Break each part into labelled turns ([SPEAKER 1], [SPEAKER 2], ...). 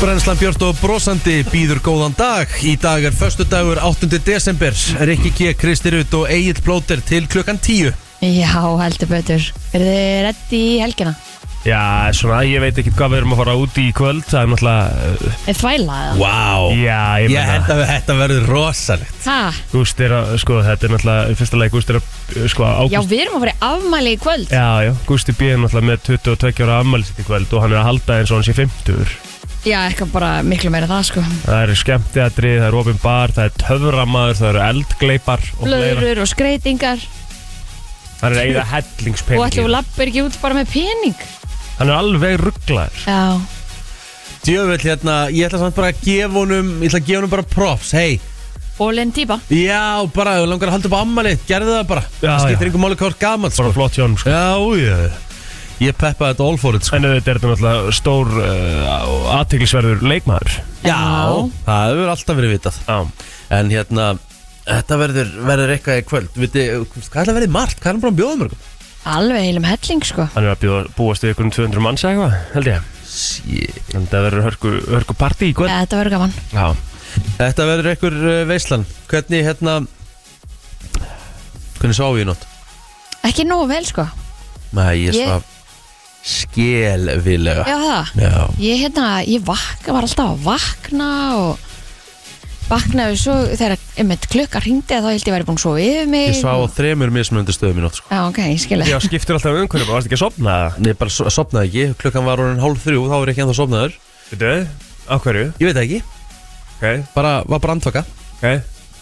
[SPEAKER 1] Brennslan Björn og Brósandi býður góðan dag Í dag er förstu dagur 8. desember Rikki G, Kristi Rut og Egil Plóter til klukkan 10
[SPEAKER 2] Já, heldur betur. Er þið reddi í helgina?
[SPEAKER 3] Já, svona, ég veit ekki hvað við erum að fara út í í kvöld Það er náttúrulega, uh,
[SPEAKER 2] Er þvæla eða?
[SPEAKER 1] Vá
[SPEAKER 3] já, ég
[SPEAKER 1] Ég
[SPEAKER 3] meina
[SPEAKER 1] held að þetta verður rosalegt
[SPEAKER 2] Ha?
[SPEAKER 3] Gúst er að, sko, þetta er náttúrulega í Fyrsta leik, Gúst er að, uh, sko,
[SPEAKER 2] Já,
[SPEAKER 3] ágúst
[SPEAKER 2] við erum að fara í afmæli í kvöld.
[SPEAKER 3] Já, já, Gústi B er náttúrulega með 22 ára afmæli sitt í kvöld Og hann er að halda eins og hann sé 50
[SPEAKER 2] Já, eitthvað bara miklu meira það, sko.
[SPEAKER 3] Það eru skemmtiatri, það eru opin bar, það er töframaður, það eru eldgleipar og fleira.
[SPEAKER 2] Blöður og skreitingar.
[SPEAKER 3] Hann er að eigða
[SPEAKER 2] Og ætlum við
[SPEAKER 3] hellingspeningi
[SPEAKER 2] lappir ekki út bara með pening.
[SPEAKER 3] Hann er alveg rugglaður
[SPEAKER 2] Já.
[SPEAKER 1] Djöfull hérna, ég ætla samt bara að gefa honum Ég ætla að gefa honum bara props, hei
[SPEAKER 2] Ólinn típa. Já,
[SPEAKER 1] Já, bara, ef þú langar að halda upp ammalitt Gerðu það bara,
[SPEAKER 3] Já,
[SPEAKER 1] það
[SPEAKER 3] já.
[SPEAKER 1] skiptir einhver máli hvað er gamalt
[SPEAKER 3] Bara
[SPEAKER 1] sko.
[SPEAKER 3] flott hjón sko.
[SPEAKER 1] Já, já Ég peppa þetta all for it sko.
[SPEAKER 3] En þetta er þetta náttúrulega stór uh, aðteglisverður leikmaður
[SPEAKER 1] Já,
[SPEAKER 2] Já.
[SPEAKER 1] það hefur alltaf verið vitað
[SPEAKER 3] Já
[SPEAKER 1] En hérna, þetta verður, verður eitthvað í kvöld Viti, Hvað er það verið margt? Hvað er hann bara að bjóða mörgum?
[SPEAKER 2] Alveg heilum helling, sko.
[SPEAKER 3] Hann er að bjóða, búast við ykkur um 200 manns eða eitthvað, held ég
[SPEAKER 1] Shit.
[SPEAKER 3] En það verður hörku, hörku partí í
[SPEAKER 2] Já,
[SPEAKER 3] kvöld
[SPEAKER 2] þetta verður gaman.
[SPEAKER 3] Já
[SPEAKER 1] Þetta verður einhver uh, veislan Hvernig hérna Hvernig sá ég í nótt?
[SPEAKER 2] Ekki nógu vel, sko.
[SPEAKER 1] Nei, ég
[SPEAKER 2] Ég-
[SPEAKER 1] svaf Skelvilega
[SPEAKER 2] Já, það.
[SPEAKER 1] Já.
[SPEAKER 2] Ég, hérna, ég vakna, var alltaf að vakna og vaknaði svo þegar einmitt klukka hringdi að þá held ég væri búin að sofa yfir mig.
[SPEAKER 1] Ég svaf á þremur mismunandi stöðum í nótt sko.
[SPEAKER 2] Já, ok, ég skilja.
[SPEAKER 3] Já, skiptir alltaf um umhverjum, varst ekki að sopna
[SPEAKER 1] Ég bara so sopnaði ekki, klukkan var orðin hálf þrjú Þá var ég ekki ennþá sopnaður
[SPEAKER 3] Veitu, á hverju,
[SPEAKER 1] Ég veit það ekki,
[SPEAKER 3] ok,
[SPEAKER 1] bara var bara andvaka
[SPEAKER 3] ok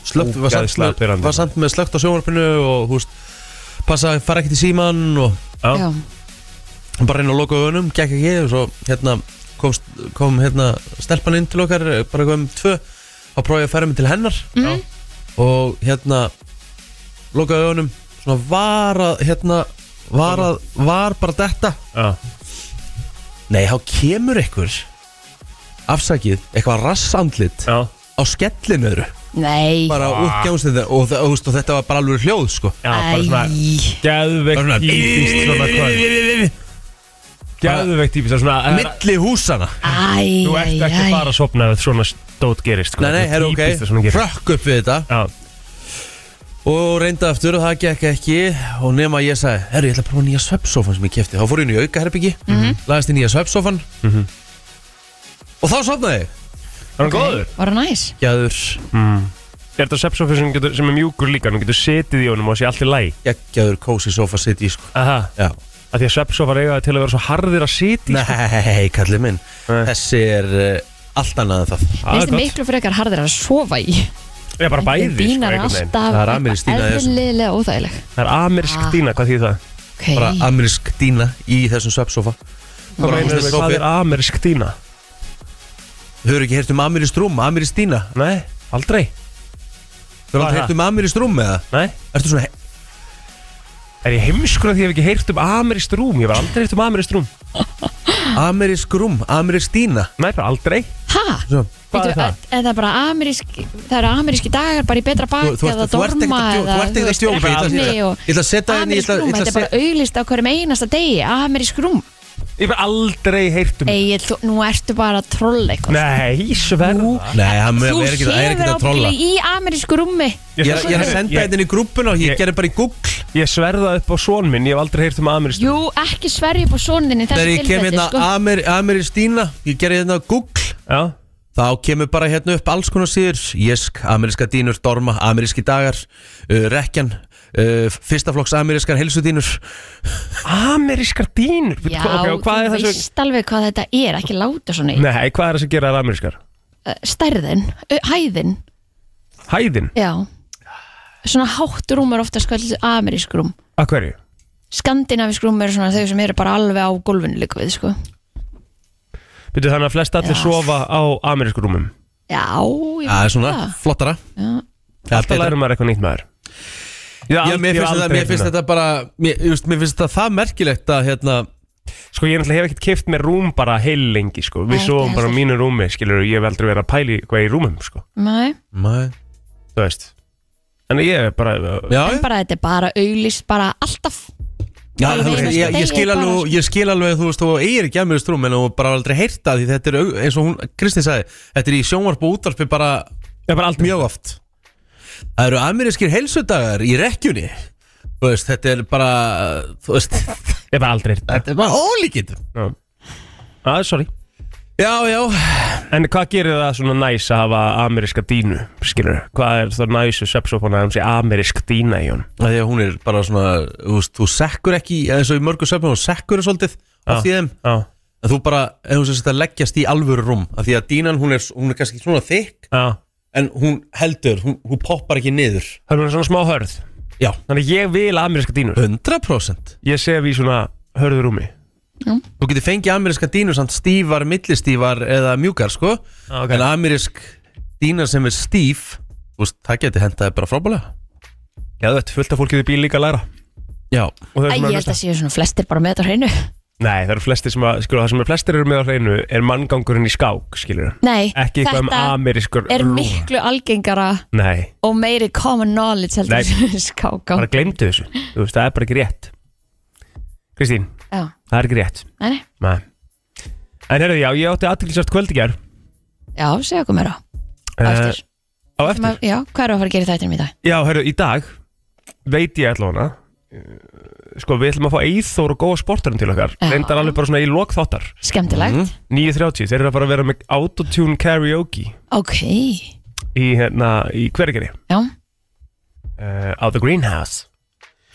[SPEAKER 1] Slögt, var,
[SPEAKER 3] Ógeðslega
[SPEAKER 1] samt með,
[SPEAKER 3] pirrandi.
[SPEAKER 1] var samt með slögt á sjónvarpinu Og húst, passa að fara ekki til síman Og
[SPEAKER 3] Já,
[SPEAKER 1] bara reyna að loka augunum, gekk ekki og svo hérna kom, kom hérna stelpan inn til okkar, bara kom tvö þá prófaði ég að færa mig til hennar
[SPEAKER 3] já,
[SPEAKER 1] og hérna lokaði augunum, svona var að hérna, var að, var bara detta,
[SPEAKER 3] já
[SPEAKER 1] nei þá kemur ykkur afsakið, eitthvað rassandlit
[SPEAKER 3] Já,
[SPEAKER 1] á skellinu öðru,
[SPEAKER 2] Nei.
[SPEAKER 1] bara ah. útgjámsnið og, og, og, og þetta var bara alveg hljóð sko
[SPEAKER 3] já, bara svona
[SPEAKER 2] Æ.
[SPEAKER 1] Bara svona-
[SPEAKER 3] Geðveikt típist svona kvöld Geðveikt típist, það er svona eh,
[SPEAKER 1] milli húsana
[SPEAKER 2] Æ,
[SPEAKER 3] Þú ert ekki
[SPEAKER 2] æ, æ.
[SPEAKER 3] að fara að sopna ef svona stót gerist sko.
[SPEAKER 1] nei, nei,
[SPEAKER 3] Það
[SPEAKER 1] er ok,
[SPEAKER 3] típist að svona gerist.
[SPEAKER 1] frökk upp við þetta
[SPEAKER 3] Já,
[SPEAKER 1] Og reynda aftur og það gekk ekki Og nema ég sagði, herru ég ætla að prófa nýja svepsofan sem ég kefti Þá fór ég inn í aukaherbyggi mm Lagðist í nýja svepsofan
[SPEAKER 3] Mhm.
[SPEAKER 1] Og þá sofnaði ég
[SPEAKER 3] er hann góður?
[SPEAKER 2] Var það næs?
[SPEAKER 1] Gæður,
[SPEAKER 3] Mm. Er þetta sepsofi sem, getur- sem er mjúkur líka, hann getur setið í honum og sé allt í læ
[SPEAKER 1] geggjaður kósi sofa sitt í sko
[SPEAKER 3] Aha,
[SPEAKER 1] Já
[SPEAKER 3] að því að sepsofar eiga það til að vera svo harðir að setja í, sko.
[SPEAKER 1] Nei, kallið minn
[SPEAKER 3] Nei.
[SPEAKER 1] Þessi er uh, allt annað en það
[SPEAKER 3] Það
[SPEAKER 2] Mér
[SPEAKER 3] er
[SPEAKER 2] finnst
[SPEAKER 3] gott.
[SPEAKER 2] miklu frekar harðir að sofa í
[SPEAKER 3] Ég er bara bæði sko,
[SPEAKER 2] Dýnar
[SPEAKER 3] einhvern veginn.
[SPEAKER 2] alltaf
[SPEAKER 1] Það er Amir í Stína í þessu.
[SPEAKER 2] Eðlilega óþægileg
[SPEAKER 3] Það er amirsk
[SPEAKER 2] Ah.
[SPEAKER 3] dýna, hvað þýð það?
[SPEAKER 2] okay.
[SPEAKER 1] Bara amerísk dýna í þessum svepsofa
[SPEAKER 3] Hvað,
[SPEAKER 1] Bara
[SPEAKER 3] meinar,
[SPEAKER 1] húsnæðissofi.
[SPEAKER 3] hvað er amirsk dýna?
[SPEAKER 1] Þau eru ekki heyrt um amerísk drúm, amerísk dýna
[SPEAKER 3] Nei, aldrei
[SPEAKER 1] Þau
[SPEAKER 3] Hvað er
[SPEAKER 1] eru aldrei heyrt um amerísk drúm eða
[SPEAKER 3] Nei,
[SPEAKER 1] Ertu svona,
[SPEAKER 3] er ég heimskur að því að ég hef ekki heyrt um amirist rúm Ég hef aldrei heyrt um amirist rúm
[SPEAKER 1] amerísk rúm, amerísk dýna
[SPEAKER 3] Nei, bara aldrei
[SPEAKER 2] Ha?
[SPEAKER 1] Svo,
[SPEAKER 3] Hvað er
[SPEAKER 2] Veitu,
[SPEAKER 3] það?
[SPEAKER 2] Eða bara amerísk Það eru ameríski dagar bara í betra
[SPEAKER 1] Þú,
[SPEAKER 2] bak
[SPEAKER 1] þú,
[SPEAKER 2] eða
[SPEAKER 1] ert, þú ert ekkert
[SPEAKER 2] dorma
[SPEAKER 1] að djóka,
[SPEAKER 2] eða,
[SPEAKER 1] þú ert ekkert að
[SPEAKER 2] veist,
[SPEAKER 1] stjóka Ég ætla-
[SPEAKER 2] efni
[SPEAKER 1] ég ætla-
[SPEAKER 2] og-
[SPEAKER 1] ég ætla að setja henni Ég
[SPEAKER 2] Amerísk
[SPEAKER 1] ætla
[SPEAKER 2] rúm,
[SPEAKER 1] ég
[SPEAKER 2] þetta
[SPEAKER 1] ætla að
[SPEAKER 2] er bara
[SPEAKER 1] setja
[SPEAKER 2] auglist á hverjum einasta degi Amerísk rúm
[SPEAKER 3] Ég hef aldrei heyrt um
[SPEAKER 2] Egil, þú- nú ertu bara að trolla eitthvað
[SPEAKER 3] Nei, sverða
[SPEAKER 1] Nei, hann
[SPEAKER 2] Þú
[SPEAKER 1] er ekki, er ekki
[SPEAKER 2] sefur
[SPEAKER 1] að trolla
[SPEAKER 2] ábyggilega í amerísku rúmi
[SPEAKER 1] Ég er, ég er að senda
[SPEAKER 3] Ég-
[SPEAKER 1] þetta inn í grúppuna og ég
[SPEAKER 3] Ég-
[SPEAKER 1] gerði bara í Google
[SPEAKER 3] Ég sverða upp á són minn, ég hef aldrei heyrt um amirist
[SPEAKER 2] Jú, ekki sverja upp á soninni
[SPEAKER 1] Þegar ég kem hérna
[SPEAKER 2] sko.
[SPEAKER 1] Amer, Ameristína Ég gerði hérna Google
[SPEAKER 3] Já,
[SPEAKER 1] Þá kemur bara hérna upp alls konar síður Jesk, ameríska dýnur, dorma, ameríski dagar uh, Rekjan uh, Fyrsta flokks amerískar helsudínur
[SPEAKER 3] amerískar dýnur
[SPEAKER 2] Já,
[SPEAKER 3] Hva- ok, og hvað er
[SPEAKER 2] þú
[SPEAKER 3] það sem
[SPEAKER 2] veist alveg hvað þetta er, ekki láta svona í
[SPEAKER 3] Nei, hvað er það sem gera þær amerískar?
[SPEAKER 2] uh, stærðin, uh, hæðin
[SPEAKER 3] Hæðin,
[SPEAKER 2] já svona hátt rúm er ofta skall amerísk rúm
[SPEAKER 3] að hverju?
[SPEAKER 2] skandinavísk rúm eru svona þau sem eru bara alveg á gólfinu líka við sko
[SPEAKER 3] Byrju þannig að flest allir
[SPEAKER 2] Já.
[SPEAKER 3] sofa á amerískur rúmum
[SPEAKER 2] já, ég
[SPEAKER 1] Það er svona
[SPEAKER 2] það.
[SPEAKER 1] flottara
[SPEAKER 2] já.
[SPEAKER 1] Það er
[SPEAKER 3] Alltaf
[SPEAKER 1] betra.
[SPEAKER 3] lærir maður eitthvað nýtt maður Ég,
[SPEAKER 1] Já, mér finnst, þetta, mér finnst þetta bara Mér, just, mér finnst þetta það merkilegt að hérna
[SPEAKER 3] Sko ég náttúrulega hef ekkert keft með rúm bara heil lengi sko Við
[SPEAKER 2] Nei,
[SPEAKER 3] sofum
[SPEAKER 2] ekki
[SPEAKER 3] bara á
[SPEAKER 2] heldur.
[SPEAKER 3] mínu rúmi skilur Ég hef aldrei verið að pæli hvað er í rúmum sko
[SPEAKER 2] Nei,
[SPEAKER 1] Mæ.
[SPEAKER 3] Þú veist En ég er bara
[SPEAKER 1] Já,
[SPEAKER 2] en bara þetta er bara auglist bara alltaf
[SPEAKER 1] Já,
[SPEAKER 2] Alveg
[SPEAKER 1] þú veist,
[SPEAKER 2] einasta
[SPEAKER 1] ég, ég, skil
[SPEAKER 2] degi bara,
[SPEAKER 1] alveg,
[SPEAKER 2] sko.
[SPEAKER 1] ég skil alveg þú veist, þú eigir ekki að mér strúm en þú bara aldrei heyrta því þetta er au- eins og hún, Kristi sagði þetta er í sjónvarp og útvarpi bara
[SPEAKER 3] Ég bara aldrei
[SPEAKER 1] mjög oft Það eru amerískir heilsudagar í rekkjunni þú veist, þetta er bara þú veist,
[SPEAKER 3] Ég bara aldrei heyrt
[SPEAKER 1] þetta er bara ólíkind
[SPEAKER 3] Já, ah, sorry
[SPEAKER 1] Já, já,
[SPEAKER 3] En hvað gerir það svona næs að hafa ameríska dínu, skilur? Hvað er það næsu sepsofona að hann sé amerísk dína í hún?
[SPEAKER 1] Af því að hún er bara svona þú, veist, þú sekkur ekki, eins og í mörgum söfnum þú sekkur er svolítið oft í þeim
[SPEAKER 3] Já,
[SPEAKER 1] að þú bara, ef þú sérst að leggjast í alvöru rúm af því að dínan, hún er, hún er kannski svona þykk
[SPEAKER 3] já
[SPEAKER 1] en hún heldur, hún, hún poppar ekki niður
[SPEAKER 3] Það er hún svona smá hörð
[SPEAKER 1] Já,
[SPEAKER 3] Þannig að ég vil ameríska dínur
[SPEAKER 1] 100%
[SPEAKER 3] Ég sef í svona hörður rúmi
[SPEAKER 1] Þú getur fengið ameríska dínu samt stífar, millistífar eða mjúkar sko
[SPEAKER 3] ah,
[SPEAKER 1] En amerísk dína sem er stíf þú veist, Það geti hentaði bara frábælega
[SPEAKER 3] Já, þetta fullt af fólkið í bíl líka að læra
[SPEAKER 1] Já,
[SPEAKER 3] Og
[SPEAKER 2] Æ,
[SPEAKER 3] þau sem eru
[SPEAKER 2] ég
[SPEAKER 3] að
[SPEAKER 2] held
[SPEAKER 3] hlusta.
[SPEAKER 2] að séu svona flestir bara með þetta á hreinu
[SPEAKER 3] Nei, það eru flestir sem að, skilur, það sem er flestir eru með á hreinu er manngangurinn í skák, skilur
[SPEAKER 2] Nei,
[SPEAKER 3] Ekki eitthvað um
[SPEAKER 2] þetta
[SPEAKER 3] amerískur
[SPEAKER 2] er
[SPEAKER 3] rúm
[SPEAKER 2] miklu algengara
[SPEAKER 3] Nei,
[SPEAKER 2] og meiri common knowledge heldur
[SPEAKER 3] Nei.
[SPEAKER 2] en skáká
[SPEAKER 3] bara glemdu þessu Þú veist, það er bara ekki rétt Kristín,
[SPEAKER 2] Já,
[SPEAKER 3] það er ekki rétt
[SPEAKER 2] nei, nei.
[SPEAKER 3] Nei En herðu, já, ég átti aðtilsvært kvöld í gær
[SPEAKER 2] já segja okkur meira á
[SPEAKER 3] Eh,
[SPEAKER 2] eftir
[SPEAKER 3] Á eftir?
[SPEAKER 2] Ma- Já, hvað eru að fara að gera þetta í dag?
[SPEAKER 3] Já, herru, í dag veit ég allavega hana Sko, við ætlum að fá Eithor og góða sportarinn til okkar
[SPEAKER 2] Já.
[SPEAKER 3] Reyndar alveg bara svona í lokþáttar
[SPEAKER 2] Skemmtilegt
[SPEAKER 1] Mhm.
[SPEAKER 3] 9.30, þeir eru að fara að vera með autotune karaoke
[SPEAKER 2] Ok,
[SPEAKER 3] Í, hérna, í hvergeri
[SPEAKER 2] já
[SPEAKER 3] uh, Á The Greenhouse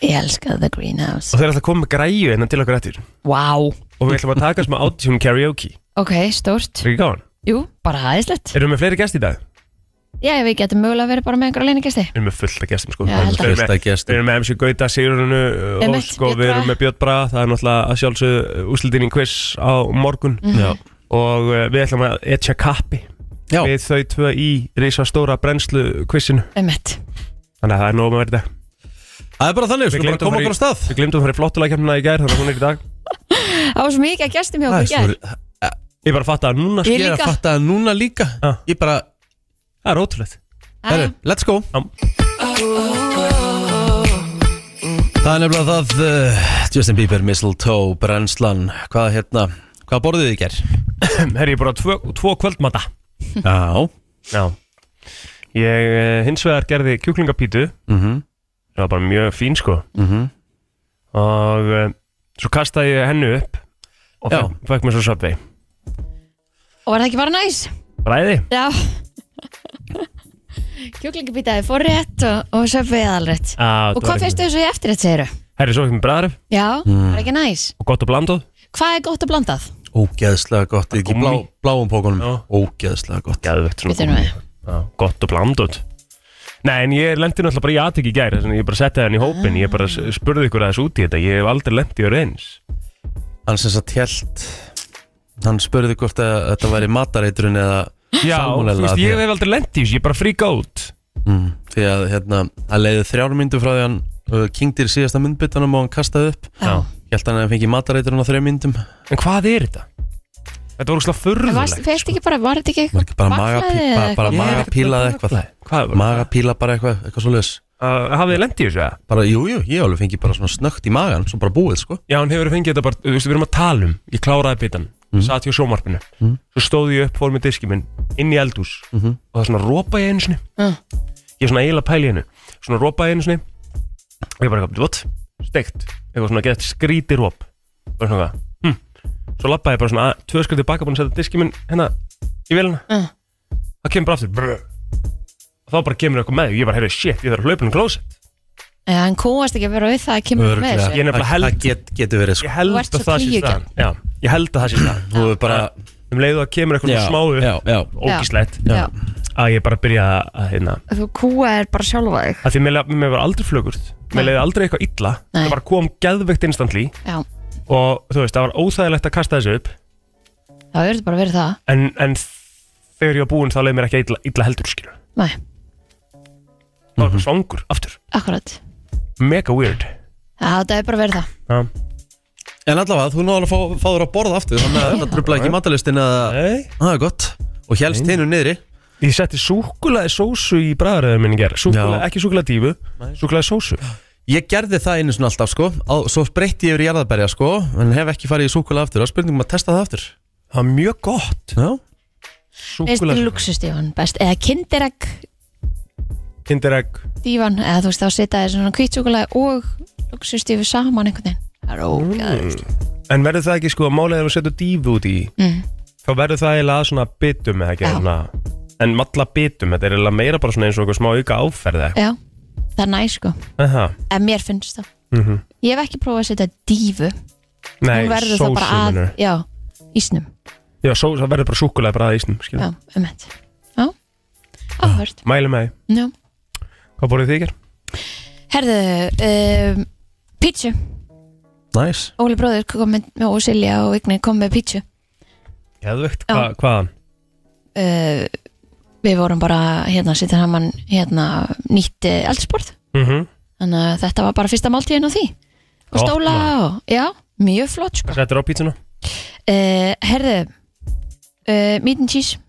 [SPEAKER 2] Ég elskaði The Greenhouse
[SPEAKER 3] Og þeir eru alltaf að koma með græju hérna til okkar eftir
[SPEAKER 2] Wow,
[SPEAKER 3] Og við ætlum að taka smá autotune karaoke
[SPEAKER 2] ok, stórt
[SPEAKER 3] Er ekki gáðan?
[SPEAKER 2] Jú, bara aðeinslegt
[SPEAKER 3] Erum við með fleiri gæst í dag?
[SPEAKER 2] Já, við getum mögulega verið bara með einhverja leiningesti
[SPEAKER 3] Erum við fullt af gæstum sko
[SPEAKER 2] Já, ég held að-
[SPEAKER 3] Við erum með-
[SPEAKER 1] fullt af
[SPEAKER 3] Við
[SPEAKER 1] gestum
[SPEAKER 3] erum með MC Gauta, Sigurunu og
[SPEAKER 2] Einmitt,
[SPEAKER 3] sko,
[SPEAKER 2] Björn
[SPEAKER 3] við erum
[SPEAKER 2] Braga.
[SPEAKER 3] með Björn Braga, það er náttúrulega að sjálfsögðu úslitin í quiz á morgun
[SPEAKER 2] Mhm.
[SPEAKER 1] Já,
[SPEAKER 3] og uh, við ætlum að etja kappi
[SPEAKER 1] já,
[SPEAKER 3] við þau tvö í reysa stóra brennslu quizinu,
[SPEAKER 2] Einmitt,
[SPEAKER 3] þannig að það er nóg með verið dag
[SPEAKER 1] það er bara þannig, við skulum bara koma okkur á stað
[SPEAKER 3] Við glemdum að fara í flottulækjafnina í gær, þannig að hún er í dag
[SPEAKER 2] það var svo mikið að gestum hjá
[SPEAKER 1] Það er
[SPEAKER 2] okkur
[SPEAKER 1] svo-
[SPEAKER 2] gær
[SPEAKER 3] Ég bara fatta að núna,
[SPEAKER 2] Ég
[SPEAKER 1] Ég er að
[SPEAKER 2] líka
[SPEAKER 1] fatta það núna líka
[SPEAKER 3] Ah.
[SPEAKER 1] Ég bara,
[SPEAKER 3] það er ótrúlegt
[SPEAKER 1] herru, let's go
[SPEAKER 3] Já.
[SPEAKER 1] Það er nefnilega það uh, Justin Bieber, Mistletoe, Brennslan Hvað hérna, hvað borðið þið í gær?
[SPEAKER 3] Herri, ég bara tvo, tvo kvöldmata
[SPEAKER 1] Já
[SPEAKER 3] Já Ég uh, hins vegar gerði kjúklingapítu
[SPEAKER 1] Mhm,
[SPEAKER 3] það var bara mjög fín sko
[SPEAKER 1] mhm
[SPEAKER 3] og uh, svo kastaði ég hennu upp og
[SPEAKER 1] Já.
[SPEAKER 3] fekk- fekk mér svo söpvei
[SPEAKER 2] Og var það ekki bara næs?
[SPEAKER 3] Ræði
[SPEAKER 2] Já Kjúklingabýtaði fór rétt og, og söpvið aðalrétt
[SPEAKER 3] ah,
[SPEAKER 2] Og hvað finnst þau svo í eftirrétt, segiru?
[SPEAKER 3] Herri, svo ekki með bræðaröf
[SPEAKER 2] Já,
[SPEAKER 1] Mm.
[SPEAKER 2] það er ekki næs
[SPEAKER 3] og gott og blandóð
[SPEAKER 2] Hvað er gott að blandað?
[SPEAKER 1] Ógeðslega gott, ekki blá,
[SPEAKER 3] Gúmmí.
[SPEAKER 1] bláum
[SPEAKER 3] Já.
[SPEAKER 1] pókunum Ógeðslega gott
[SPEAKER 3] Gæðvegt
[SPEAKER 2] Bíddu nú við.
[SPEAKER 3] Gott og blandóð Nei, en ég lendi náttúrulega bara í aðtök í gær þess vegna Ég bara setti hann í hópin Ég bara s- spurði ykkur aðeins út í þetta Ég hef aldrei lendið í öru eins
[SPEAKER 1] Hann sem satt hjælt Hann spurði hvort að þetta væri matareiturinn eða
[SPEAKER 3] Já,
[SPEAKER 1] salmonella,
[SPEAKER 3] þú veist,
[SPEAKER 1] því
[SPEAKER 3] ég
[SPEAKER 1] að-
[SPEAKER 3] hef aldrei lendið í þessu Ég bara fríka út
[SPEAKER 1] mm, Því að hérna, hann leiði þrjár myndu frá því að hann uh, kingdir síðasta myndbytunum og hann kastaði upp
[SPEAKER 3] Já.
[SPEAKER 1] Hjælt hann að hann fengi matareiturinn á þrejum myndum Var
[SPEAKER 3] En hvað er þetta? Þetta voru slá
[SPEAKER 2] Varst,
[SPEAKER 3] förðulegt
[SPEAKER 2] fyrst ekki bara, var þetta ekki
[SPEAKER 1] sko. ekki bara
[SPEAKER 2] bakflæði
[SPEAKER 1] magapí-
[SPEAKER 2] eða
[SPEAKER 1] bara- bara
[SPEAKER 2] eitthvað?
[SPEAKER 1] maga- magapíla eða eitthvað?
[SPEAKER 3] Hvað var það?
[SPEAKER 1] Magapíla bara eitthvað, eitthvað svo leis
[SPEAKER 3] Uh, Hafið þið lendið í þessu? eða?
[SPEAKER 1] Bara, jú, jú, ég alveg fengi bara svona snögt í magan Svo bara búið, sko
[SPEAKER 3] Já, hann hefur fengið þetta bara Þú veist, við erum að tala um Ég kláraði bitan
[SPEAKER 1] Mhm.
[SPEAKER 3] mm. Satt ég á sjómarpinu Svo stóð ég upp, fór með diski minn Inn í eldús
[SPEAKER 1] Mhm.
[SPEAKER 3] Og það svona rópa ég einu sinni
[SPEAKER 2] Mm.
[SPEAKER 3] Ég er svona eiginlega pæli hennu Svona rópa ég einu sinni Og ég bara, eitthvað, what? Steikt Eitthvað svona gett skríti róp Bara svona, hm Svo lappaði ég bara svona að- Tvö skriði baka búin að setja diski minn Hérna, í vilina
[SPEAKER 2] Mm.
[SPEAKER 3] Það kemur bara aftur brr. Og þá bara kemur eitthvað með Ég bara, heyrðu, shit, ég þarf að hlaupa um klósett
[SPEAKER 2] Já, hann kúast ekki að vera við það að kemur með
[SPEAKER 1] Örugglega.
[SPEAKER 2] þessu
[SPEAKER 3] Ég nefnilega
[SPEAKER 1] Það-
[SPEAKER 3] held-
[SPEAKER 1] Það get, getur verið,
[SPEAKER 3] Ég
[SPEAKER 1] sko
[SPEAKER 3] held
[SPEAKER 2] Þú
[SPEAKER 3] að
[SPEAKER 2] ert svo
[SPEAKER 3] það sé staðan
[SPEAKER 2] klígjugjörn.
[SPEAKER 3] Já, ég held að það sé staðan
[SPEAKER 1] Þú er bara
[SPEAKER 3] um leiðu að kemur eitthvað
[SPEAKER 1] Já,
[SPEAKER 3] smá
[SPEAKER 1] já,
[SPEAKER 3] upp
[SPEAKER 1] já.
[SPEAKER 3] ógíslegt
[SPEAKER 2] Já.
[SPEAKER 3] að ég bara byrja að, að hérna
[SPEAKER 2] Þú kúaðir bara sjálfa þig
[SPEAKER 3] að því mér, la- mér var aldrei flögurt
[SPEAKER 2] Nei.
[SPEAKER 3] mér leiði aldrei eitthvað illa
[SPEAKER 2] Nei.
[SPEAKER 3] það bara kom geðveikt instantly
[SPEAKER 2] Já,
[SPEAKER 3] og þú veist, það var óþægilegt að kasta þessu upp
[SPEAKER 2] það verður bara verið það
[SPEAKER 3] en, en þegar ég var búinn þá leiði mér ekki illa, illa heldur skilur það
[SPEAKER 2] Nei,
[SPEAKER 1] Mhm.
[SPEAKER 3] var bara svangur, aftur,
[SPEAKER 2] akkurat
[SPEAKER 3] mega weird
[SPEAKER 2] Já, það er bara verið það
[SPEAKER 3] Já.
[SPEAKER 1] En allavega, þú náður að fá, fá þér að borða aftur Þannig að það trubla ekki matalistin að
[SPEAKER 3] Nei.
[SPEAKER 1] Það er gott Og helst hinu niðri
[SPEAKER 3] ég setti súkulaði sósu í bræðaröðum minni ger súkulaði, ekki súkulaði dífu, súkulaði sósu
[SPEAKER 1] Ég gerði það einu svona alltaf sko á, Svo breytti ég yfir í jarðarberja sko En hef ekki farið í súkula aftur Það er spurningum að testa það aftur
[SPEAKER 3] Það er mjög gott
[SPEAKER 1] Já,
[SPEAKER 2] Veist,
[SPEAKER 3] Súkulega
[SPEAKER 2] luxusdívan best Eða kinderegg
[SPEAKER 3] Kinderegg
[SPEAKER 2] dívan Eða þú veist þá setja þér svona kvítsúkulega og luxusdífu saman einhvern veginn Það er ógæðist
[SPEAKER 3] Mm. En verður það ekki sko að málega ef þú setur dífu út í
[SPEAKER 2] mm.
[SPEAKER 3] Þá verður það eiginlega að svona bitum eða ekki
[SPEAKER 2] Já.
[SPEAKER 3] svona En malla bitum, þetta er eiginlega meira bara svona eins og eitthvað smá auka áferði
[SPEAKER 2] Já, það er næ sko
[SPEAKER 3] Aha,
[SPEAKER 2] En mér finnst það
[SPEAKER 3] mm
[SPEAKER 2] Ég hef ekki prófað að setja dífu
[SPEAKER 3] Nei,
[SPEAKER 2] Hún verður
[SPEAKER 3] sósu
[SPEAKER 2] það bara að
[SPEAKER 3] meinarðu?
[SPEAKER 2] Já, ísnum
[SPEAKER 3] Já, sós, það verður bara súkulega bara að ísnum, skilja
[SPEAKER 2] Já, um þetta Já, áhört
[SPEAKER 3] Mæli með því,
[SPEAKER 2] Já
[SPEAKER 3] hvað borðið þið í ger?
[SPEAKER 2] Herðu, um, pítsu
[SPEAKER 1] næs
[SPEAKER 2] Óli bróður kom með, með og Silja og Vigni kom með pítsu
[SPEAKER 3] Geðvögt,
[SPEAKER 2] Já.
[SPEAKER 3] hva, hvaðan?
[SPEAKER 2] uh, Við vorum bara hérna að setja saman hérna nýtt uh, eldsport
[SPEAKER 3] Mm
[SPEAKER 2] Þannig að þetta var bara fyrsta máltíðin á því Og
[SPEAKER 3] Gott,
[SPEAKER 2] stóla
[SPEAKER 3] maður.
[SPEAKER 2] og, já, mjög flott sko uh,
[SPEAKER 3] Þetta er á pítsuna?
[SPEAKER 2] Herðu, uh, meat and cheese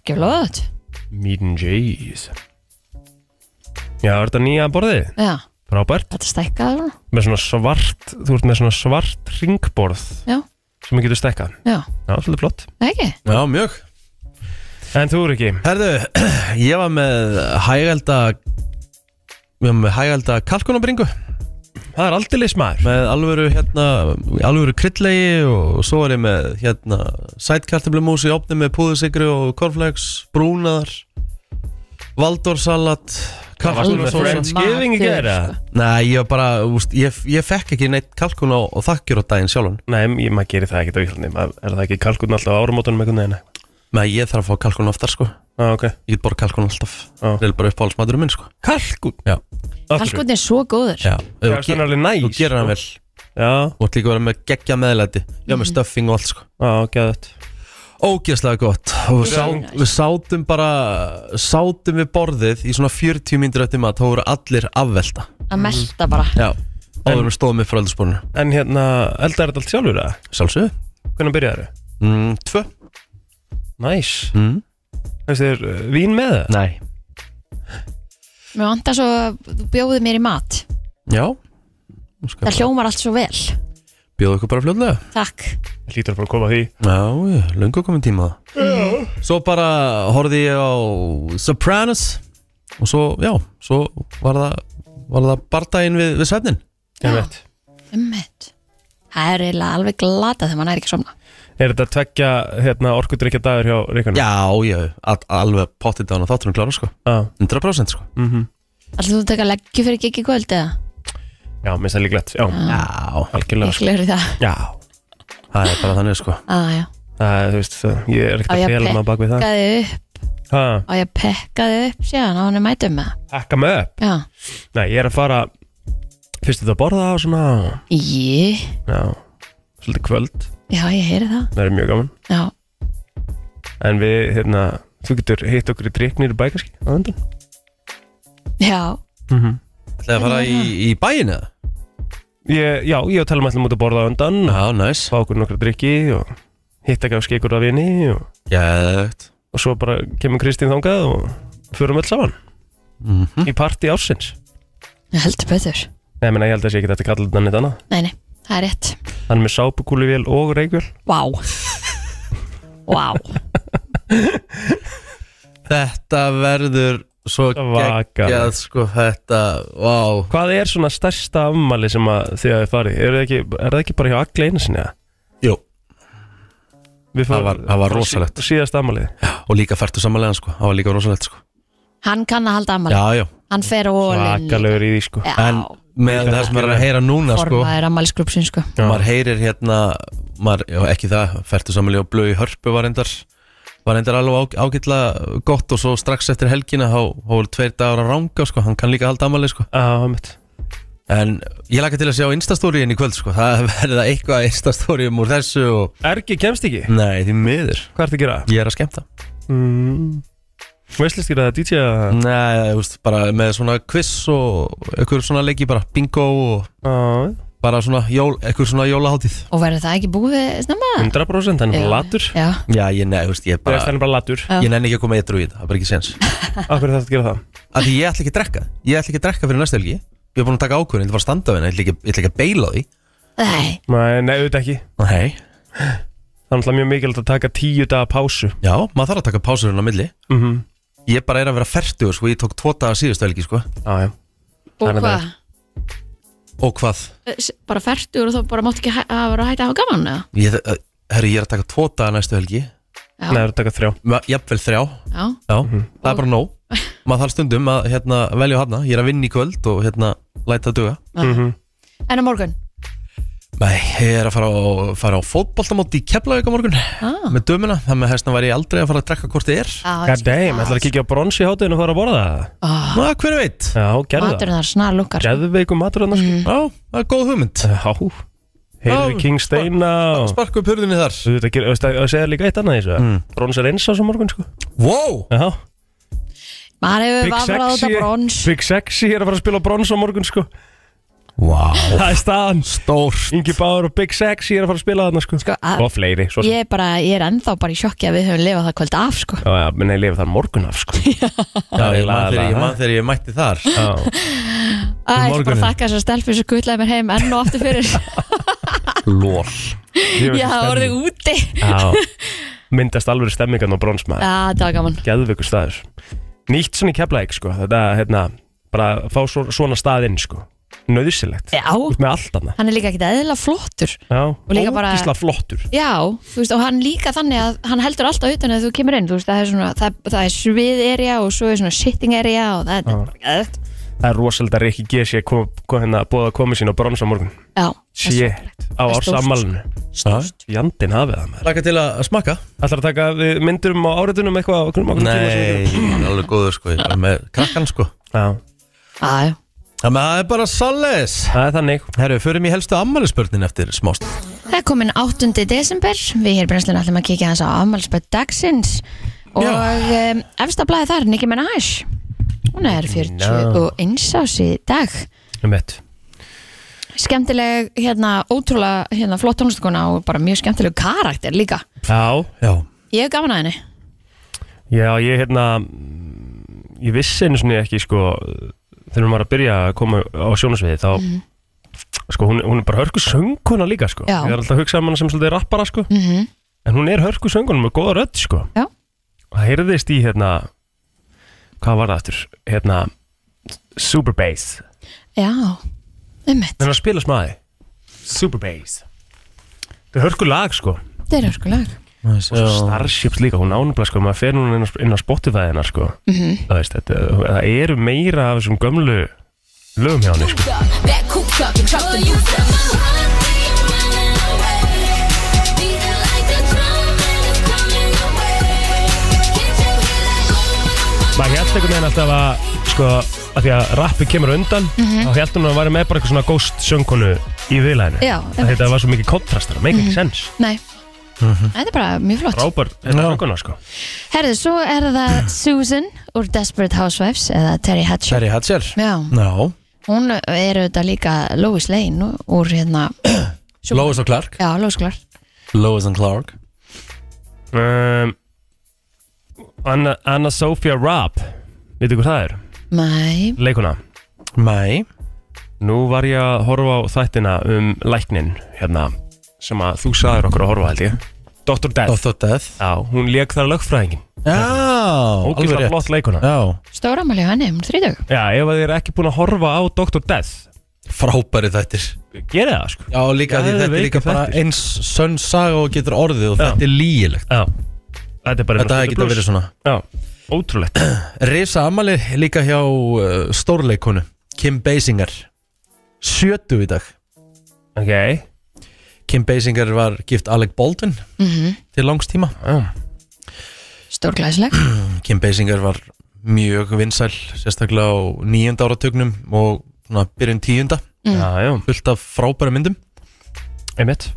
[SPEAKER 2] Ekki flott
[SPEAKER 3] Meat and cheese Já, er þetta nýja borðið?
[SPEAKER 2] Já,
[SPEAKER 3] Frábært
[SPEAKER 2] þetta stækkaði svona
[SPEAKER 3] Með svona svart, þú ert með svona svart ringborð
[SPEAKER 2] Já.
[SPEAKER 3] Sem þú getur stekkað
[SPEAKER 2] Já,
[SPEAKER 3] Já, svolítið flott
[SPEAKER 2] það ekki
[SPEAKER 1] Já, mjög
[SPEAKER 3] En þú eru ekki
[SPEAKER 1] Herðu, ég var með hægælda Ég var með hægælda kalkunabringu
[SPEAKER 3] Það er aldeilis maður
[SPEAKER 1] Með alvöru hérna Alvöru kryllegi og svo var ég með hérna Sætkartablumús í opni með púðusikri og korflex Brúnaðar Valdorsalat
[SPEAKER 3] varstu með
[SPEAKER 1] kalkúnasósu.
[SPEAKER 3] Friends? Friendsgiving í gær, eða?
[SPEAKER 2] Matur,
[SPEAKER 1] Nei, ég var bara, úst, ég, ég fekk ekki neitt kalkun á, og þakkjur á daginn sjálfan
[SPEAKER 3] Nei, ég- maður gerir það ekkert á Íslandi Maður- Er það ekki kalkun alltaf á áramótunum einhvern veginn
[SPEAKER 1] Nei, ég þarf að fá kalkun oftar sko
[SPEAKER 3] Já, ok
[SPEAKER 1] Ég get borð kalkun alltaf
[SPEAKER 3] Já.
[SPEAKER 1] Það er bara uppáhaldsmaturinn minn sko
[SPEAKER 3] Kalkun?
[SPEAKER 1] Já.
[SPEAKER 2] Kalkun er svo góður
[SPEAKER 1] Já,
[SPEAKER 3] Já, það er alveg næs
[SPEAKER 1] Þú gerir hann vel
[SPEAKER 3] Já,
[SPEAKER 1] Þú ert líka að vera með geggja meðlæti Já,
[SPEAKER 2] Mhm.
[SPEAKER 1] með stuffing og allt sko
[SPEAKER 3] já, geðvægt
[SPEAKER 1] Ógeðslega gott Og við,
[SPEAKER 2] Mjög
[SPEAKER 1] sá,
[SPEAKER 2] næs.
[SPEAKER 1] við sátum bara Sátum við borðið í svona 40 mínútur eftir mat Þá voru allir afvelta
[SPEAKER 2] Að melta bara
[SPEAKER 1] Já Áður við stóðum við fröldsporinu
[SPEAKER 3] En hérna, eldar þetta allt sjálfur það?
[SPEAKER 1] Sjálfsög
[SPEAKER 3] Hvernig byrjaði það?
[SPEAKER 1] mm, Tvö
[SPEAKER 3] Næs
[SPEAKER 1] mm.
[SPEAKER 3] Þessi er uh, vín með það?
[SPEAKER 1] Nei
[SPEAKER 2] Mér vantar svo að þú bjóði mér í mat
[SPEAKER 1] Já Nú skal
[SPEAKER 2] Það
[SPEAKER 1] ég
[SPEAKER 2] hljómar allt svo vel
[SPEAKER 1] Bjóðu ykkur bara fljóðlega
[SPEAKER 2] Takk
[SPEAKER 3] Lítur bara að koma að því
[SPEAKER 1] Já, já, löngu komin tíma það Svo bara horfði ég á Sopranos Og svo, já, svo var það Var það bardaginn við, við svefnin
[SPEAKER 3] Einmitt.
[SPEAKER 2] Ummitt Um Það er eiginlega alveg glata þegar maður er ekki að somna
[SPEAKER 3] Er þetta tveggja hérna, orkudrykja dagur hjá Ríkarnu?
[SPEAKER 1] Já, já, al alveg pottið dánu Þátturum klára, sko, 100% sko
[SPEAKER 3] mm -hmm.
[SPEAKER 2] Alltaf þú taka leggju fyrir gigg í kvöld eða?
[SPEAKER 3] Já, minnst það líklegt Já,
[SPEAKER 1] Já,
[SPEAKER 3] algjörlega sko.
[SPEAKER 2] Ég glöru það
[SPEAKER 3] Já
[SPEAKER 1] það er bara þannig, sko
[SPEAKER 2] ah, já.
[SPEAKER 3] Það, er, þú veist, það- ég er ekkert
[SPEAKER 2] Á,
[SPEAKER 3] að
[SPEAKER 2] ég
[SPEAKER 3] fela
[SPEAKER 2] pe-
[SPEAKER 3] maður bak við það
[SPEAKER 2] Pekkaði upp
[SPEAKER 3] ha,
[SPEAKER 2] Á ég pekkaði upp síðan á hann er mætum með
[SPEAKER 3] Pakka mig upp
[SPEAKER 2] um Já
[SPEAKER 3] Nei, ég er að fara Fyrst þetta að borða og svona
[SPEAKER 2] Jí
[SPEAKER 3] Já, svolítið kvöld
[SPEAKER 2] Já ég heyri það
[SPEAKER 3] Það er mjög gaman
[SPEAKER 2] Já
[SPEAKER 3] En við, hérna, þú getur hitt okkur í dryknir í bækarski á undan
[SPEAKER 2] Já
[SPEAKER 3] mm -hmm.
[SPEAKER 1] Ætlaði að fara í, í bæin eða?
[SPEAKER 3] ég, Já, ég og Telma ætlum út að borða á undan
[SPEAKER 1] Já, næs
[SPEAKER 3] Fá okkur nokkra drykki og hitta kannski ykkur að vini og,
[SPEAKER 1] Jægt
[SPEAKER 3] og svo bara kemur Kristín þangað og förum öll saman
[SPEAKER 1] Mhm.
[SPEAKER 3] í parti ársins
[SPEAKER 2] Ég heldur betur
[SPEAKER 3] Nei, menn, ég held að það sé ekki þetta kalla þetta neitt annað
[SPEAKER 2] Nei nei Það er rétt
[SPEAKER 3] Hann er með sápukúluvél og reykvél
[SPEAKER 2] Vá Vá
[SPEAKER 1] Þetta verður svo
[SPEAKER 3] Svakalega.
[SPEAKER 1] geggjað, sko Þetta, vá
[SPEAKER 3] Hvað er svona stærsta ammali sem að þið hafið farið? Er það ekki, er það ekki bara hjá alla einu sinni? eða?
[SPEAKER 1] Jú,
[SPEAKER 3] Við
[SPEAKER 1] Það var- það var rosalegt.
[SPEAKER 3] sí, Síðasta ammalið
[SPEAKER 1] og líka færtu samanlega, sko Það var líka rosalegt, sko
[SPEAKER 2] Hann kann að halda ammali
[SPEAKER 1] Já, já,
[SPEAKER 2] Hann fer á ólinn
[SPEAKER 3] Svakalegur í því sko
[SPEAKER 2] Já
[SPEAKER 1] en með það sem maður er að heyra núna, sko
[SPEAKER 2] Formaður ammali skrupsin sko
[SPEAKER 3] Já.
[SPEAKER 1] maður heyrir hérna maður, já, ekki það, færtu samanlega og blöi hörpu var endar var endar alveg á, ágætla gott og svo strax eftir helgina þá þá voru tveir dagar að ranga sko, hann kann líka halda amali sko.
[SPEAKER 3] Já, mitt
[SPEAKER 1] en ég laka til að sjá instastóriðin í kvöld sko. það verða eitthvað instastóriðum úr þessu og
[SPEAKER 3] Ergi kemst ekki?
[SPEAKER 1] nei, því miður,
[SPEAKER 3] Hvað ertu að gera?
[SPEAKER 1] ég er að skemmta
[SPEAKER 3] Mm. Veistlist gera það DJ að
[SPEAKER 1] nei, þú veist, bara með svona quiz og einhver svona leiki bara bingo og
[SPEAKER 3] Já
[SPEAKER 1] bara svona jól, eitthvað svona jólaháttíð
[SPEAKER 2] Og verður það ekki búið snemma?
[SPEAKER 3] 100% hann er bara latur
[SPEAKER 2] Já,
[SPEAKER 1] Já, ég nefn, þú veist, ég
[SPEAKER 3] Þú veist, hann
[SPEAKER 1] bara
[SPEAKER 3] er bara latur
[SPEAKER 2] Já.
[SPEAKER 1] Ég nefn ekki að koma eitthvað í þetta, það er bara ekki sens
[SPEAKER 3] Af hverju þarf að gera það?
[SPEAKER 1] Af því ég ætla ekki að drekka Ég ætla ekki að drekka fyrir næstu helgi Ég er búin að taka ákvörðin, þetta var að standa á henni Ég ætla ekki, ég ætla ekki að beila á því
[SPEAKER 2] nei,
[SPEAKER 3] Nei, nei, auðvitað ekki
[SPEAKER 1] Nei
[SPEAKER 3] Það er náttúrulega mjög mikilvægt að taka tíu daga pásu
[SPEAKER 1] Já, maður þarf að taka pásurinn á milli
[SPEAKER 3] mm
[SPEAKER 1] Ég bara er að vera fertugur, sko, ég tók tvo daga síðustu helgi, sko
[SPEAKER 3] Já, já
[SPEAKER 2] og
[SPEAKER 3] Það er
[SPEAKER 2] hvað?
[SPEAKER 1] Og hvað?
[SPEAKER 2] Eh, S- Bara fertur og þá bara máttu ekki hæ- að vera að hætta að hafa gaman eða?
[SPEAKER 1] Ég, eh, herri, ég er að taka tvo daga næstu helgi
[SPEAKER 2] Já.
[SPEAKER 3] Nei, það er að taka þrjá Mhm.
[SPEAKER 1] Ma- Jafnvel þrjá
[SPEAKER 2] Já,
[SPEAKER 1] Já, það er bara nóg Maður þarf stundum að hérna, velja og hafna Ég er að vinna í kvöld og hérna, læta að duga Mhm.
[SPEAKER 2] en á morgun?
[SPEAKER 1] Nei, ég er að fara á, fara á fótboltamóti í Keflavík á morgun
[SPEAKER 2] Ah.
[SPEAKER 1] með dömuna, þannig að hérna væri ég aldrei að fara að drekka hvort þið er
[SPEAKER 2] Já,
[SPEAKER 3] God damn, ætlar að kíkja á brons í hátuðinu og fara að borða það?
[SPEAKER 2] Ah,
[SPEAKER 1] Ná, hver veit?
[SPEAKER 3] Já, gerðu það
[SPEAKER 2] Maturinn þar snar lukkar sko.
[SPEAKER 3] Geðveikum matur annars mm.
[SPEAKER 1] Já, það er góð hugmynd
[SPEAKER 3] Já,
[SPEAKER 1] Já,
[SPEAKER 3] heyrðu King Steina og-
[SPEAKER 1] Sparku upp hurðinni þar
[SPEAKER 3] Þú veit að gera, veist að það segja líka eitt annað í þessu mm. Brons er eins á svo morgun, sko
[SPEAKER 1] Wow,
[SPEAKER 3] Já,
[SPEAKER 2] Maður hefur
[SPEAKER 3] Big
[SPEAKER 2] vafrað á þetta
[SPEAKER 3] Sexy
[SPEAKER 2] brons
[SPEAKER 3] Big Sexy er að fara að spila á brons á morgun, sko
[SPEAKER 1] wow.
[SPEAKER 3] Það er staðan
[SPEAKER 1] Stórt
[SPEAKER 3] Ingi Báður og Big Sexy er að fara að spila þarna, sko
[SPEAKER 2] Sko, að-
[SPEAKER 3] Og fleiri, svo sem
[SPEAKER 2] Ég er bara, ég er ennþá bara í sjokki að við höfum lifað það kvöld af, sko
[SPEAKER 3] Já, já, menn ég lifi þar morgun af, sko
[SPEAKER 1] Já, ég man
[SPEAKER 3] laga
[SPEAKER 1] þegar ég,
[SPEAKER 3] það.
[SPEAKER 1] man þegar ég mætti þar
[SPEAKER 3] Já,
[SPEAKER 2] Æ, ég er bara að
[SPEAKER 1] morguninn.
[SPEAKER 2] þakka þessar stelpur sem gutlaði mér heim enn og aftur fyrir
[SPEAKER 1] Lól
[SPEAKER 3] Ég
[SPEAKER 2] Já, það voruð úti
[SPEAKER 3] Já, myndast alveg stemmingan á brons, maður
[SPEAKER 2] Já, það var gaman
[SPEAKER 3] geðveikur staður nýtt svona í keflæk sko þetta hérna bara fá svo, svona stað inn sko nöðsilegt
[SPEAKER 2] Já,
[SPEAKER 3] með allt annað
[SPEAKER 2] hann er líka ekkit eðla flottur
[SPEAKER 3] já
[SPEAKER 2] líka bara-
[SPEAKER 3] ógísla flottur
[SPEAKER 2] Já, þú veist, og hann líka þannig að hann heldur alltaf utan að þú kemur inn, þú veist, það er svona það, það er svið area og svo er svona sitting area og það er bara gæðt
[SPEAKER 3] það er rosalega að Rikki G sé kom, kom, hérna, búið að koma sín á brons á morgun
[SPEAKER 2] Já,
[SPEAKER 3] sé á
[SPEAKER 2] Það er stórt.
[SPEAKER 3] ársammalinu
[SPEAKER 1] Stórt
[SPEAKER 3] jandin hafið það maður
[SPEAKER 1] Laka til að smakka
[SPEAKER 3] ætlar að taka við myndurum á áriðunum eitthvað á okkur okkur tíma sem við
[SPEAKER 1] Nei, ég er alveg góður sko Ég er bara með krakkan sko
[SPEAKER 3] gerum? já
[SPEAKER 2] já, já.
[SPEAKER 1] Það með- það er bara sales
[SPEAKER 3] það er þannig
[SPEAKER 1] Herru, förum í helstu ammælisbörnin eftir smást
[SPEAKER 2] Það er komin 8. desember, við hér brennslun ætlum að kíkja hans á afmælspöld dagsins og um, efsta blæði þar, Nicki Minaj, hún er 41
[SPEAKER 3] No.
[SPEAKER 2] ás í dag.
[SPEAKER 3] um eitt
[SPEAKER 2] Skemmtileg, hérna, ótrúlega, hérna, flott tónlistakona og bara mjög skemmtileg karakter líka.
[SPEAKER 3] já
[SPEAKER 1] Já
[SPEAKER 2] Ég hef gaman að henni.
[SPEAKER 3] Já, ég hérna mm, ég vissi einu svona ekki sko þegar hún var að byrja að koma á sjónasviði þá sko hún, hún er bara hörku sönguna líka sko
[SPEAKER 2] Mhm. Já.
[SPEAKER 3] ég er alltaf að hugsa um hana sem svolítið rappara sko
[SPEAKER 2] Mm
[SPEAKER 3] en hún er hörku sönguna með góða rödd sko
[SPEAKER 2] Já.
[SPEAKER 3] og það heyrðist í hérna hvað var það aftur hérna Superbass
[SPEAKER 2] Já, ummitt.
[SPEAKER 3] þannig að spila smaði Superbass þetta er hörku lag sko
[SPEAKER 2] Þetta er örgulag.
[SPEAKER 1] Og
[SPEAKER 3] og svo Starships líka, hún ánabla sko, maður fer núna inn á, inn á Spotify hennar sko
[SPEAKER 2] Mhm.
[SPEAKER 3] það, veist, þetta, það eru meira af þessum gömlu lögum hjá henni sko.
[SPEAKER 4] That coop up and chop the youth up.
[SPEAKER 3] maður held einhvern veginn alltaf að sko, að því að rappi kemur undan
[SPEAKER 2] Mhm.
[SPEAKER 3] þá held hún að væri með bara eitthvað svona ghost söngkonu í viðlæðinu,
[SPEAKER 2] Já, einmitt. Mhm.
[SPEAKER 3] þetta var svo mikið kontrastar, það make ekki sens
[SPEAKER 2] Nei, þetta er bara mjög flott.
[SPEAKER 3] frábær söngkona sko
[SPEAKER 2] Herðu, svo er það Susan úr Desperate Housewives eða Terry Hatcher.
[SPEAKER 1] Sherry Hatcher
[SPEAKER 2] Já,
[SPEAKER 1] Já
[SPEAKER 2] hún er auðvitað líka Lois Lane úr hérna,
[SPEAKER 1] Lois og Clark
[SPEAKER 2] já, Lois Clark.
[SPEAKER 1] Lois and Clark
[SPEAKER 3] um, Anna, Anna Sophia Raab veitu hvað það er,
[SPEAKER 2] Nei,
[SPEAKER 3] leikuna
[SPEAKER 1] Mæ
[SPEAKER 3] Nú var ég að horfa á þættina um læknin hérna sem að þú sagðir okkur að horfa held ég Dr. Death
[SPEAKER 1] Dr. Death
[SPEAKER 3] Já, hún lék þar lögfræðingin
[SPEAKER 1] Já, alveg
[SPEAKER 3] Ógislega
[SPEAKER 1] rétt
[SPEAKER 3] flott leikuna
[SPEAKER 1] Já,
[SPEAKER 2] stóramæli á henni, hún er 30.
[SPEAKER 3] Já, ef að þið er ekki búin að horfa á Dr. Death
[SPEAKER 1] frábæri þættir
[SPEAKER 3] Gerið það sko
[SPEAKER 1] Já, líka því
[SPEAKER 3] Geðveikir
[SPEAKER 1] þetta er líka bara
[SPEAKER 3] þættir.
[SPEAKER 1] eins sönn saga og getur orðið og
[SPEAKER 3] Já.
[SPEAKER 1] þetta er lígilegt
[SPEAKER 3] Já, þetta er bara
[SPEAKER 1] Þetta hefði getað verið svona
[SPEAKER 3] Já, ótrúlegt
[SPEAKER 1] Risa Amali líka hjá uh, stórleikonu Kim Basinger 70 í dag
[SPEAKER 3] Ok Já,
[SPEAKER 1] Kim Basinger var gift Alec Baldwin til langs tíma
[SPEAKER 3] Ah.
[SPEAKER 2] Stórglæsleg.
[SPEAKER 1] Kim Basinger var mjög vinsæl sérstaklega á nýjunda áratugnum og svona byrjun tíunda
[SPEAKER 3] já, já,
[SPEAKER 1] fullt af frábæra myndum
[SPEAKER 3] einmitt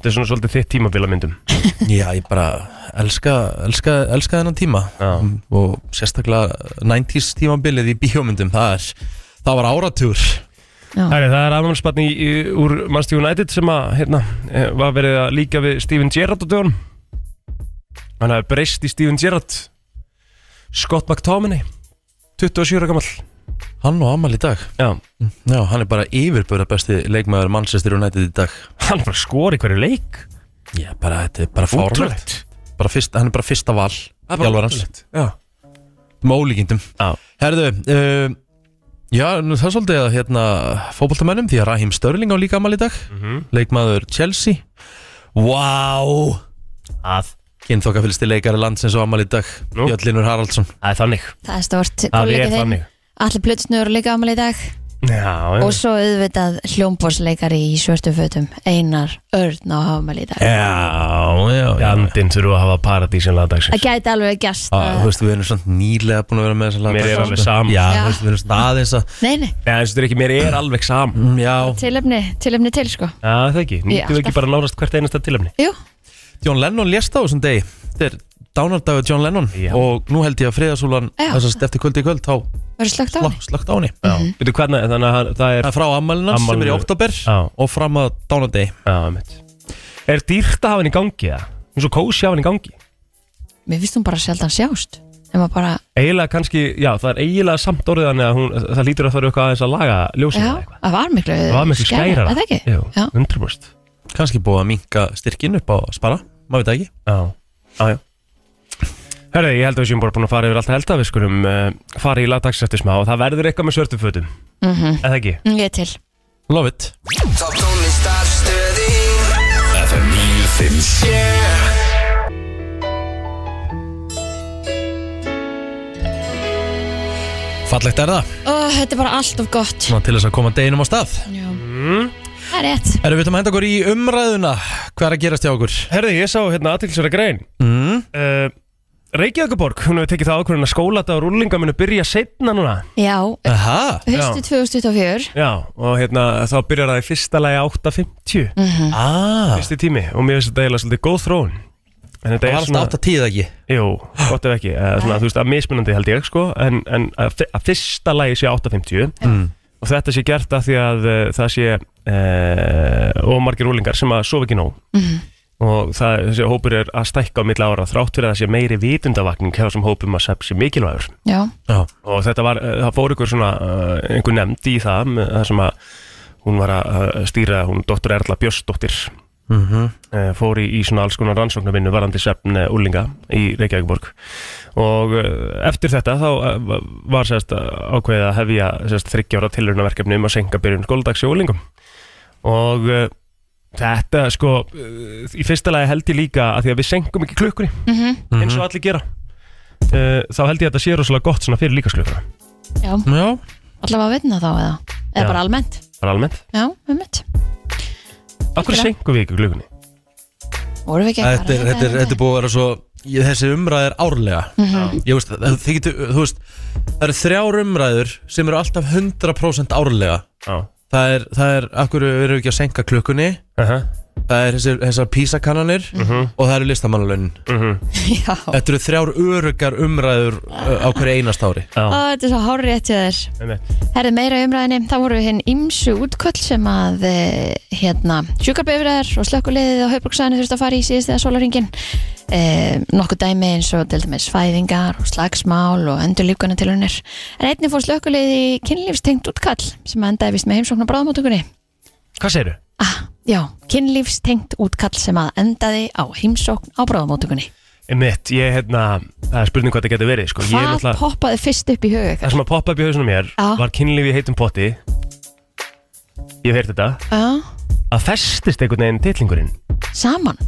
[SPEAKER 3] Þetta er svona svolítið þitt tímabila myndum
[SPEAKER 1] Já, ég bara elska, elska, elska þennan tíma
[SPEAKER 3] Já.
[SPEAKER 1] og sérstaklega 90s tímabilið í bíómyndum það, er, það var áratugur
[SPEAKER 2] Já.
[SPEAKER 3] Herri, það er afmælsbarni úr Manchester United sem að, hérna, eh, var verið að líka við Steven Gerrard á dögunum Hann hafi breyst í Steven Gerrard Scott McTominay 27 ára gamall
[SPEAKER 1] Hann og Amal í dag Mm.
[SPEAKER 3] Já,
[SPEAKER 1] Já, hann er bara yfirböra besti leikmaður Manchester United í dag
[SPEAKER 3] hann bara skori hverju leik
[SPEAKER 1] Já, bara, þetta er bara fárlegt bara fyrst, Hann er bara fyrsta val
[SPEAKER 3] Það er bara
[SPEAKER 1] þjálfarans.
[SPEAKER 3] ótrúlegt. Já,
[SPEAKER 1] Með ólíkindum
[SPEAKER 3] Já.
[SPEAKER 1] Herðu, uh, já, nú það er svolítið að hérna fótboltamönnum því að Raheem Störling á líka Amal í dag
[SPEAKER 3] Mhm.
[SPEAKER 1] Leikmaður Chelsea Vá wow.
[SPEAKER 3] að,
[SPEAKER 1] Kynþokka fylgsti leikari landsins á Amal í dag
[SPEAKER 3] Nú.
[SPEAKER 1] Jöllinur Haraldsson
[SPEAKER 3] það er þannig
[SPEAKER 2] Það er stort
[SPEAKER 3] Það er þannig
[SPEAKER 2] Allir plötsnur líka ámali í dag
[SPEAKER 3] Já, já.
[SPEAKER 2] Og svo auðvitað hljómbórsleikari í svörtu fötum Einar Örn á ámali í dag
[SPEAKER 1] Já, já, já
[SPEAKER 3] Jandinn þurfa að hafa paradísinlega
[SPEAKER 2] Það
[SPEAKER 3] dagsins
[SPEAKER 2] gæti alveg gerst
[SPEAKER 1] Ah, Þú veist, við erum svona nýlega búin að vera með þessa
[SPEAKER 3] Mér er
[SPEAKER 1] laga.
[SPEAKER 3] alveg sama.
[SPEAKER 1] Já,
[SPEAKER 2] Já.
[SPEAKER 1] þú veist, við erum svona aðeins að
[SPEAKER 2] Nei, nei,
[SPEAKER 3] Nei, þessu er ekki, mér er alveg sam
[SPEAKER 1] Mm, Já,
[SPEAKER 2] tilefni, tilefni til sko
[SPEAKER 3] Já, það ekki,
[SPEAKER 2] Ég
[SPEAKER 3] nýttu við ekki
[SPEAKER 2] alltaf.
[SPEAKER 3] bara nárast hvert einasta tilöfni
[SPEAKER 2] Jú,
[SPEAKER 1] John Lennon lést á þessum degi Þetta er dánardagur John Lennon
[SPEAKER 3] Já.
[SPEAKER 1] Og nú held ég að friðasúlan
[SPEAKER 2] Já.
[SPEAKER 1] Þessast eftir kvöldi í kvöld Þá
[SPEAKER 2] verður slögt á
[SPEAKER 1] slá-
[SPEAKER 2] henni
[SPEAKER 1] slökkt á henni
[SPEAKER 3] Veitu hvernig, þannig að hann- það er
[SPEAKER 1] Það er frá ammælina sem er í
[SPEAKER 3] Afmælinu.
[SPEAKER 1] oktober
[SPEAKER 3] Já.
[SPEAKER 1] Og fram að dánardegi
[SPEAKER 3] Já, mitt Er dýrt að hafa hann í gangi það? Hún er svo kósi að hafa hann í gangi
[SPEAKER 2] Mér finnst hún bara sjaldan sjást En maður bara,
[SPEAKER 3] Eiginlega kannski, já, það er eiginlega samt orðið þannig að hún, það lítur að það eru eitthvað aðeins að laga ljósið
[SPEAKER 2] já,
[SPEAKER 3] eða eitthvað
[SPEAKER 2] það var miklu
[SPEAKER 3] Það var miklu skæra
[SPEAKER 2] Er það ekki?
[SPEAKER 3] Jú,
[SPEAKER 2] Já.
[SPEAKER 3] 100%
[SPEAKER 1] Kanski búið að minka styrkin upp á að spara Maður veit það ekki
[SPEAKER 3] Já, já, já Herði, ég held að við séum bara búin að fara yfir alltaf held að við skulum uh, fara í lagdags eftir smá og það verður eitthvað með svörtum fötum
[SPEAKER 2] mm
[SPEAKER 3] eða ekki?
[SPEAKER 2] Ég er til
[SPEAKER 1] Love it
[SPEAKER 5] Top tónlistar stöðin
[SPEAKER 6] FM 957
[SPEAKER 1] Fallegt er það
[SPEAKER 2] Ó, Þetta er bara allt of gott
[SPEAKER 1] Svona til þess að koma deginum á stað
[SPEAKER 2] Já. Það er rétt
[SPEAKER 1] Erum við ætlum að henda okkur í umræðuna Hvað er að gerast hjá okkur?
[SPEAKER 3] Herði, ég sá hérna aðtilsverða grein
[SPEAKER 1] Mm.
[SPEAKER 3] uh, Reykjavíkuborg, hún hefur tekið það ákvörðin að skólata og rúlinga munu byrja setna núna
[SPEAKER 2] Já,
[SPEAKER 1] Aha
[SPEAKER 2] höstu 2024
[SPEAKER 3] Já, og hérna þá byrjar það í fyrsta lagi 8.50
[SPEAKER 1] Ah
[SPEAKER 3] Fyrsti tími og mér finnst þetta eiginlega svolítið góð þróun En þetta
[SPEAKER 1] Það var
[SPEAKER 3] er svona
[SPEAKER 1] alltaf 8 tíð ekki
[SPEAKER 3] Jú, gott ef ekki eða svona, Þú veist, að mismunandi held ég sko En, en að, fi- að fyrsta lagi sé 8.50
[SPEAKER 1] Mm.
[SPEAKER 3] Og þetta sé gert af því að uh, það sé uh, Og margir úlingar sem að sofa ekki nóg Og það, þessi hópur er að stækka á milli ára Þrátt fyrir að það sé meiri vitundavakning Hjá þessum hópum að sepp sé mikilvægur
[SPEAKER 2] Já,
[SPEAKER 1] Já
[SPEAKER 3] og þetta var, eh, það fór ykkur svona eh, einhver nefnd í það með- það sem að hún var að eh, stýra hún dóttur Erla Björnsdóttir
[SPEAKER 1] mm -hmm.
[SPEAKER 2] Mhm.
[SPEAKER 3] eh, fór í, í svona alls konar rannsóknarvinnu varandi svefn úlinga í Reykjavíkborg og eh, eftir þetta þá eh, var sérst eh, ákveðið að hefja sérst þryggjára tilhörunaverkefni um að senka byrjun skóldags í úlingum og eh, þetta sko eh, í fyrsta lagi held ég líka að því að við senkum ekki klukkunni
[SPEAKER 2] Mhm.
[SPEAKER 3] eins og allir gera eh, þá held ég að þetta sé rosalega gott svona fyrir líkasklukkunna
[SPEAKER 2] já,
[SPEAKER 1] Já
[SPEAKER 2] allavega að vinna þá eða Eða
[SPEAKER 3] Já.
[SPEAKER 2] bara almennt
[SPEAKER 3] bara almennt
[SPEAKER 2] Já, um mitt
[SPEAKER 3] Akkur
[SPEAKER 2] Algjörlega.
[SPEAKER 3] senkum við ekki glugunni?
[SPEAKER 2] Vorum við ekki að hérna?
[SPEAKER 1] Þetta er,
[SPEAKER 2] ræða
[SPEAKER 1] þetta, er,
[SPEAKER 2] þetta?
[SPEAKER 1] þetta er búið að vera svo ég, Þessi umræð er árlega
[SPEAKER 2] Mhm.
[SPEAKER 1] Ég veist, það- þið getur, þú veist Það eru þrjár umræður sem eru alltaf 100% árlega
[SPEAKER 3] Já
[SPEAKER 1] Það er, það er, akkur við erum við ekki að senka klukkunni Það er þessi, þessar písakannanir Og það eru listamannalögnin
[SPEAKER 2] Já,
[SPEAKER 1] Þetta eru þrjár örugar umræður uh, á hverju einast ári
[SPEAKER 2] Ó, þetta er svo hárið rétt hjá þér Herði meira í umræðinni, þá voru hinn ímsu útköll sem að eh, hérna, sjúkarbifræðar og slökkuleiðið á Hauðbruksæðinu þurfti að fara í síðast eða sólaringin e, nokkuð dæmi eins og til dæmis fæðingar og slagsmál og endur lífgana til hennir en einnig fór slökkuleiðið í kynlífstengt útkall sem endaði vist með heimsókn á bráðmótökunni
[SPEAKER 3] Hvað segirðu?
[SPEAKER 2] ah, Já, kynlífstengt útkall sem að endaði á heimsókn á bráðmótökunni
[SPEAKER 3] Mitt, ég hérna Það er spurning hvað þetta getur verið sko. Ég er
[SPEAKER 2] Hvað
[SPEAKER 3] náttúrulega
[SPEAKER 2] poppaði fyrst upp í huga
[SPEAKER 3] Það
[SPEAKER 2] ykkar?
[SPEAKER 3] sem að poppa upp í hausunum mér
[SPEAKER 2] Já.
[SPEAKER 3] Var kynlífi í heitum potti Ég hef heyrt þetta
[SPEAKER 2] Já,
[SPEAKER 3] Að festist einhvern veginn titlingurinn
[SPEAKER 2] Ah, saman,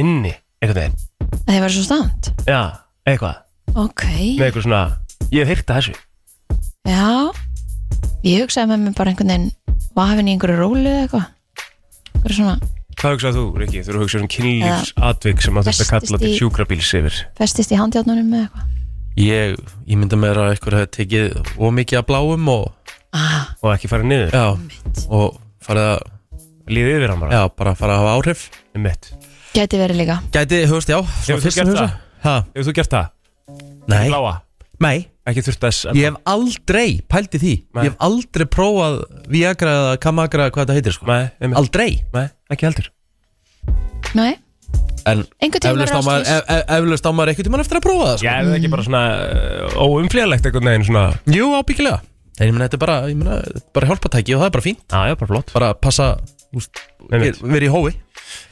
[SPEAKER 3] Inni, einhvern veginn
[SPEAKER 2] að þið var svo stamt
[SPEAKER 3] Já, eitthvað
[SPEAKER 2] Ok,
[SPEAKER 3] Með eitthvað svona Ég hef heyrt þetta þessu
[SPEAKER 2] já Ég hugsaði með mér bara einhvern veginn Vafin í einhverju rólu eða eitthvað Einhverju svona,
[SPEAKER 3] Hvað hugsaðu þú, Rikki? Þú eru hugsað um kynlífsatvik sem að þetta
[SPEAKER 2] Festist
[SPEAKER 3] kalla til
[SPEAKER 2] í-
[SPEAKER 3] sjúkrabíls yfir
[SPEAKER 2] festist í handjátnunum eða eitthvað
[SPEAKER 1] Ég, ég mynda mér að eitthvað hefði tekið ómikið að bláum og,
[SPEAKER 2] ah,
[SPEAKER 3] og ekki fara niður
[SPEAKER 1] já, og farið að,
[SPEAKER 3] Líðið yfir hann bara
[SPEAKER 1] já, bara farið að hafa áhrif
[SPEAKER 3] Um Mitt
[SPEAKER 2] Gæti verið líka
[SPEAKER 1] Gæti, þú veist, já, svona
[SPEAKER 3] Hefur þú
[SPEAKER 1] fyrst sem
[SPEAKER 3] gert
[SPEAKER 1] hugsa
[SPEAKER 3] það?
[SPEAKER 1] Ha,
[SPEAKER 3] Hefur þú gert það?
[SPEAKER 1] Nei,
[SPEAKER 3] Bláa
[SPEAKER 1] nei,
[SPEAKER 3] Ekki þurft þess að
[SPEAKER 1] Ég hef aldrei pælti því
[SPEAKER 3] Nei.
[SPEAKER 1] Ég hef aldrei prófað Viagra eða Kamagra hvað það heitir sko
[SPEAKER 3] Nei, einmitt.
[SPEAKER 1] Aldrei
[SPEAKER 3] Nei, ekki heldur
[SPEAKER 2] Nei,
[SPEAKER 1] En
[SPEAKER 2] Einhvern tímann
[SPEAKER 1] eflaust á maður-
[SPEAKER 2] ráðskýrs.
[SPEAKER 1] ef- ef- eflaust á maður eitthvað tíma eftir að prófa það
[SPEAKER 3] Ég
[SPEAKER 1] sko.
[SPEAKER 3] er það ekki bara svona uh, óumflýjanlegt einhvern veginn svona
[SPEAKER 1] Jú, ábyggilega En ég meina þetta er bara, ég meina, þetta er bara hjálpatæki og það er bara fínt
[SPEAKER 3] Já, já, bara flott
[SPEAKER 1] Bara passa, úst,
[SPEAKER 3] Einmitt.
[SPEAKER 1] verið í hófi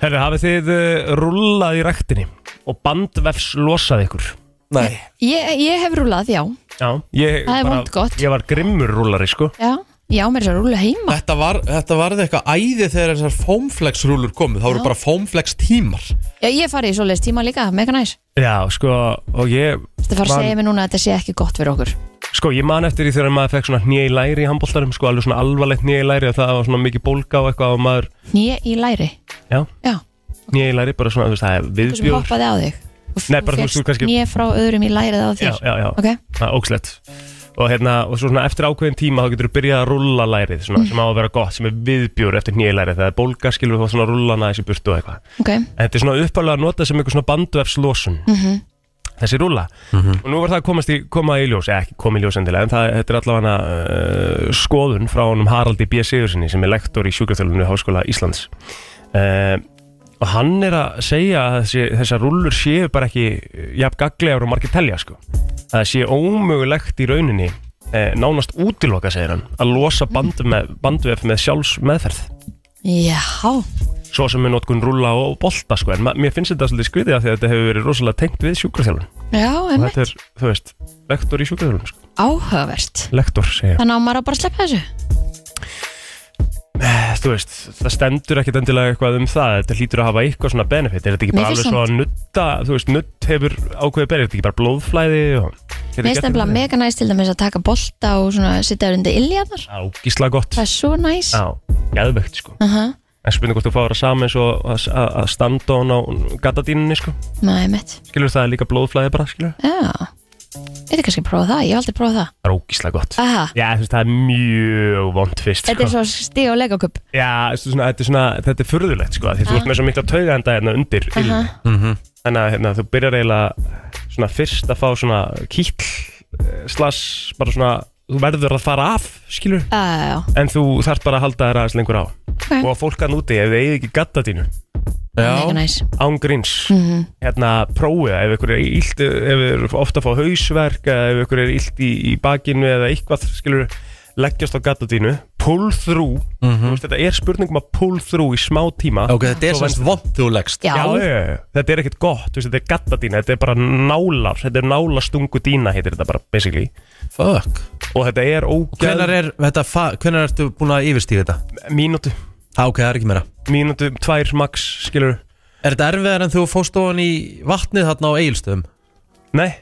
[SPEAKER 3] Herru, hafið þið uh, rúllað í ræktinni og bandvefs losað ykkur
[SPEAKER 1] Nei
[SPEAKER 2] ég, ég hef rúlað, já
[SPEAKER 3] Já ég,
[SPEAKER 2] Það er
[SPEAKER 3] bara-
[SPEAKER 2] vont gott.
[SPEAKER 3] Ég var grimmur rúllari, sko
[SPEAKER 2] Já, já, mér er svo rúla heima
[SPEAKER 1] Þetta var, þetta varði eitthvað æði þegar þessar foamflex rúlur komu Það voru bara foamflex tímar
[SPEAKER 2] Já, ég fari í svoleiðis tíma líka, mega næs
[SPEAKER 3] Já, sko, og ég
[SPEAKER 2] Þetta fara að
[SPEAKER 3] Man-
[SPEAKER 2] segja mér núna að þetta sé ekki gott fyrir okkur
[SPEAKER 3] Sko, ég man eftir því þegar maður fekk svona hnið í læri í handbóltarum Sko, alveg svona alvarlegt hnið í læri og það var svona mikið bólga og eitthvað og maður
[SPEAKER 2] Nýja í læri
[SPEAKER 3] Já,
[SPEAKER 2] Já,
[SPEAKER 3] hnið í læri bara svona, þú veist, það er
[SPEAKER 2] þú sem
[SPEAKER 3] viðbjóður
[SPEAKER 2] hoppaði á þig og f-
[SPEAKER 3] Nei, bara þú veist, þú
[SPEAKER 2] fékkst
[SPEAKER 3] kannski-
[SPEAKER 2] hné frá öðrum í lærið á
[SPEAKER 3] Já,
[SPEAKER 2] þér
[SPEAKER 3] já, já,
[SPEAKER 2] Ok.
[SPEAKER 3] það er ógslegt Og hérna, og svo svona eftir ákveðin tíma þá getur þú byrjað að rulla lærið svona,
[SPEAKER 2] Mm.
[SPEAKER 3] sem á að vera gott, sem er viðbjór eftir hnið í lærið Það er bólga, skilur þú, þá svona rullana þessi burtu og eitthvað
[SPEAKER 2] Ok,
[SPEAKER 3] En þetta er svona uppalega að nota sem einhver svona bandvefslosun
[SPEAKER 2] Mhm.
[SPEAKER 3] Þessi rúla Og nú var það að komast í, koma í ljós Eða ekki koma í ljós endilega En það, þetta er allavega uh, skoðun frá honum Haraldi B. Sigursinni Sem er lektor í sjúkraþjálfunu Háskóla Íslands uh, Og hann er að segja að þessi, þessar rúllur séu bara ekki eh, Jafn gagglegar og margir telja sko Að það sé ómögulegt í rauninni uh, Nánast útiloka, segir hann Að losa bandu með, bandvef með sjálfsmeðferð
[SPEAKER 2] já
[SPEAKER 3] svo sem er notkun rúla og bolta sko, en ma- mér finnst þetta svolítið skriðið af því að þetta hefur verið rosalega tengt við sjúkraþjálfun
[SPEAKER 2] Já,
[SPEAKER 3] og
[SPEAKER 2] einmitt,
[SPEAKER 3] þetta er, þú veist, lektor í sjúkraþjálfun sko.
[SPEAKER 2] áhugavert
[SPEAKER 3] lektor, segja
[SPEAKER 2] Þannig á maður á bara að sleppa þessu
[SPEAKER 3] ég Eh, þú veist, það stendur ekkit endilega eitthvað um það, þetta hlýtur að hafa eitthvað svona benefit er þetta ekki
[SPEAKER 2] Mér
[SPEAKER 3] bara
[SPEAKER 2] finnst
[SPEAKER 3] alveg svo að nutta þú veist, nutt hefur ákveðið benefit, ekki bara blóðflæði og
[SPEAKER 2] Mér finnst nefnilega mega næst til dæmis að taka bolta og svona sitja undir iljaðar
[SPEAKER 3] gísla gott,
[SPEAKER 2] Það er svo næs
[SPEAKER 3] á, gæðvegt sko
[SPEAKER 2] Aha,
[SPEAKER 3] en spurning hvort þú fáir að sama eins og að, að að standa hon á gatadínunni sko
[SPEAKER 2] Nei, mitt
[SPEAKER 3] skilur það er líka blóðflæði bara, skilur
[SPEAKER 2] Já Þetta er kannski að prófa það, ég hef aldrei prófað það
[SPEAKER 3] það er ógísla gott
[SPEAKER 2] Aha,
[SPEAKER 3] Já, þú veist, það er mjög vond fyrst
[SPEAKER 2] þetta er
[SPEAKER 3] sko.
[SPEAKER 2] svo stíð og legaköp
[SPEAKER 3] Já, þú veist, svona, þetta er svona, þetta er furðulegt sko, af því þú ert með svo mikla taugahenda hérna undir uh Þannig að hérna, þú byrjar eiginlega svona fyrst að fá svona kýll eh, slass, bara svona þú verður að fara af, skilur
[SPEAKER 2] Já, já, já,
[SPEAKER 3] en þú þarft bara að halda þér aðeins lengur á
[SPEAKER 2] Ok.
[SPEAKER 3] og að fólk hann úti, ef þið eigið ekki gatta þínu
[SPEAKER 2] mega
[SPEAKER 1] Já,
[SPEAKER 2] næs Mhm.
[SPEAKER 3] ángríns, mm -hmm. hérna prófið það, ef ykkur er illt, ef ykkur er ofta að fá hausverk, eða ef ykkur er illt í, í bakinu eða eitthvað, skilur leggjast á gatadínu, pull through þú veist, þetta er spurning um að pull through í smá tíma
[SPEAKER 1] Mhm. ok, þetta er
[SPEAKER 3] Svo
[SPEAKER 1] semst
[SPEAKER 3] venst-
[SPEAKER 1] vond þú leggst
[SPEAKER 2] Já,
[SPEAKER 3] Já, já, já, já. þetta er ekkert gott, þú veist, þetta er gattadína, þetta er bara nálar, þetta er nálastungu dína, heitir þetta bara, basically,
[SPEAKER 1] Fuck
[SPEAKER 3] og þetta er
[SPEAKER 1] Hvenær
[SPEAKER 3] ógæð,
[SPEAKER 1] er þetta, fa- hvenær ertu búin að yfirstíða þetta?
[SPEAKER 3] mínútu,
[SPEAKER 1] Há, ok, það er ekki meira
[SPEAKER 3] mínútu, tvær, max, skilur,
[SPEAKER 1] Er þetta erfiðar en þú fóst ofan í vatnið þarna á eigilstöðum?
[SPEAKER 3] nei,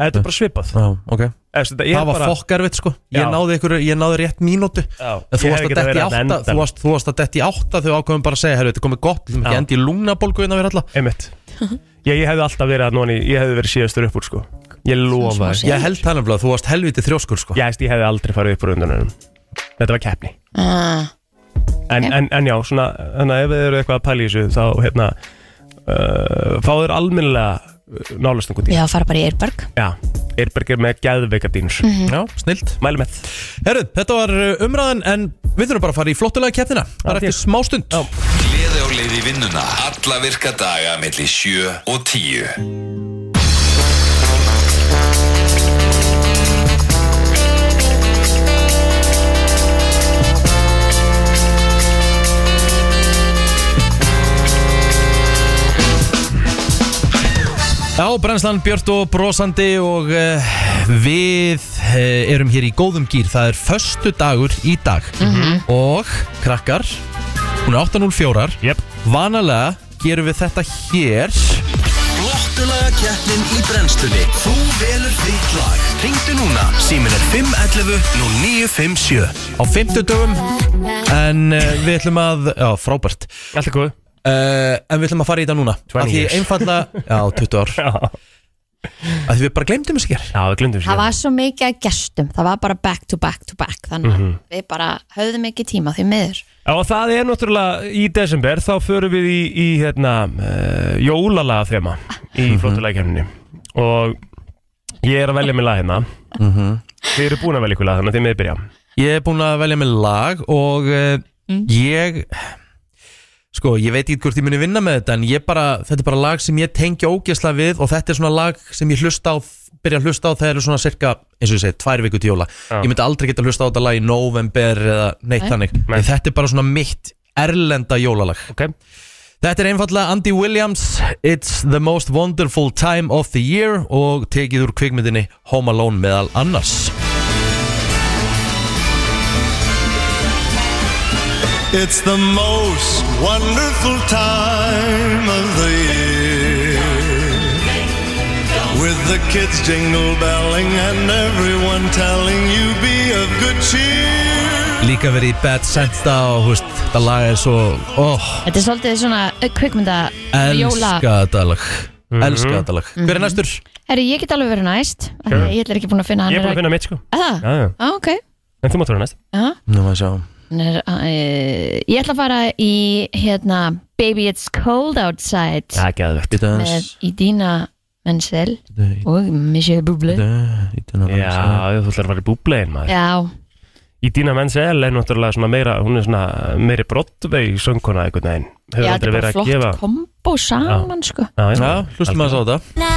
[SPEAKER 3] þetta er bara svipað,
[SPEAKER 1] Já, ok
[SPEAKER 3] Eða, þetta er
[SPEAKER 1] Það var
[SPEAKER 3] bara,
[SPEAKER 1] fokk erfitt sko Ég
[SPEAKER 3] Já.
[SPEAKER 1] náði, ykkur, ég náði rétt mínútu
[SPEAKER 3] Já,
[SPEAKER 1] En þú
[SPEAKER 3] ég hef
[SPEAKER 1] varst að
[SPEAKER 3] ekki verið
[SPEAKER 1] detti
[SPEAKER 3] að
[SPEAKER 1] átta
[SPEAKER 3] enda.
[SPEAKER 1] Þú varst, þú varst að detti átta þegar ákveðum bara að segja Herru, þetta er komið gott, við erum
[SPEAKER 3] Já.
[SPEAKER 1] ekki endi í lungnabólgu innan við alla
[SPEAKER 3] einmitt, ég, ég hefði alltaf verið að nóni, ég hefði verið síðastur upp úr, sko, ég lofa,
[SPEAKER 2] Svona smá
[SPEAKER 3] þér.
[SPEAKER 1] Ég held það nefnilega, þú varst helviti þrjóskur sko
[SPEAKER 3] ég hefði, ég hefði aldrei farið upp úr undanum, þetta var keppni.
[SPEAKER 2] Ah,
[SPEAKER 3] en, en, en já, svona, þannig að ef þið eru eitthvað að pæla í þessu þá hérna uh, fá þér almennilega uh, nálastungu dýr
[SPEAKER 2] Já, fara bara í Eirberg
[SPEAKER 3] Já, Eirberg er með geðveika dýnus
[SPEAKER 1] Já, snilt
[SPEAKER 3] Mælu með
[SPEAKER 1] Herru, þetta var uh, umræðan en við þurfum bara að fara í flottulega keppnina Bara
[SPEAKER 3] Já,
[SPEAKER 1] eftir smástund
[SPEAKER 3] Já.
[SPEAKER 6] Gleði og leiði vinnuna Alla virka daga melli 7 og 10
[SPEAKER 1] Já, brennslan Björt og brosandi og uh, við uh, erum hér í góðum gýr Það er föstu dagur í dag
[SPEAKER 2] Mhm.
[SPEAKER 1] Og krakkar, hún er 8.04
[SPEAKER 3] Jep
[SPEAKER 1] Vanalega gerum við þetta hér
[SPEAKER 7] Flottulega keppnin í brennslunni Þú velur þitt lag Ringdu núna, símin er 511 0957
[SPEAKER 1] á 50 dögum En uh, við ætlum að, já frábært
[SPEAKER 3] Allt er góð
[SPEAKER 1] uh, En við ætlum að fara í þetta núna
[SPEAKER 3] 20
[SPEAKER 1] Af Því
[SPEAKER 3] years.
[SPEAKER 1] einfalla, já 20 ár
[SPEAKER 3] Já,
[SPEAKER 1] Af Því við bara glemdum þessi hér
[SPEAKER 3] já við glundum
[SPEAKER 2] Það
[SPEAKER 3] sér
[SPEAKER 2] var svo mikið að gestum, það var bara back to back to back Þannig
[SPEAKER 3] Mhm.
[SPEAKER 2] að við bara höfðum ekki tíma því miður
[SPEAKER 3] Og það er náttúrulega í desember þá förum við í, í
[SPEAKER 1] Mhm.
[SPEAKER 3] hérna, uh, jólalaga þema í mm -hmm. flottuleikjarninni og Ég er að velja mig lag hérna
[SPEAKER 1] Mhm.
[SPEAKER 3] Þið eru búin að velja ykkur lag þannig að þið með byrja
[SPEAKER 1] Ég er búin að velja með lag og uh, ég sko, ég veit ekki hvort ég muni vinna með þetta en ég bara, þetta er bara lag sem ég tengja ógæsla við og þetta er svona lag sem ég hlusta á byrja að hlusta á þegar eru svona cirka eins og ég segi, tvær viku til jóla ég myndi aldrei geta hlusta á þetta lag í november eða neitt
[SPEAKER 2] Nei.
[SPEAKER 1] þannig
[SPEAKER 3] Nei.
[SPEAKER 1] þetta er bara svona mitt erlenda jólalag
[SPEAKER 3] Ok,
[SPEAKER 1] Þetta er einfallega Andy Williams It's the most wonderful time of the year og tekið úr kvikmyndinni Home Alone meðal annars
[SPEAKER 8] It's the most wonderful time of the year. With the kids jingle belling and everyone telling you be of good cheer.
[SPEAKER 1] Líka verið í Bad Santa og hú veist, þetta lag er svo oh,
[SPEAKER 2] Þetta er svolítið svona eh, kvikmynda
[SPEAKER 1] Elska
[SPEAKER 2] jóla
[SPEAKER 1] þetta lag
[SPEAKER 3] Mhm.
[SPEAKER 1] Elska þetta lag Hver er næstur?
[SPEAKER 2] Herri, ég get alveg verið næst
[SPEAKER 3] Sure.
[SPEAKER 2] sure. Ég ætla ekki búin að finna hann
[SPEAKER 3] ég er búin að finna mitt sko
[SPEAKER 2] Það?
[SPEAKER 3] Já, já.
[SPEAKER 2] Á, ok
[SPEAKER 3] En þú mátt vera næst
[SPEAKER 2] Já.
[SPEAKER 1] Nú maður sjá
[SPEAKER 2] Hann er, eh, Ég ætla að fara í hérna Baby it's cold outside
[SPEAKER 3] Já, geðvegt
[SPEAKER 1] Býta
[SPEAKER 2] með
[SPEAKER 1] aðeins
[SPEAKER 2] Idina Menzel
[SPEAKER 1] Býta-
[SPEAKER 2] og Michelle Bublé
[SPEAKER 1] Býta nú
[SPEAKER 3] Já,
[SPEAKER 1] aðeins.
[SPEAKER 3] þú ætlar að fara í búblegin maður
[SPEAKER 2] Já,
[SPEAKER 3] Í Dina Menzel er náttúrulega svona meira Hún er svona meiri brottbeg söngkona einhvern veginn Hefur
[SPEAKER 2] já þetta
[SPEAKER 3] aldrei verið
[SPEAKER 2] er bara
[SPEAKER 3] að
[SPEAKER 2] flott
[SPEAKER 3] gefa
[SPEAKER 2] kombo saman sko
[SPEAKER 3] Já,
[SPEAKER 1] Já, hlustum maður á þetta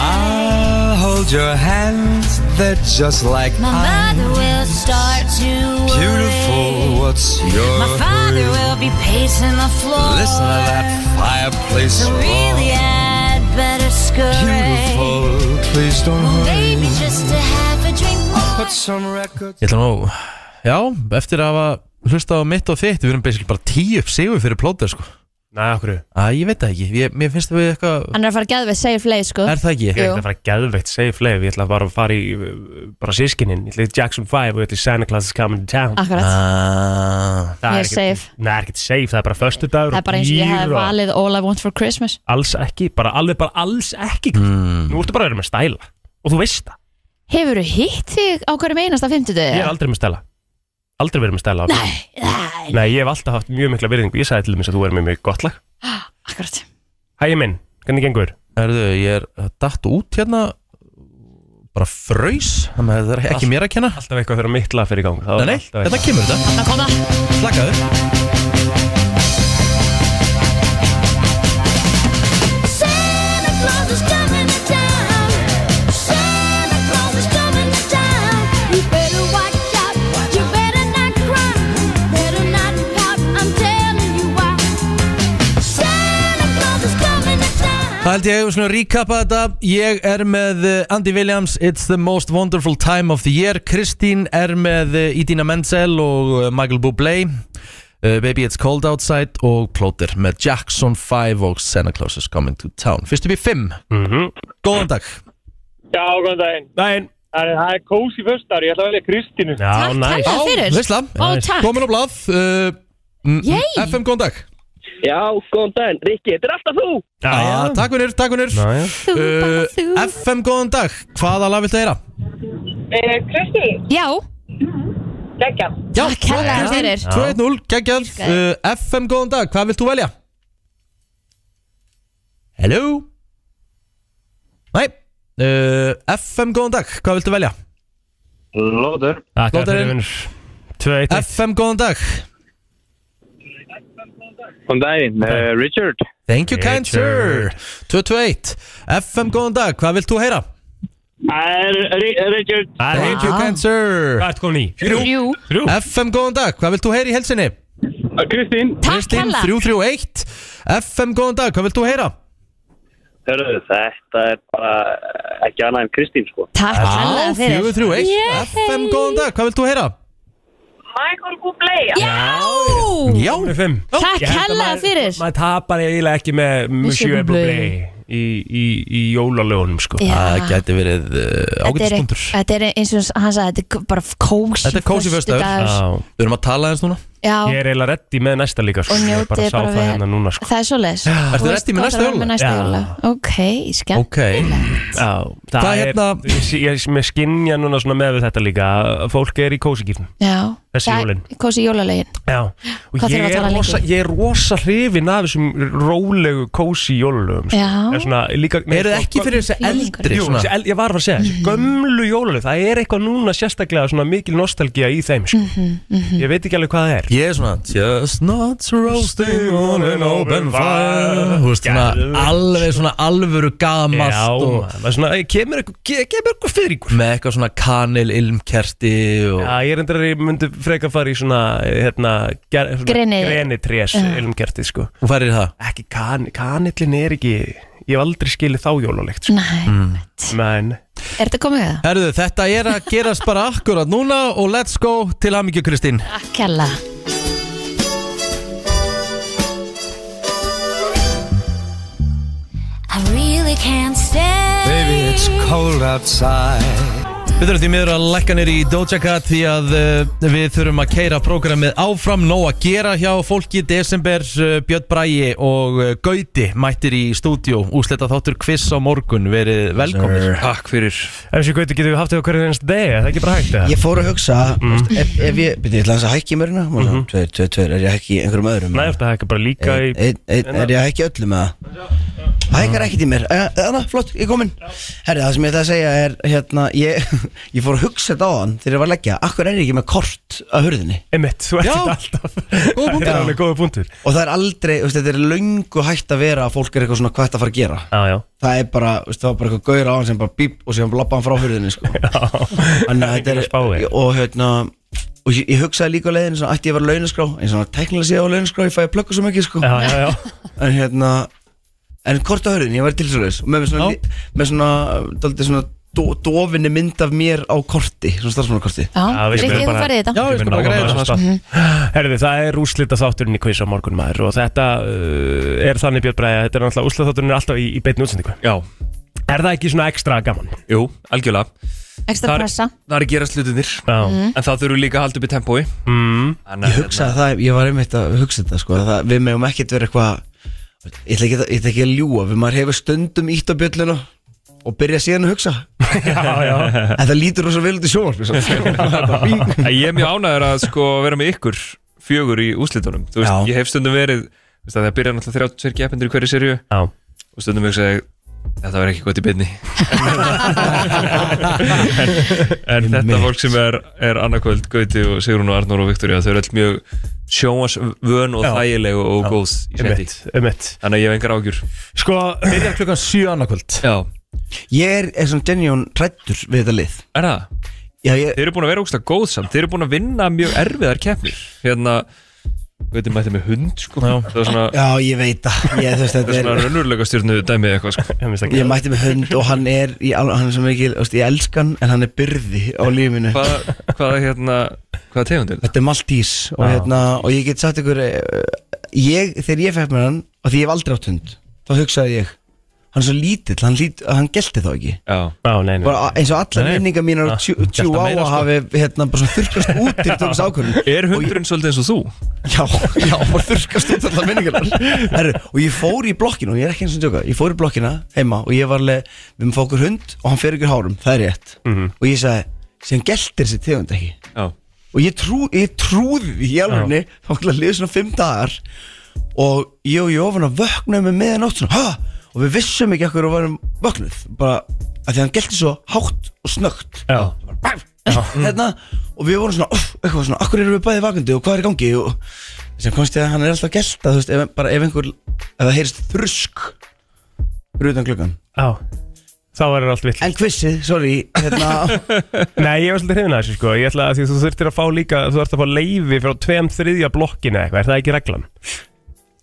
[SPEAKER 5] I'll hold your hands, they're just like
[SPEAKER 4] My mother will start to
[SPEAKER 5] beautiful.
[SPEAKER 4] worry.
[SPEAKER 5] What's your
[SPEAKER 4] My father
[SPEAKER 5] hurry?
[SPEAKER 4] will be pacing the floor.
[SPEAKER 5] Listen to that fireplace
[SPEAKER 4] So really,
[SPEAKER 5] roar.
[SPEAKER 4] I'd better scurry.
[SPEAKER 5] Beautiful, please don't hurry.
[SPEAKER 4] Maybe just to have a drink more.
[SPEAKER 5] Put some records.
[SPEAKER 1] Ég ætla nú Já, eftir að hafa hlusta á mitt og þitt Við erum basically bara tíu upp sigur fyrir plóter sko
[SPEAKER 3] Næ, okkur Ég
[SPEAKER 1] Æ, ég veit það ekki ég, Mér finnst það við eitthvað
[SPEAKER 2] Hann er að fara að geða við safe lay sko
[SPEAKER 1] Er það ekki?
[SPEAKER 2] Jú.
[SPEAKER 3] ætla að fara geðvegt safe leif Ég ætla bara að fara í uh, bara sískinin Ég ætla í Jackson 5 og ég ætla í Santa Claus is coming to town
[SPEAKER 2] Akkurat,
[SPEAKER 1] Ah,
[SPEAKER 3] Það
[SPEAKER 2] ég er
[SPEAKER 3] ekkert-
[SPEAKER 2] safe.
[SPEAKER 3] Nei, það er ekkert safe, það er bara förstu dagur
[SPEAKER 2] það er bara eins og ég hef valið All I Want For Christmas
[SPEAKER 3] Alls ekki, bara alveg bara alls ekki
[SPEAKER 1] Hmm.
[SPEAKER 3] Nú ertu bara að vera með stæla Og þú veist það
[SPEAKER 2] Hefurðu hitt þig á hverjum
[SPEAKER 3] Ég
[SPEAKER 2] einasta
[SPEAKER 3] er
[SPEAKER 2] fimmtudegi?
[SPEAKER 3] aldrei með stæla Aldrei verið með stæla á Nei Nei, ég hef alltaf haft mjög mikla virðingu Ég sagði til þess að þú er með mjög gott lag
[SPEAKER 2] Ah, Akkurat
[SPEAKER 3] Hæ, ég minn, hvernig gengur?
[SPEAKER 1] Erðu, ég er eh, datt út hérna Bara fröys Þannig að það er ekki mér að kenna
[SPEAKER 3] Alltaf eitthvað þegar mitt lag fyrir í gang
[SPEAKER 1] Nei, nei, þetta kemur þetta
[SPEAKER 2] Þannig kom það
[SPEAKER 1] Slakaður
[SPEAKER 4] Santa Claus is coming to town. Santa Claus is coming to town. You better watch out. You better not cry. Better not pout. I'm telling you why. Santa Claus is coming to town.
[SPEAKER 1] Það held ég hefur svona recapa þetta Ég er með eh, Andy Williams It's the most wonderful time of the year Kristín er með eh, Idina Menzel og eh, Michael Bublé eh, Baby It's Cold Outside og Plóter með Jackson 5 og Santa Claus is Coming to Town Fyrst upp í 5
[SPEAKER 3] Mhm.
[SPEAKER 1] Góðan dag
[SPEAKER 9] Já, góðan daginn.
[SPEAKER 3] Dæin
[SPEAKER 9] Það er, það er kósi föstar, ég ætla að velja Kristínu.
[SPEAKER 3] Já,
[SPEAKER 2] Takk
[SPEAKER 3] næs
[SPEAKER 2] kærlega fyrir
[SPEAKER 1] veistla.
[SPEAKER 2] Ó, takk
[SPEAKER 1] Komin á blað uh,
[SPEAKER 2] Yay.
[SPEAKER 1] FM, góðan dag
[SPEAKER 9] Já, góðan daginn. Rikki, þetta er alltaf þú.
[SPEAKER 3] Já,
[SPEAKER 1] ah, Takk vinnur, takk vinnur
[SPEAKER 3] Já, já
[SPEAKER 2] Þú, bara þú
[SPEAKER 1] uh, FM, góðan dag Hvaða lag viltu heyra?
[SPEAKER 2] Já,
[SPEAKER 1] Já,
[SPEAKER 2] takk kærlega fyrir
[SPEAKER 1] 2-1-0, geggjað uh, FM, góðan dag, hvað vilt þú velja? Hello? Nei uh, FM, góðan dag, hvað vilt þú velja?
[SPEAKER 3] Takk
[SPEAKER 1] Lóðurinn.
[SPEAKER 3] fyrir vinnur Tvö eitt eitt.
[SPEAKER 1] FM, góðan dag
[SPEAKER 9] Góðan daginn, uh, Richard.
[SPEAKER 1] Thank you, kind sir 2-2-1 FM, góðan dag, hvað vilt þú heyra?
[SPEAKER 9] Það er Richard.
[SPEAKER 3] Það er
[SPEAKER 1] Thank
[SPEAKER 3] eitt
[SPEAKER 1] you, kind sir
[SPEAKER 3] Hvað ert komin í?
[SPEAKER 2] Jú,
[SPEAKER 3] Þrjú
[SPEAKER 1] FM, góðan dag, hvað vilt þú heyra í helsinni?
[SPEAKER 9] Kristín.
[SPEAKER 2] takk kærlega
[SPEAKER 1] 3-3-1 FM, góðan dag, hvað vilt þú heyra?
[SPEAKER 9] Hörðu, þetta er bara ekki annað en Kristín, sko.
[SPEAKER 2] Takk kærlega fyrir
[SPEAKER 1] 4-3-1 FM, góðan dag, hvað vilt þú heyra?
[SPEAKER 2] Já,
[SPEAKER 1] Já,
[SPEAKER 3] Komin í fimm
[SPEAKER 2] takk
[SPEAKER 3] Ég held að
[SPEAKER 2] kærlega
[SPEAKER 3] maður-
[SPEAKER 2] fyrir
[SPEAKER 3] Maður tapar eiginlega ekki með Monsieur
[SPEAKER 2] Monsieur
[SPEAKER 3] Bublé í, í, í jólalögunum sko
[SPEAKER 2] Já.
[SPEAKER 1] Það gæti verið uh,
[SPEAKER 2] Þetta er,
[SPEAKER 1] ágætisbundur
[SPEAKER 2] þetta er eins og hann sagði, þetta er k- bara kósi
[SPEAKER 1] Þetta er kósí föstudagur.
[SPEAKER 3] Já,
[SPEAKER 1] Við erum að tala eins núna
[SPEAKER 2] Já,
[SPEAKER 3] ég er eiginlega reddi með næsta líka sko.
[SPEAKER 2] Og
[SPEAKER 3] Ég
[SPEAKER 2] njótið
[SPEAKER 3] sá
[SPEAKER 2] bara
[SPEAKER 3] það
[SPEAKER 2] vel.
[SPEAKER 3] hérna núna sko.
[SPEAKER 2] það er svo les
[SPEAKER 1] Ertu ready með næsta jóla?
[SPEAKER 2] næsta
[SPEAKER 3] Já.
[SPEAKER 2] jóla? Ok, skemmt
[SPEAKER 1] Ok
[SPEAKER 3] Já, það
[SPEAKER 1] Hvað
[SPEAKER 3] er,
[SPEAKER 1] hérna-
[SPEAKER 3] ég, ég, ég skinja núna svona með við þetta líka að Fólk er í kósikýrnum
[SPEAKER 2] Já,
[SPEAKER 3] þessi jólin
[SPEAKER 2] Kosi jólalegin
[SPEAKER 3] Já, og ég
[SPEAKER 2] Hvað þurfum við að
[SPEAKER 3] er,
[SPEAKER 2] tala
[SPEAKER 3] rosa,
[SPEAKER 2] lengi?
[SPEAKER 3] ég er rosa hrifin af þessum rólegu, kósi jólulegum
[SPEAKER 2] Já.
[SPEAKER 3] er svona, líka, nei,
[SPEAKER 1] Eru þið
[SPEAKER 3] sko,
[SPEAKER 1] ekki fyrir þessi eldri
[SPEAKER 3] Jú,
[SPEAKER 1] svona?
[SPEAKER 3] þessi el- ég var að fara að segja þessi Gömlu jóluleg, það er eitthvað núna sérstaklega svona mikil nostalgía í þeim sko.
[SPEAKER 2] Mhm,
[SPEAKER 3] Ég veit ekki alveg hvað það er
[SPEAKER 1] Ég er svona Chestnuts roasting on an open fire Þú veist
[SPEAKER 3] Geðveikt.
[SPEAKER 1] svona alveg svona alvöru gamast
[SPEAKER 3] Já,
[SPEAKER 1] og
[SPEAKER 3] maður, maður svona, kemur eitthvað ke- kemur eitthvað fyrir ykkur
[SPEAKER 1] með eitthvað svona kanil ilmkerti um og
[SPEAKER 3] Já, ég er endur að ég myndi frekar fara í svona, hérna, ger, svona
[SPEAKER 2] Greni.
[SPEAKER 3] grenitrés
[SPEAKER 2] Já.
[SPEAKER 3] ilmkerti, sko.
[SPEAKER 1] Þú færir það
[SPEAKER 3] Ekki kan, kanillin er ekki, ég hef aldrei skilið þá jólulegt, sko.
[SPEAKER 2] Nei,
[SPEAKER 1] Mm.
[SPEAKER 3] Men,
[SPEAKER 2] er þetta komið við það?
[SPEAKER 1] Herðu, þetta er að gerast bara akkurat núna og let's go til hamingju Kristín
[SPEAKER 2] Akkjalla
[SPEAKER 4] I really can't stay.
[SPEAKER 5] Baby, it's cold outside.
[SPEAKER 1] Við þurfum því miður að lækka nýr í Doja Cat því að uh, við þurfum að keira prógramið áfram nóg að gera hjá fólki Desember, uh, Björn Bræi og uh, Gauti mættir í stúdíó úsleta þáttur Kviss á morgun verið velkomir
[SPEAKER 10] Takk fyrir
[SPEAKER 3] ef þessi gauti getum við haft þau hverju einst degi, er það ekki bara hægt það?
[SPEAKER 10] Ég fór að hugsa mm ef, ef ég, byrja, ég ætla hans að hækki mörgina mm -hmm. Tveir, tveir, tveir, er ég að hækki í einhverjum öðrum
[SPEAKER 3] Mhm. Nei, þetta er ekki bara líka í... Hérna.
[SPEAKER 10] Einn, einn, einn, er ég að hækki öllum eða? Hækkar ekkert í mér, þannig, flott, ég er komin Herri, það sem ég ætla að segja er, hérna, ég, ég fór að hugsa þetta á hann þegar ég var að leggja Akkur er ég ekki með kort að hurðinni?
[SPEAKER 3] Emitt, þú ert
[SPEAKER 1] Já.
[SPEAKER 3] þetta alltaf. Þetta er alveg góða punktur.
[SPEAKER 10] Og það er aldrei, þú veist, þetta er löngu hægt að vera að fólk er eitthvað svona hvað þetta að fara að gera
[SPEAKER 3] Já, já.
[SPEAKER 10] Það er bara, þú veist, það var bara eitthvað gaur á hann sem bara bíp og sem lappa hann frá hurðinni, sko Þannig að
[SPEAKER 3] Enginn að spá
[SPEAKER 10] þetta
[SPEAKER 3] þér.
[SPEAKER 10] er, og hérna, og ég, ég hugsaði líka á leiðinu svona, ætti ég var launaskrá, eins og teknilega séð á launaskrá, ég fæ að plugga svo mikið, sko
[SPEAKER 3] Já, já, já.
[SPEAKER 10] En hérna, en kort á hurðinni, ég var tilsvöðis Og með, með svona,
[SPEAKER 1] Já.
[SPEAKER 10] li- með svona, daldið svona, do, dofinni mynd af mér á korti, svona starfsmannakorti
[SPEAKER 3] Já,
[SPEAKER 2] Já,
[SPEAKER 3] við
[SPEAKER 2] Rikki,
[SPEAKER 3] skulum
[SPEAKER 2] þú
[SPEAKER 3] bara-
[SPEAKER 2] færði þetta Mhm.
[SPEAKER 1] Já, við skulum bara greiða
[SPEAKER 3] Nákvæmlega
[SPEAKER 1] þess
[SPEAKER 3] það. Herði, það er úslita þátturinn í kvísa morgun maður og þetta uh, er þannig Björn Bræði að þetta er náttúrulega úslita þátturinn er alltaf í, í beinni útsendingu
[SPEAKER 10] Já
[SPEAKER 3] Er það ekki svona ekstra gaman?
[SPEAKER 10] Jú, algjörlega
[SPEAKER 2] Ekstra pressa
[SPEAKER 10] Það er að gera slutinir
[SPEAKER 3] Já
[SPEAKER 10] En það þurfum líka að halda upp í tempói
[SPEAKER 3] mm.
[SPEAKER 10] Ég hugsaði það, ég var einmitt að hugsa þetta sko, að það, Við meðum ekkert vera eitthvað Ég ætla ekki, að- ég ætla ekki að ljúa Við maður hefur stundum ítt á bjölluna Og byrja síðan að hugsa
[SPEAKER 3] Já, já
[SPEAKER 10] En það lítur rosa vel út í sko. sjónvarp
[SPEAKER 11] Æ, Ég er mjög ánægður að sko vera með ykkur fjögur í úslitunum Þú veist,
[SPEAKER 10] Já.
[SPEAKER 11] ég hef stundum verið þú veist, að Það byrja náttúrulega 32 keppendur í hverju serju
[SPEAKER 3] Já.
[SPEAKER 11] Og stundum hugsa ég Þetta verður ekki gott í byrni En þetta fólk sem er, er Annakvöld, Gauti og Sigrun og Arnór og Viktoria Þau eru öll mjög sjóas vön og
[SPEAKER 3] Já.
[SPEAKER 11] þægileg og
[SPEAKER 3] Já.
[SPEAKER 11] góð í seti
[SPEAKER 3] Emitt, emitt
[SPEAKER 11] Þannig að ég hef engar ágjur
[SPEAKER 3] Sko,
[SPEAKER 1] Byrja klukkan 7 annarkvöld
[SPEAKER 11] Já,
[SPEAKER 10] Ég er, er svona genjón rættur við þetta lið
[SPEAKER 11] er það?
[SPEAKER 10] Já, ég,
[SPEAKER 11] Þeir eru búin að vera ógsta góð samt Þeir eru búin að vinna mjög erfiðar keppnir Hérna, Gauti mætti með hund sko
[SPEAKER 1] Já.
[SPEAKER 11] Það var svona
[SPEAKER 10] já, ég veit það Ég, þú veist,
[SPEAKER 11] Það er
[SPEAKER 10] þetta
[SPEAKER 11] svona
[SPEAKER 10] er,
[SPEAKER 11] raunurlega stjórnu dæmi eitthvað sko
[SPEAKER 3] ég finnst ekki
[SPEAKER 10] ég mætti með hund og hann er, í, al- hann er svo mikil, þú veist, ég elskan en hann er byrði á lífinu
[SPEAKER 11] Hvað, hvað er hérna, hvað tegundir?
[SPEAKER 10] Þetta er Maltís og,
[SPEAKER 3] Já.
[SPEAKER 10] hérna, og ég get sagt ykkur eh, ég, Þegar ég fekk mér hann og því ég hef aldrei átt hund þá hugsaði ég hann er svo lítill, hann, lít, hann gelti þá ekki
[SPEAKER 11] Já,
[SPEAKER 3] Já, nei, nei
[SPEAKER 10] bara eins og allar
[SPEAKER 1] Nei, nei.
[SPEAKER 10] minningar mínar
[SPEAKER 1] Ja,
[SPEAKER 10] og
[SPEAKER 1] hann gelti
[SPEAKER 10] tjú á
[SPEAKER 1] meira,
[SPEAKER 10] að
[SPEAKER 1] sko.
[SPEAKER 10] hafi hérna, bara svona þurrkast út til tókast ákvörðun
[SPEAKER 11] er hundurinn svolítið eins og þú?
[SPEAKER 10] Já, já, bara þurrkast út allar minningar Herru, og ég fór í blokkinu og ég er ekki eins og tjóka, ég fór í blokkina heima og ég var alveg, við erum fókur hund og hann fer ykkur hárum, það er rétt
[SPEAKER 1] Mhm.
[SPEAKER 10] og ég sagði, sem geltir þessi tegund ekki
[SPEAKER 11] Já
[SPEAKER 10] og ég, trú, ég trúði því í alvegni þá ætla að liða svona fimm dagar og ég og Jófana vöknuðum með meðanótt svona, ha? og við vissum ekki okkur og varum vöknuð bara að því hann gelti svo hátt og snögt
[SPEAKER 3] Já,
[SPEAKER 10] hérna, og við vorum svona, uff, eitthvað svona akkur erum við bæði vakandi og hvað er í gangi og sem komst ég að hann er alltaf gelt að þú veist, ef, bara ef einhver, ef það heyrist þrusk fyrir utan klukkan
[SPEAKER 3] já Þá er allt vill
[SPEAKER 10] en kvissið, sorry, hérna
[SPEAKER 3] Nei, ég var svolítið hrifin að þessu sko Ég ætla að því þú þurftir að fá líka Þú þurft að fá leifi frá tveim þriðja blokkinu eða eitthvað Er það ekki reglan?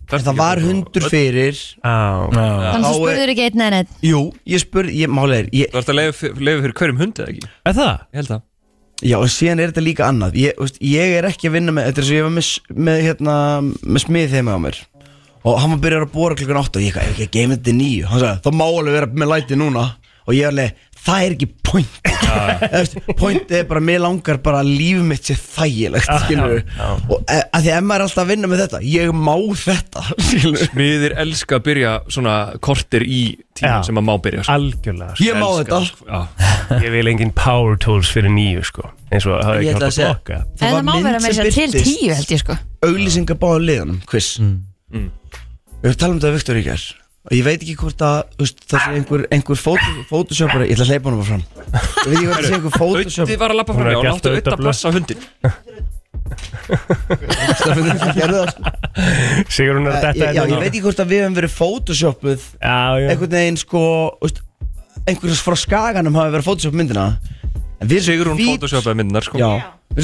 [SPEAKER 10] það var hundur fyrir
[SPEAKER 3] Já
[SPEAKER 2] Þannig að
[SPEAKER 1] eh,
[SPEAKER 10] Já,
[SPEAKER 2] spurður ekki einn en einn
[SPEAKER 10] jú, ég spurði, ég málega er, ég,
[SPEAKER 11] Þú ert að leifa fyrir hverjum hundi eða ekki?
[SPEAKER 3] Er það?
[SPEAKER 11] Ég held það
[SPEAKER 10] Já, og síðan er þetta líka annað Ég, þú veist, ég er ekki að vinna með Þetta er svo ég var með, s- með, hérna, með smið heima á mér Og hann var byrjar að bóra klukkan 8 Og ég ekki að geima þetta til 9 Hann sagði, það má alveg vera með læti núna og ég er alveg, það er ekki point Þú veist, point er bara, mér langar bara að líf mitt sé þægilegt
[SPEAKER 11] Já,
[SPEAKER 10] skilur
[SPEAKER 11] já.
[SPEAKER 10] og e, að því emma er alltaf að vinna með þetta ég má þetta
[SPEAKER 11] Smiðir elska að byrja svona kortir í tíma
[SPEAKER 3] Já.
[SPEAKER 11] sem að má byrja sko.
[SPEAKER 3] Algjörlega
[SPEAKER 10] Ég má þetta.
[SPEAKER 3] sko. þetta Ég vil engin power tools fyrir nýju sko eins og það hefði
[SPEAKER 10] Ég
[SPEAKER 3] ekki hægt
[SPEAKER 10] ætla að
[SPEAKER 3] að
[SPEAKER 10] segja-
[SPEAKER 3] blokka
[SPEAKER 2] En það má vera meira að segja til tíu held ég sko
[SPEAKER 10] auglýsingar báða liðan quiz við höfum talað um þetta við Viktor í gær og ég veit ekki hvort að þú veist, það sé einhver, einhver fótu- photoshopari ég ætla að hleypa honum bara fram ég veit ekki hvort það sé einhver photoshop
[SPEAKER 11] Þið var að lappa fram hjá og láttu auðvitað að plassa hundin
[SPEAKER 10] gerðu það sko
[SPEAKER 3] Sigur hún er
[SPEAKER 10] Eh,
[SPEAKER 3] þetta
[SPEAKER 10] já, ég veit ekki hvort að við hefum verið photoshopuð
[SPEAKER 3] hérna. já, já.
[SPEAKER 10] einhvern veginn sko veist, einhvers frá skaganum hafi verið photoshop myndina En við erum svo
[SPEAKER 11] Sigrún
[SPEAKER 10] hvít-
[SPEAKER 11] photoshopaði myndnar sko
[SPEAKER 10] já, við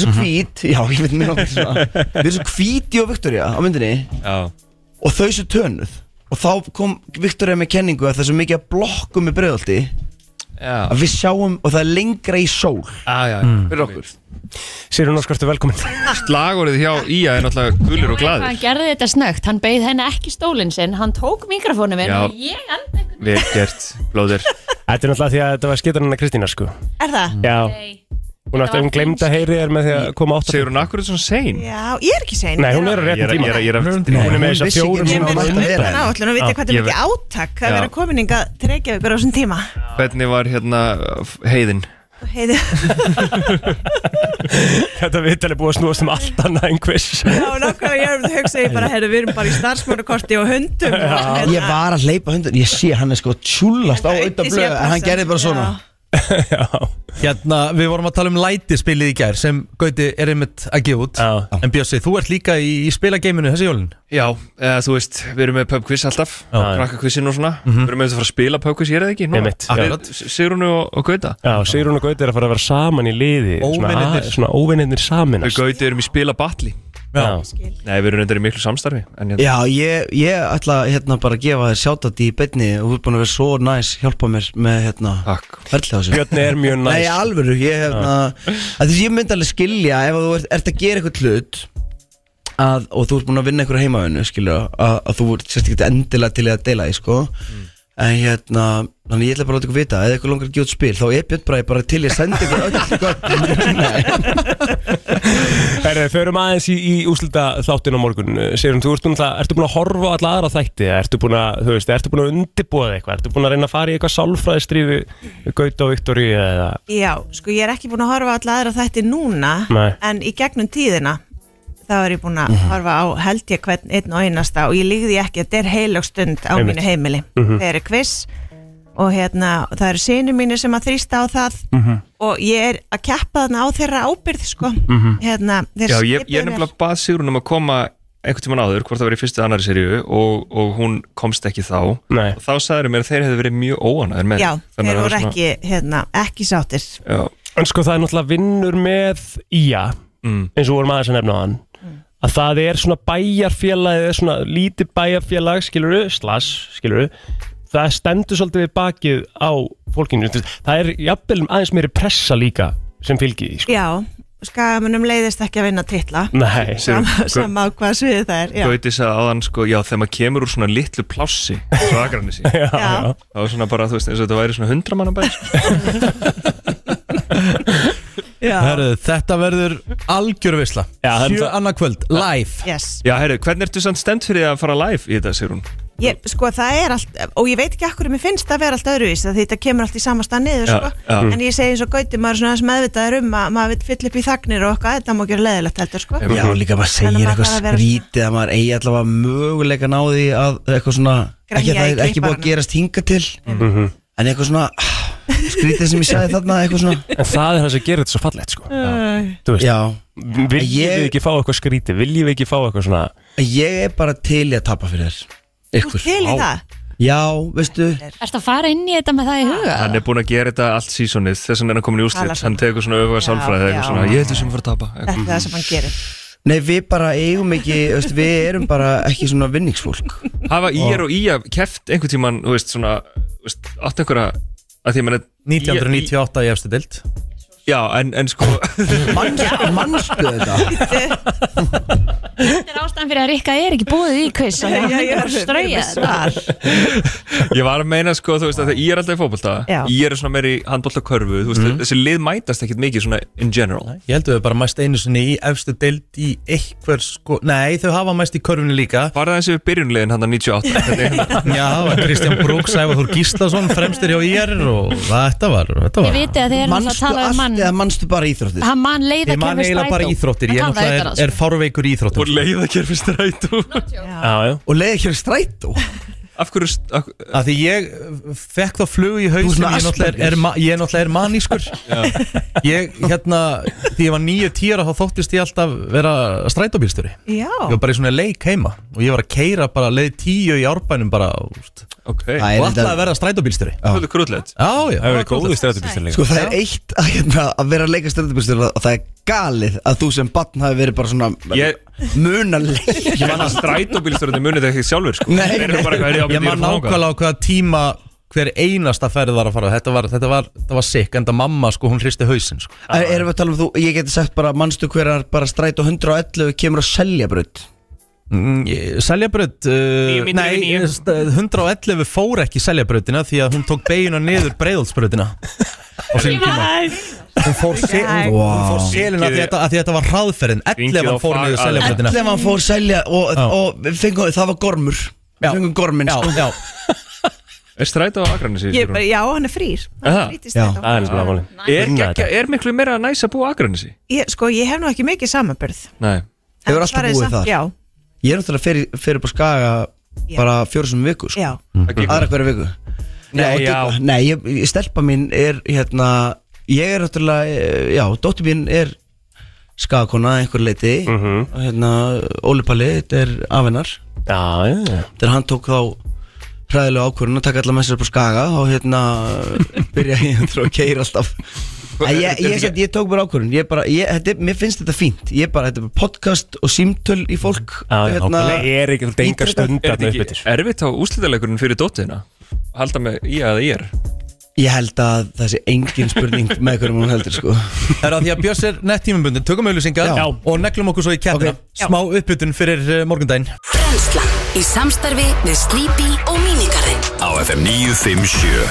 [SPEAKER 3] Mhm.
[SPEAKER 10] erum svo hvít já, ég veit mér langar til svona. við erum svo hvíti og Viktoria á myndinni
[SPEAKER 11] Já.
[SPEAKER 10] og þau svo tönuð og þá kom Viktoria með kenningu að það er svo mikið að blokkum í bregðaldi
[SPEAKER 11] Já.
[SPEAKER 10] að við sjáum og það er lengra í sól
[SPEAKER 11] Já, já,
[SPEAKER 10] Mm.
[SPEAKER 11] fyrir okkur
[SPEAKER 3] Sigrún Óskartu velkomin
[SPEAKER 11] Slagorðið hjá Ía er náttúrulega gulur og
[SPEAKER 2] Hvað
[SPEAKER 11] glaður
[SPEAKER 2] hann gerði þetta snögt, hann beigð henni ekki stólinn sinn Hann tók mikrofónu minn
[SPEAKER 3] Já.
[SPEAKER 2] og ég hann
[SPEAKER 11] Vel gert, blóðir
[SPEAKER 3] Þetta er náttúrulega því að þetta var skeitarinn hennar Kristína sko
[SPEAKER 12] Er það?
[SPEAKER 3] Já
[SPEAKER 12] Nei.
[SPEAKER 3] Hún átti að um hún glemd að heyri þér með því að koma átt
[SPEAKER 11] Sigur hún akkur er svona sein
[SPEAKER 12] Já, ég er ekki sein
[SPEAKER 3] Nei, hún er á réttum tíma
[SPEAKER 11] Ég er að
[SPEAKER 3] Hún er með þess að fjórum
[SPEAKER 12] Ég mun
[SPEAKER 3] mánuðum
[SPEAKER 12] undan
[SPEAKER 3] undan.
[SPEAKER 12] áallun og viti hvað þetta er mikið átak að
[SPEAKER 11] Já.
[SPEAKER 12] vera komin inga til Reykjavíkur á þessum tíma
[SPEAKER 11] Hvernig var hérna f- heiðin?
[SPEAKER 12] Heiði,
[SPEAKER 3] Þetta viðtal er búið að snúast um allt annað en quiz
[SPEAKER 12] þá nákvæmlega ég erum að hugsa ég bara, heyrðu, við erum bara í starfsmónukorti og hundum og-
[SPEAKER 10] ég var að hleypa hundin ég sé hann er sko tjúllast á auðvitað blöð en hann gerði bara svona
[SPEAKER 1] Hérna, við vorum að tala um lætispilið í gær sem Gauti er einmitt að gefa út En Bjössi, þú ert líka í, í spilageiminu þessi jólin
[SPEAKER 11] Já,
[SPEAKER 10] eh,
[SPEAKER 11] eða, þú veist, við erum með pubquiz alltaf Krakkakvissin og svona Við erum með þess að fara að spila pubquiz, ég er það ekki?
[SPEAKER 3] Mhm.
[SPEAKER 11] núna?
[SPEAKER 3] Einmitt.
[SPEAKER 11] Við-
[SPEAKER 3] Akkurat.
[SPEAKER 11] Sigrún og, og Gauta
[SPEAKER 3] Já, Sigrún og Gauti er að fara að vera saman í liði svona
[SPEAKER 11] Óvinirnir.
[SPEAKER 3] að- Svona óvinnirnir samin
[SPEAKER 11] Við Gauti erum í spila batli
[SPEAKER 3] Já.
[SPEAKER 11] Nei, við erum reyndar í miklu samstarfi en, hérna-
[SPEAKER 10] Já, ég, ég ætla hérna bara að gefa þér sjátat í beinni og þú ert búin að vera svo næs hjálpa mér með hérna ferðlega þessu
[SPEAKER 3] Björn er mjög næs.
[SPEAKER 10] Nei, alvöru, ég hérna að því ég myndi alveg skilja ef að þú ert, ert að gera eitthvað hlut að, og þú ert búin að vinna einhverja heimavinnu skilja, að, að þú ert sérst ekki endilega til í að deila því, sko
[SPEAKER 3] Mm.
[SPEAKER 10] en hérna, þannig ég ætla bara að láta ykkur vita eða eitthvað langar að gefa út spil, þá er Björn Bræði bara til í að senda ykkur öll
[SPEAKER 3] Herri, förum aðeins í, í úslita þáttin á morgun Sigrun, þú ert búin að, ertu búin að horfa á alla aðra þætti eða Ertu búin að, þú veist, ertu búin að undirbúa þig eitthvað Ertu búin að reyna að fara í eitthvað sálfræðistrífi Gauta og Viktori eða
[SPEAKER 12] Já, sko ég er ekki búin að horfa á alla aðra þætti núna
[SPEAKER 3] Nei. Mhm.
[SPEAKER 12] en í gegnum tíðina þá er ég búin að horfa á held ég hvern einn og einasta og ég líði ekki að þetta er heilög stund á
[SPEAKER 13] Einmitt.
[SPEAKER 12] mínu heimili
[SPEAKER 13] Mhm.
[SPEAKER 12] þeir eru kviss og hérna, það eru sinni mínir sem að þrýsta á það
[SPEAKER 11] Mhm.
[SPEAKER 12] og ég er að keppa þarna á þeirra ábyrð sko
[SPEAKER 11] Mhm.
[SPEAKER 12] hérna, þeir
[SPEAKER 11] Já, ég, ég
[SPEAKER 12] skipuðu mér.
[SPEAKER 11] nefnilega bað Sigrún um að koma einhvern tímann áður, hvort það var í fyrstu eða annari seríu og, og hún komst ekki þá
[SPEAKER 3] Nei.
[SPEAKER 11] og þá sagður mér að þeir hefðu verið mjög óanæður með
[SPEAKER 12] Já, þeir
[SPEAKER 11] Þannig að það
[SPEAKER 12] voru
[SPEAKER 11] var svona-
[SPEAKER 12] ekki, hérna, ekki sáttir
[SPEAKER 11] Já.
[SPEAKER 3] En sko það er náttúrulega vinnur með Ía, eins og vorum aðeins að nefna á hann
[SPEAKER 10] Mm.
[SPEAKER 3] að það er svona bæjarfélagið, er svona lítið bæjarfélag skiluru, slas, skiluru það stendur svolítið við bakið á fólkinu, Þú veist, það er jafnvel aðeins meiri pressa líka sem fylgir því, sko.
[SPEAKER 12] Já, skamunum leiðist ekki að vinna titla
[SPEAKER 3] Nei.
[SPEAKER 12] Sama- sama á hvað sviði það er já.
[SPEAKER 11] Mm, Gauti sagði áðan sko, já þegar maður kemur úr svona litlu plássi svo aðgræni sín
[SPEAKER 3] já,
[SPEAKER 12] já.
[SPEAKER 11] það var svona bara, þú veist, eins og þetta væri svona hundramanna bæri
[SPEAKER 1] Herru, þetta verður algjör visla
[SPEAKER 11] það er
[SPEAKER 1] Sjö
[SPEAKER 11] það-
[SPEAKER 1] annað kvöld, live
[SPEAKER 12] Yes.
[SPEAKER 11] Já, herru, hvernig ertu samt stend fyrir að fara live í þetta, Sigrún?
[SPEAKER 12] Ég, sko það er allt, og ég veit ekki akkur mér finnst það vera allt öðruvís því þetta kemur allt í sama stað niður
[SPEAKER 11] Já,
[SPEAKER 12] sko.
[SPEAKER 11] já.
[SPEAKER 12] en ég segi eins og gauti maður er svona aðeins meðvitaður um að maður vil fylla upp í þagnir og okkar, þetta má gera leðilegt heldur sko.
[SPEAKER 10] Já, líka maður segir
[SPEAKER 12] Þannig að
[SPEAKER 10] eitthvað
[SPEAKER 12] þarf að vera-
[SPEAKER 10] skrítið að maður eigi allavega möguleika á því að eitthvað svona ekki að
[SPEAKER 12] Grenja
[SPEAKER 10] það
[SPEAKER 12] í Mhm.
[SPEAKER 10] er ekki búið
[SPEAKER 12] klipparanum.
[SPEAKER 10] að gerast hinga til
[SPEAKER 1] Mhm.
[SPEAKER 10] en eitthvað svona ah, skrítið sem ég sagði þarna eitthvað svona
[SPEAKER 3] en það er það sem gerir þetta svo fallegt sko.
[SPEAKER 12] Æ.
[SPEAKER 3] þú veist,
[SPEAKER 10] já.
[SPEAKER 3] viljum við
[SPEAKER 10] Ég-
[SPEAKER 3] ekki fá eitthvað skríti viljum við ekki fá eitthvað svona
[SPEAKER 10] ég er bara til í að tapa fyrir þér
[SPEAKER 12] Þú ert til í það?
[SPEAKER 10] Já, veistu
[SPEAKER 2] Ertu að fara inn í þetta með það í huga?
[SPEAKER 11] Hann er búin að gera þetta allt sísonið þess vegna er hann komin í
[SPEAKER 12] Talar
[SPEAKER 11] úrslit,
[SPEAKER 12] svona.
[SPEAKER 11] hann tekur svona öfuga sálfræði
[SPEAKER 12] já.
[SPEAKER 11] eitthvað svona, ég heldur sem að fara að tapa
[SPEAKER 12] þetta er það sem hann gerir
[SPEAKER 10] Nei, við bara eigum ekki, veist, við erum bara ekki svona vinningsfólk
[SPEAKER 11] Hafa IR og IA keft einhvern tíman, þú veist, svona þú veist, átt einhverja að því að
[SPEAKER 1] 1998 í efstu dild
[SPEAKER 11] Já, en, en sko
[SPEAKER 10] Manstu þetta?
[SPEAKER 2] Þetta er ástæðan ástæðan fyrir að Rikka er ekki búið í quiz og hann
[SPEAKER 12] Já, já,
[SPEAKER 2] er bara að strauja
[SPEAKER 12] við erum
[SPEAKER 2] þetta
[SPEAKER 11] Ég var að meina sko, þú veist, að ég er alltaf í fótbolta
[SPEAKER 2] Já.
[SPEAKER 11] Ég er svona meir í handbolta körfu Þú veist, þessi lið mætast ekkit mikið svona in general
[SPEAKER 1] Ég held að þau bara mæst einu sinni í efstu deild í eitthver sko Nei, þau hafa mæst í körfunni líka
[SPEAKER 11] Var það eins og byrjunlegin hann að 98
[SPEAKER 1] Já, það var Kristján Brúk, Sævar Þór Gíslason, fremstir hjá IR og þetta var, þetta
[SPEAKER 2] Ég
[SPEAKER 1] var
[SPEAKER 2] viti að þið erum alltaf að tala um mann
[SPEAKER 10] eða mannstu bara íþróttir
[SPEAKER 2] Hann man leiða
[SPEAKER 1] Ég man eiginlega bara íþróttir, ég náttúrulega er, er fárveikur í íþróttir
[SPEAKER 11] Og leiðakerfi strætó
[SPEAKER 1] já, já.
[SPEAKER 10] Og leiðakerfi strætó?
[SPEAKER 11] Af hverju af,
[SPEAKER 1] Af því ég eh, fekk þá flug í hausnum
[SPEAKER 10] svona
[SPEAKER 1] Ég náttúrulega er, er, ma- ég náttúrulega er manískur Ég, hérna, því ég var nýju tíra þá þóttist ég alltaf vera strætóbílstjóri
[SPEAKER 12] Já.
[SPEAKER 1] Ég var bara í svona leik heima og ég var að keira bara leið tíu í árbænum bara úst,
[SPEAKER 11] okay.
[SPEAKER 1] og alltaf að vera strætóbílstjóri
[SPEAKER 11] Það er krúllett
[SPEAKER 1] Já, já
[SPEAKER 13] Það hefur verið góður strætóbílstjóri líka.
[SPEAKER 10] Sko það er eitt að, hérna, að vera að leika stjórnabýrstur og það er galið að þú sem barn hafi verið bara svona
[SPEAKER 11] Ég-
[SPEAKER 10] munaleg
[SPEAKER 11] Ég man að strætóbílstjórnir munið þetta ekki sjálfur sko.
[SPEAKER 10] Nei,
[SPEAKER 11] Þeir eru bara eitthvað, já,
[SPEAKER 1] Ég
[SPEAKER 11] myndi að
[SPEAKER 1] man
[SPEAKER 11] fara þangað.
[SPEAKER 1] nákvæmlega á hvaða tíma hver einasta ferð var að fara Þetta var, þetta var, þetta var sikk, enda mamma sko, hún hristi hausinn sko.
[SPEAKER 10] Er- Erum við að tala um þú, ég geti sagt bara mannstu hverjar bara strætó 111 kemur að selja brödd
[SPEAKER 1] Mm, Seljabraut uh,
[SPEAKER 10] mínútur
[SPEAKER 1] Nei, st- 111 fór ekki Seljabrautina því að hún tók beiguna niður Breiðoltsbrautina á sínum tíma Hún fór, se hún, hún fór selina að því, þetta, að því þetta var hraðferðin 11 fór niður Seljabrautina
[SPEAKER 10] 11 fór að selja og,
[SPEAKER 1] Já.
[SPEAKER 10] og við fengum, það var gormur Við fengum sko. gormin
[SPEAKER 1] Já, já
[SPEAKER 11] Er strætó á Akranesi?
[SPEAKER 12] Ég bara, já, hann er frýr
[SPEAKER 11] Aha.
[SPEAKER 12] frýtist
[SPEAKER 11] Já.
[SPEAKER 12] þetta.
[SPEAKER 11] Það er nefnilega málið. Er geggja- Er miklu meira næs að búa á Akranesi?
[SPEAKER 12] ég, Sko, ég hef nú ekki mikið samanbyrð
[SPEAKER 11] Nei
[SPEAKER 10] Hefur alltaf
[SPEAKER 12] Svaraði
[SPEAKER 10] búið
[SPEAKER 12] samt-
[SPEAKER 10] þar?
[SPEAKER 12] Já,
[SPEAKER 10] Ég er náttúrulega fyrir, fyrir bara skaga
[SPEAKER 12] Já.
[SPEAKER 10] bara fjórsum viku sko.
[SPEAKER 12] Já.
[SPEAKER 11] Mhm.
[SPEAKER 10] Aðra hverja viku
[SPEAKER 11] Nei,
[SPEAKER 10] Já, og
[SPEAKER 11] já.
[SPEAKER 10] dýpa. Nei ég, ég- stelpa mín er hérna Ég er náttúrulega, eh, já, dóttir mín er skagakona að einhver leiti og hérna, Óli Palli, þetta er afennar
[SPEAKER 3] Já, já, já
[SPEAKER 10] Þegar hann tók þá hræðilega ákvörðun að taka allar með sér upp á skaga og hérna byrja ég að keira alltaf Æ, Ég, ég, ég, ég, ég tók bara ákvörðun ég bara, ég, þetta, er- Mér finnst þetta fínt Ég bara, þetta er bara podcast og símtöl í fólk hérna.
[SPEAKER 12] Hérna,
[SPEAKER 11] nákvæmlega.
[SPEAKER 3] Er ekki þetta engar stund
[SPEAKER 11] Er
[SPEAKER 3] þarna
[SPEAKER 11] þetta
[SPEAKER 3] uppbyttir
[SPEAKER 11] ekki erfitt á úslitaleikurinn fyrir dóttina? Halda með í að ég er
[SPEAKER 10] Ég held að það sé engin spurning með hverjum hún heldur sko
[SPEAKER 1] Það er að því að Björns er nett tímabundin, tökum auðlýsingar
[SPEAKER 10] Já.
[SPEAKER 1] og neglum okkur svo í kettina Smá uppbytun fyrir uh, morgundaginn
[SPEAKER 14] Brennslan í samstarfi við Sleepy og Minigarðin
[SPEAKER 6] Á FM 957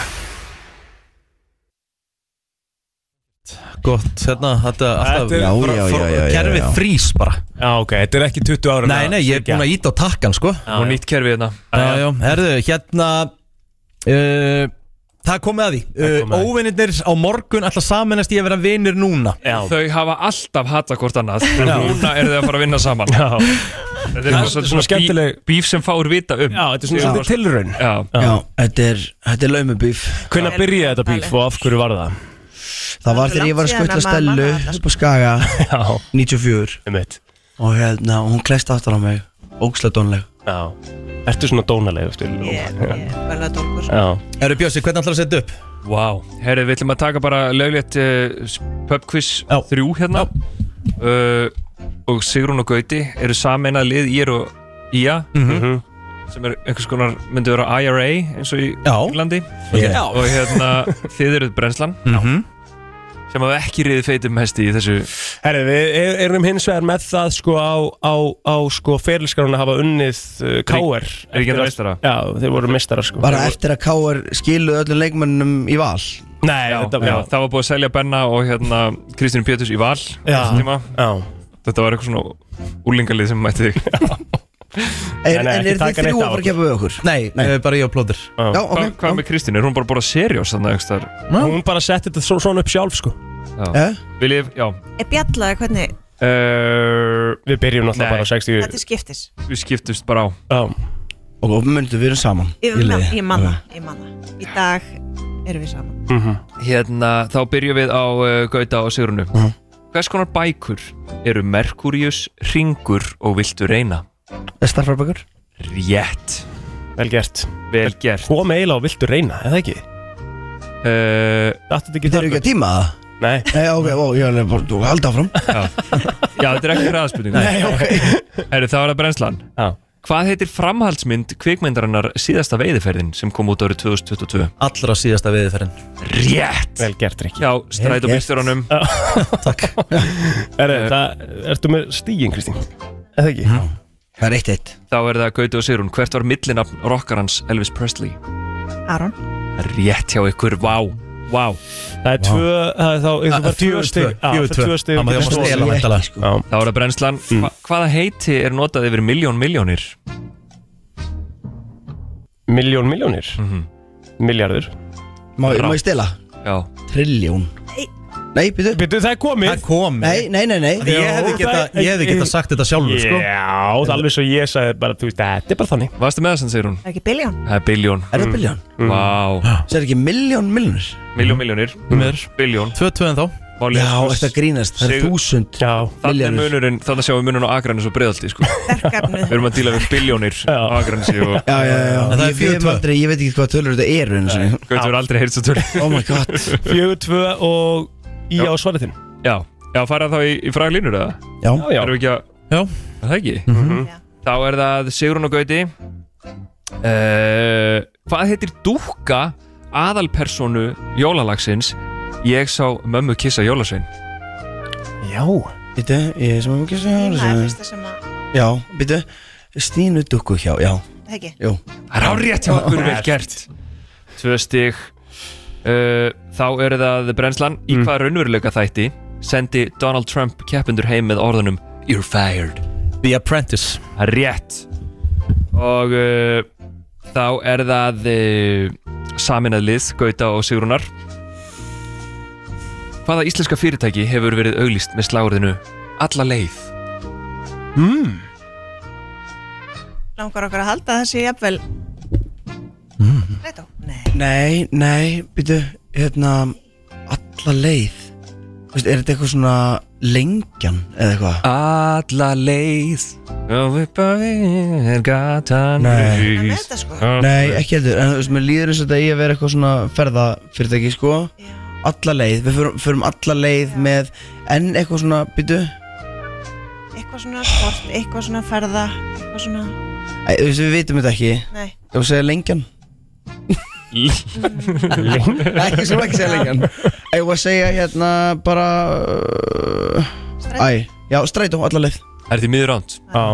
[SPEAKER 1] Gott, hérna, þetta er alltaf
[SPEAKER 13] Þetta er-
[SPEAKER 1] bara-
[SPEAKER 13] Já, já,
[SPEAKER 1] fór-
[SPEAKER 13] já, já, já,
[SPEAKER 1] Kerfið
[SPEAKER 13] já.
[SPEAKER 1] frýs bara
[SPEAKER 3] Já, ok, þetta er ekki 20 ára
[SPEAKER 1] Nei, nei, ég er búin að íta á takkan sko
[SPEAKER 11] Og nýtt kerfi hérna
[SPEAKER 1] Já, já, herðu, hérna uh, Það er komið að því uh, Óvinnirnir á morgun alltaf samanast í að vera vinir núna
[SPEAKER 11] Þau hafa alltaf hata hvort annað En núna eru þau að fara að vinna saman Já.
[SPEAKER 3] Já,
[SPEAKER 11] Þetta er bara
[SPEAKER 3] þetta er
[SPEAKER 11] svona,
[SPEAKER 3] svona
[SPEAKER 11] svona skemmtileg Bíf sem fáur vita um Já,
[SPEAKER 3] þetta er svona svolítið tilraun
[SPEAKER 11] Já,
[SPEAKER 10] Já, þetta er, þetta er laumubýf
[SPEAKER 3] Hvernig byrjaði þetta bíf og af hverju var það?
[SPEAKER 10] Það var þegar ég var
[SPEAKER 3] Langt
[SPEAKER 10] að
[SPEAKER 3] síðan
[SPEAKER 10] skutla
[SPEAKER 3] að maður
[SPEAKER 10] Stellu
[SPEAKER 3] mannaði
[SPEAKER 10] upp á Skaga 94
[SPEAKER 3] Einmitt.
[SPEAKER 10] og hérna, hún klest aftur á mig ógslega dónleg
[SPEAKER 3] Já Ertu svona dónaleg eftir
[SPEAKER 12] ég ég er verða dólkur
[SPEAKER 1] Herru Bjössi, hvernig ætlar að setja upp?
[SPEAKER 11] Vá, herri, við ætlum að taka bara löglegt uh, pubquiz 3 hérna uh, Og Sigrún og Gauti eru sameinað lið Ég er og Ía
[SPEAKER 1] Mhm.
[SPEAKER 11] Sem er einhvers konar, myndi vera IRA eins og í
[SPEAKER 1] Já.
[SPEAKER 11] Englandi
[SPEAKER 1] Yeah. Já.
[SPEAKER 11] Og hérna, þið eruð brennslan
[SPEAKER 1] Mhm.
[SPEAKER 11] Sem hafa ekki riðið feitum hesti í þessu
[SPEAKER 3] Herri, við er- erum hins vegar með það sko á, á, á sko ferilskarun að hafa unnið uh, K.R.
[SPEAKER 11] Er ekki endur mestara?
[SPEAKER 3] Já, þeir voru mestara sko
[SPEAKER 10] Bara eftir að K.R. skiluðu öllum leikmönnum í val
[SPEAKER 3] Nei,
[SPEAKER 11] já,
[SPEAKER 3] þetta-
[SPEAKER 11] já.
[SPEAKER 3] já.
[SPEAKER 11] það var búið að selja Benna og hérna Kristín Péturs í Val
[SPEAKER 3] Já.
[SPEAKER 11] tíma. Þetta var eitthvað svona úlingalið sem mætti þig
[SPEAKER 10] Er- En- en en ekki eru taka þið neitt þrjú að af fara að okkur. keppa við okkur?
[SPEAKER 1] Nei, eh, bara ég og Plóter
[SPEAKER 10] Já, ok.
[SPEAKER 11] Hvað hva með Kristín? Er hún bara bara seriós þannig að það
[SPEAKER 3] Hún bara setti þetta svo- svona upp sjálf sko
[SPEAKER 10] Eh?
[SPEAKER 11] er Vil ég, já
[SPEAKER 12] Ég bjallaði hvernig
[SPEAKER 11] uh,
[SPEAKER 3] Við byrjum náttúrulega bara á 60
[SPEAKER 12] þetta skiptis
[SPEAKER 11] Við skiptumst bara á
[SPEAKER 3] Já
[SPEAKER 10] Og myndum við erum saman
[SPEAKER 12] Ég
[SPEAKER 10] í
[SPEAKER 12] man-
[SPEAKER 10] liði.
[SPEAKER 12] ég manna, ég manna Í dag erum við saman
[SPEAKER 3] Mhm.
[SPEAKER 11] Hérna, þá byrjum við á uh, Gauta og Sigrunu
[SPEAKER 10] Mhm.
[SPEAKER 11] Hvers konar bækur eru Merkurius, Ringur og Viltu reyna?
[SPEAKER 10] Er starfarbækur?
[SPEAKER 11] Rétt
[SPEAKER 3] Vel gert
[SPEAKER 11] Vel gert
[SPEAKER 3] Kom eiginlega og viltu reyna, eða ekki?
[SPEAKER 11] Uh,
[SPEAKER 3] Þetta ekki
[SPEAKER 10] Þeir eru ekki að tíma það?
[SPEAKER 3] Nei
[SPEAKER 10] Nei, ok, ó, ég er bara, þú held áfram
[SPEAKER 11] Já, Já þetta er ekki hraðspurning
[SPEAKER 10] Nei, ok.
[SPEAKER 11] Herru, það var að brennslan
[SPEAKER 3] Já.
[SPEAKER 11] Hvað heitir framhaldsmynd kvikmyndarinnar síðasta veiðiferðin sem kom út árið 2022?
[SPEAKER 1] Allra síðasta veiðiferðin
[SPEAKER 11] Rétt
[SPEAKER 3] Vel gert, Rikki
[SPEAKER 11] Já, stræt og bílstjóranum
[SPEAKER 3] Takk Ertu með stígin, Kristín? Eða ekki?
[SPEAKER 10] Það er eitt eitt
[SPEAKER 11] Þá er það Gauti og Sigrun Hvert var millinafn rockarans Elvis Presley?
[SPEAKER 12] Aron
[SPEAKER 11] Rétt hjá ykkur, vá Vá
[SPEAKER 3] Það er tvö, það er þá Það er bara tvö stig Já, það er tvö stig
[SPEAKER 10] sko.
[SPEAKER 11] Þá er það brennslan Hva, Hvaða heiti er notað yfir miljón miljónir?
[SPEAKER 3] Miljón miljónir
[SPEAKER 11] Mhm.
[SPEAKER 3] Miljardur
[SPEAKER 10] Má, má ég stela?
[SPEAKER 11] Já
[SPEAKER 10] Trilljón Nei, byrju
[SPEAKER 3] Byrju, það er komið
[SPEAKER 10] Það er komið Nei, nei, nei, nei.
[SPEAKER 3] Því ég hefði geta- ég hefði geta sagt þetta sjálfur, sko. Já, það er alveg svo ég sagði bara, þú veist, þetta er bara þannig Mm.
[SPEAKER 11] Varstu með þessan, segir hún?
[SPEAKER 12] Það er ekki biljón
[SPEAKER 11] Það er biljón
[SPEAKER 10] Er það billjón?
[SPEAKER 11] Vá
[SPEAKER 10] Það er ekki miljón miljonir
[SPEAKER 11] Miljón miljónir Mér Biljón
[SPEAKER 1] Tvö tvöðan þá
[SPEAKER 10] Já, þetta grínast Það er
[SPEAKER 11] Sigur-
[SPEAKER 10] þúsund
[SPEAKER 11] Þannig er munurinn, þannig sjáum við munurinn á Akranis og Breðaldi sko. Við erum að díla við biljónir á Akranesi og
[SPEAKER 3] sko.
[SPEAKER 10] Já, já, já
[SPEAKER 11] En það er
[SPEAKER 10] Ég veit
[SPEAKER 11] 4-2.
[SPEAKER 10] aldrei- Ég veit ekki hvað tölur þetta eru einu sinni.
[SPEAKER 11] Gauti verður aldrei heyrst að tölu
[SPEAKER 10] Oh my god
[SPEAKER 3] Fjögur, tvö og í
[SPEAKER 11] Já.
[SPEAKER 3] á svarið þinn
[SPEAKER 11] Já, já fara þá í, í fraglínur eða?
[SPEAKER 10] Já. Mhm.
[SPEAKER 11] já. Erum við ekki að,
[SPEAKER 1] já.
[SPEAKER 11] er það ekki? Mm Þá er það Sigrun og Gauti uh, Hvað heitir dúkka aðalpersonu jólalagsins Ég sá mömmu kissa jólasvein
[SPEAKER 3] Já
[SPEAKER 10] Býtu, ég sem ekki að segja
[SPEAKER 12] Það er fyrsta sem að
[SPEAKER 10] Já, býtu Stínu dukku hjá, já
[SPEAKER 12] Það ekki?
[SPEAKER 10] Jú
[SPEAKER 11] Það er árétt hjá okkur vel gert Tvö stig uh, Þá eru það brennslan Í hvaða raunveruleika þætti Sendi Donald Trump keppendur heim með orðunum You're fired
[SPEAKER 1] The Apprentice
[SPEAKER 11] Það er rétt Og uh, þá er það uh, Saminað lið Gauta og Sigrunar Hvaða íslenska fyrirtæki hefur verið auglýst með slagurðinu Alla leið
[SPEAKER 3] mm.
[SPEAKER 12] langar okkur að halda þessi jafnvel
[SPEAKER 10] Nei, nei, býtu Hérna, alla leið Þú veist, Er þetta eitthvað svona lengjan eða eitthvað?
[SPEAKER 11] Alla leið Og upp að við er gatan
[SPEAKER 10] Nei.
[SPEAKER 11] rís.
[SPEAKER 7] sko.
[SPEAKER 10] Nei, ekki heldur, en þú veist, mér líður eins og þetta eigi að vera eitthvað svona ferðafyrirtæki, sko Alla leið, við förum, förum alla leið með enn eitthvað svona, býtu
[SPEAKER 12] eitthvað svona sport, eitthvað svona ferða eitthvað svona
[SPEAKER 10] Æ, Þú veist, við vitum þetta ekki
[SPEAKER 12] Nei.
[SPEAKER 10] Ef þú segir lengjan Nei, ég sem ekki segja lengjan Ef þú að segja hérna bara uh, Æ, já, strætó, alla leið
[SPEAKER 11] Er þið miður ánd?
[SPEAKER 3] Já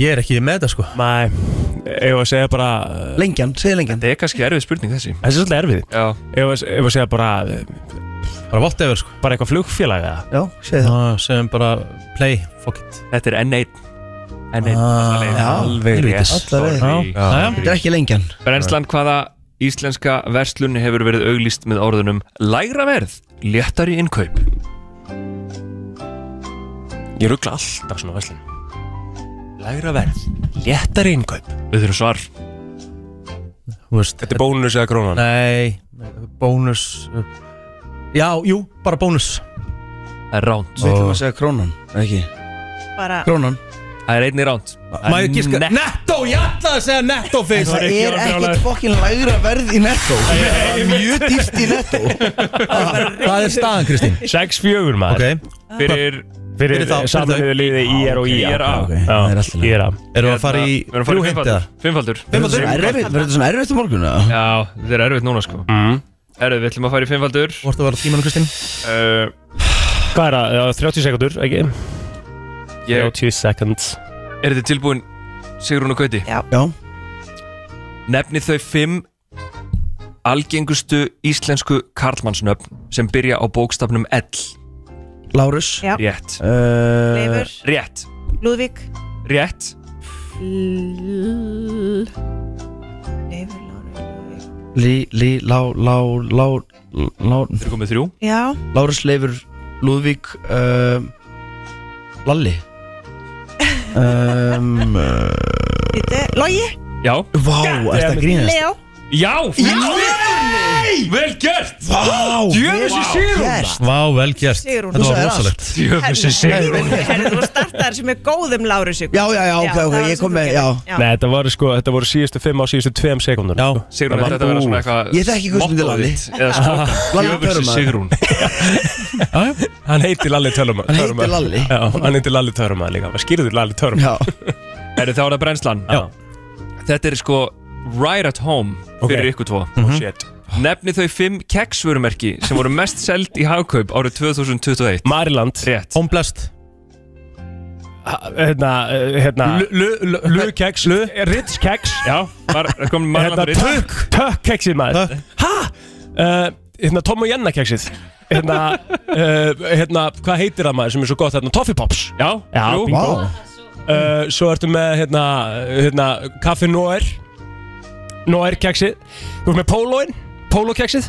[SPEAKER 1] Ég er ekki með þetta sko
[SPEAKER 3] Nei, ef að segja bara
[SPEAKER 10] Lengjan, segja lengjan
[SPEAKER 11] Það er kannski erfið spurning þessi
[SPEAKER 3] Þessi er svolítið erfið
[SPEAKER 11] Já
[SPEAKER 3] Ef að, ef að segja bara eh,
[SPEAKER 1] Bara vott efer sko
[SPEAKER 3] Bara eitthvað flugfélag eða
[SPEAKER 10] Já, segja
[SPEAKER 1] það Segum bara play, fuck it
[SPEAKER 11] Þetta er N1 N1
[SPEAKER 1] Ah,
[SPEAKER 11] leið.
[SPEAKER 1] já,
[SPEAKER 11] alveg
[SPEAKER 1] helvítis.
[SPEAKER 11] rétt
[SPEAKER 1] Alla leið.
[SPEAKER 11] Sorry.
[SPEAKER 1] Já, já. Þetta er ekki lengjan.
[SPEAKER 11] Brennslan hvaða íslenska verslun hefur verið auglýst með orðunum Lægra verð, léttari innkaup
[SPEAKER 3] Ég ruggla alltaf svona verslun Lægra verð
[SPEAKER 11] Léttari innkaup Við þurfum svar
[SPEAKER 1] veist,
[SPEAKER 3] Þetta er bónus eða krónan
[SPEAKER 1] Nei, bónus uh, Já, jú, bara bónus
[SPEAKER 11] Það er ránt
[SPEAKER 10] Við ætlum að segja krónan, eða ekki
[SPEAKER 12] bara
[SPEAKER 10] Krónan
[SPEAKER 11] Það er einni ránt
[SPEAKER 1] Má ég giska? Netto, ég ætlaði að segja netto fyrst
[SPEAKER 10] Það er ekkert fokkin lægra verð í netto Það er mjög dýrt í netto
[SPEAKER 1] Hvað er staðan, Kristín?
[SPEAKER 3] 6-4 maður
[SPEAKER 11] Fyrir
[SPEAKER 3] Fyrir,
[SPEAKER 1] þá-
[SPEAKER 3] fyrir samanliðu liði IR og IR
[SPEAKER 1] Það er alltaf
[SPEAKER 3] IRA
[SPEAKER 1] Erum við að
[SPEAKER 11] Hérna,
[SPEAKER 1] fara í
[SPEAKER 3] Hérna,
[SPEAKER 1] þrjú heimta?
[SPEAKER 11] Fimmfaldur
[SPEAKER 1] Fimmfaldur? Erfitt-
[SPEAKER 10] verður þetta svona erfitt um morgun?
[SPEAKER 11] Já, þetta er erfitt núna sko
[SPEAKER 3] mm.
[SPEAKER 11] Erfið, við ætlum að fara í fimmfaldur
[SPEAKER 1] Hvort að vera tímanum, Kristín?
[SPEAKER 3] Eh, Hvað er það? Já, 30 sekundur, ekki?
[SPEAKER 11] Ég-
[SPEAKER 3] 30 seconds
[SPEAKER 11] Er þetta tilbúin Sigrún og Gauti?
[SPEAKER 12] Já
[SPEAKER 10] Já
[SPEAKER 11] Nefni þau fimm algengustu íslensku karlmannsnöfn sem byrja á bókstafnum L
[SPEAKER 10] Lárus
[SPEAKER 12] Já.
[SPEAKER 11] Rétt
[SPEAKER 10] uh,
[SPEAKER 12] Leifur.
[SPEAKER 11] Rétt
[SPEAKER 12] Lúðvík
[SPEAKER 11] Rétt
[SPEAKER 12] L- Leifur
[SPEAKER 10] Lí, lí, lá, lá, lá, lá
[SPEAKER 11] Þeir komið þrjú
[SPEAKER 12] Já,
[SPEAKER 10] Lárus Leifur Lúðvík uh, Lalli um, uh,
[SPEAKER 12] þetta er Logi
[SPEAKER 11] Já
[SPEAKER 10] Vá, er þetta grínast?
[SPEAKER 12] Leo
[SPEAKER 11] Já
[SPEAKER 12] Nei!
[SPEAKER 11] Vel gert
[SPEAKER 10] Vá
[SPEAKER 12] Djöfusins Sigrún. gert.
[SPEAKER 1] Vá, vel gert
[SPEAKER 12] Sigrún.
[SPEAKER 1] Þetta
[SPEAKER 12] Þú
[SPEAKER 1] var
[SPEAKER 12] sagðir
[SPEAKER 1] rosalegt
[SPEAKER 11] Djöfusins Sigrún
[SPEAKER 12] Herðu, þú startar sem er góðum Lárus ykkur.
[SPEAKER 10] Já, já, já, ok, ok,
[SPEAKER 12] það var
[SPEAKER 10] ég
[SPEAKER 12] sem
[SPEAKER 10] kom
[SPEAKER 12] þú
[SPEAKER 10] með,
[SPEAKER 12] gerðir.
[SPEAKER 10] já
[SPEAKER 3] Nei, þetta voru sko, þetta voru síðustu 5 á síðustu sko. 2 sekundur
[SPEAKER 1] Já,
[SPEAKER 11] Sigrún, þetta verður svona eitthvað
[SPEAKER 10] Ég þekki Guðmundur Lalli.
[SPEAKER 11] mottóið Eða svona
[SPEAKER 10] Lalli
[SPEAKER 11] Djöfusins
[SPEAKER 10] Törumaður.
[SPEAKER 11] Sigrún
[SPEAKER 3] Hann heitir Lalli Törnum
[SPEAKER 10] Hann heitir Lalli.
[SPEAKER 3] Já, hann heitir Lalli Törnum líka Hann skýrður Lalli Törnum
[SPEAKER 10] Já
[SPEAKER 11] Herri, þá er það brennslan
[SPEAKER 1] Já.
[SPEAKER 11] Þetta er sko right at home fyrir ykkur tvo
[SPEAKER 3] Oh shit
[SPEAKER 11] Nefni þau fimm keksvörumerki sem voru mest seld í hagkaup árið 2021
[SPEAKER 3] Mariland
[SPEAKER 11] Rétt
[SPEAKER 1] Omblast
[SPEAKER 3] hérna, hérna
[SPEAKER 1] Lukeks
[SPEAKER 3] Ritz keks Já, var, kom
[SPEAKER 11] Marlon
[SPEAKER 3] hérna,
[SPEAKER 11] Ritz.
[SPEAKER 3] Tökk tök keksið maður Hæ? Uh, hérna Tom og Jenna keksið Hérna, uh, hérna, hvað heitir það maður sem er svo gott hérna? Toffee Pops Já, Já
[SPEAKER 1] jú. Vá.
[SPEAKER 3] uh, Svo ertu með hérna, hérna, Kaffi Noir Noir keksið Þú ert með Poloin, Polo keksið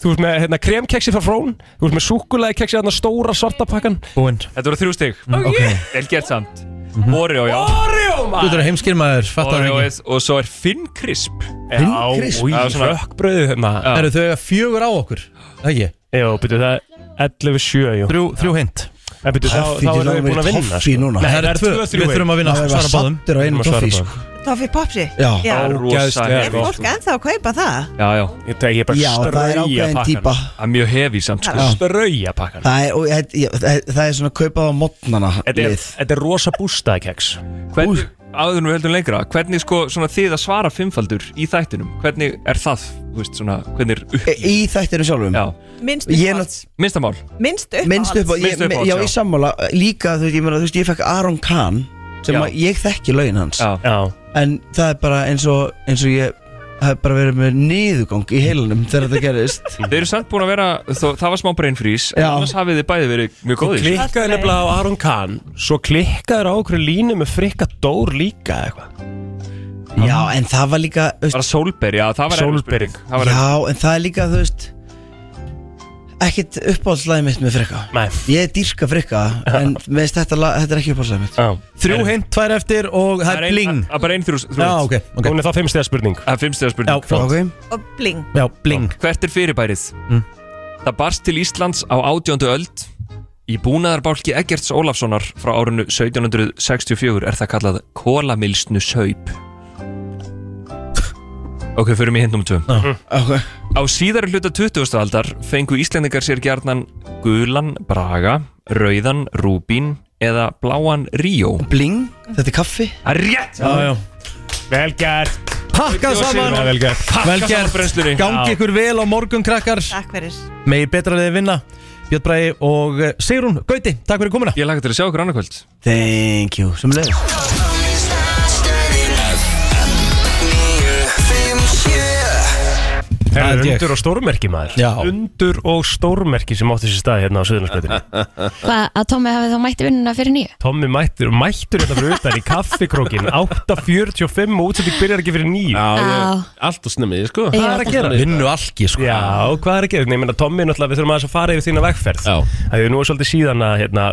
[SPEAKER 3] Þú ert með hérna, kremkeksið frá Frón Þú ert með súkulæði keksið, hérna stóra svarta pakkan
[SPEAKER 1] Búinn
[SPEAKER 11] Þetta voru þrjú stig
[SPEAKER 3] Mhm. Ok. Mhm.
[SPEAKER 11] Vel gert samt Oreo, já
[SPEAKER 3] Oreo,
[SPEAKER 1] Þú ert að heimskir maður, fattar það
[SPEAKER 11] Oreo
[SPEAKER 1] ekki
[SPEAKER 11] is, og svo er Finn Crisp
[SPEAKER 1] Finn Crisp?
[SPEAKER 11] Já, og- svona-
[SPEAKER 3] Rökkbröðu hérna
[SPEAKER 1] Eru þau að fjögur á okkur? Það ekki?
[SPEAKER 3] Jó, byrju það er 11-7 jú.
[SPEAKER 1] Þrjú, þrjú hint
[SPEAKER 3] En byrju, þá, þá erum við búin að vinna sko.
[SPEAKER 10] Toffi núna
[SPEAKER 3] Nei,
[SPEAKER 1] Það
[SPEAKER 3] það
[SPEAKER 1] eru
[SPEAKER 3] er
[SPEAKER 1] tvö,
[SPEAKER 3] 2-3
[SPEAKER 1] við þurfum að vinna, svara báðum.
[SPEAKER 10] Sattir á einu toffi sko.
[SPEAKER 12] Toffi Popsi
[SPEAKER 10] Já.
[SPEAKER 11] Ógeðslega
[SPEAKER 12] Er
[SPEAKER 11] gott.
[SPEAKER 12] fólk ennþá að kaupa það?
[SPEAKER 11] Já, já
[SPEAKER 3] Ég tegi
[SPEAKER 10] bara Já, það er strauja ákveðin pakkan. típa.
[SPEAKER 11] Það er mjög hefi samt sko
[SPEAKER 10] Já.
[SPEAKER 3] Strauja pakkan
[SPEAKER 10] Það er, og, ég- ég- það það er svona kaupað á modnana
[SPEAKER 11] Þetta er-
[SPEAKER 10] lið
[SPEAKER 3] Þetta er rosa bústaðkeks
[SPEAKER 11] Hvernig, áður en við höldum lengra Hvernig sko, svona þið að svara fimmfaldur í þættinum Hvernig er það, þú veist, svona Hvernig er upp
[SPEAKER 10] Í þættinu sjálfum
[SPEAKER 11] Já
[SPEAKER 12] Minnst
[SPEAKER 10] Ég er
[SPEAKER 12] uppáhalds.
[SPEAKER 10] nátt-
[SPEAKER 11] Minnstamál
[SPEAKER 12] Minnst uppáhalds
[SPEAKER 10] minnst upp á, ég,
[SPEAKER 11] uppáhalds,
[SPEAKER 10] já
[SPEAKER 11] já.
[SPEAKER 10] ég sammála líka þú veist ég, meina, þú veist, ég fekk Aron Kahn sem
[SPEAKER 11] Já.
[SPEAKER 10] að ég þekki laun hans
[SPEAKER 11] Já.
[SPEAKER 10] en það er bara eins og, eins og ég hef bara verið með niðugang í heilanum þegar þetta gerist
[SPEAKER 11] Þið eru samt búin að vera, þó, það var smá brain freeze En
[SPEAKER 10] Já.
[SPEAKER 11] annars hafið þið bæði verið mjög góðir
[SPEAKER 3] Klikkaði nefnilega á Aron Kahn Svo klikkaði á okkur línu með frikka Dór líka eitthvað
[SPEAKER 10] já en það var líka þú veist,
[SPEAKER 11] Var það Solberg, já, það var erfið
[SPEAKER 3] Sólberg.
[SPEAKER 11] spurning. Það var erfið.
[SPEAKER 10] já en það er líka þú veist ekkert uppáhaldslagið mitt með frikka
[SPEAKER 3] Nei.
[SPEAKER 10] ég dýrka frikka en meðist þetta, lag- þetta er ekki uppáhaldslagið mitt
[SPEAKER 3] Já.
[SPEAKER 1] Þrjú hint, tvær eftir og það
[SPEAKER 11] Það er
[SPEAKER 1] er
[SPEAKER 11] ein-
[SPEAKER 1] bling
[SPEAKER 11] Það er bara einn þrjú þrjú
[SPEAKER 1] Já, ok, ok
[SPEAKER 3] Hún er það fimmstega spurning
[SPEAKER 11] Það er fimmstega spurning
[SPEAKER 1] Já, flott.
[SPEAKER 10] Ok.
[SPEAKER 12] Og bling
[SPEAKER 1] Já, bling
[SPEAKER 11] Hvert er fyrirbærið?
[SPEAKER 1] Mm.
[SPEAKER 11] Það barst til Íslands á 18. öld í búnaðarbálki Eggerts Ólafssonar frá árinu 1764 er það kallað kólamilsnu saup Ok, förum í hindnum tvö
[SPEAKER 10] okay.
[SPEAKER 11] Á síðari hluta 20. aldar fengu Íslendingar sér gjarnan gulan braga, rauðan rúbín eða bláan ríó
[SPEAKER 10] bling, þetta er kaffi
[SPEAKER 11] Það er rétt
[SPEAKER 1] Já, já
[SPEAKER 3] Vel gert
[SPEAKER 1] Pakka saman
[SPEAKER 3] Vel gert
[SPEAKER 1] Vel
[SPEAKER 11] Pakka saman brennslunni.
[SPEAKER 1] gert Gangi ykkur vel á morgun krakkar
[SPEAKER 12] Takk fyrir
[SPEAKER 1] Megi betra liði vinna Björn Bræði og eh, Sigrún Gauti, takk fyrir komuna
[SPEAKER 11] Ég laka til að sjá okkur annarkvöld
[SPEAKER 10] thank you sem leið
[SPEAKER 3] Það
[SPEAKER 1] held
[SPEAKER 3] er
[SPEAKER 1] ég.
[SPEAKER 3] undur og stórmerki maður
[SPEAKER 1] Já.
[SPEAKER 3] Undur og stórmerki sem átti sér stað hérna á Suðunarsbreytinu
[SPEAKER 2] Hvað, að Tómi hafi þá mætti vinnuna fyrir nýju?
[SPEAKER 3] Tommi mættur, mættur hérna fyrir utan í kaffikrókin 8.45 og útsending byrjar ekki fyrir nýju
[SPEAKER 2] Já.
[SPEAKER 3] Allt og snemmið, sko
[SPEAKER 2] Ég
[SPEAKER 3] Hvað er
[SPEAKER 2] veit
[SPEAKER 3] að gera?
[SPEAKER 2] það.
[SPEAKER 1] Vinnu alki, sko
[SPEAKER 3] Já, hvað er að gera? Nei, ég meina, Tommi, náttúrulega, við þurfum aðeins að fara yfir þína vegferð Já Það er nú er svolítið síðan að, hérna,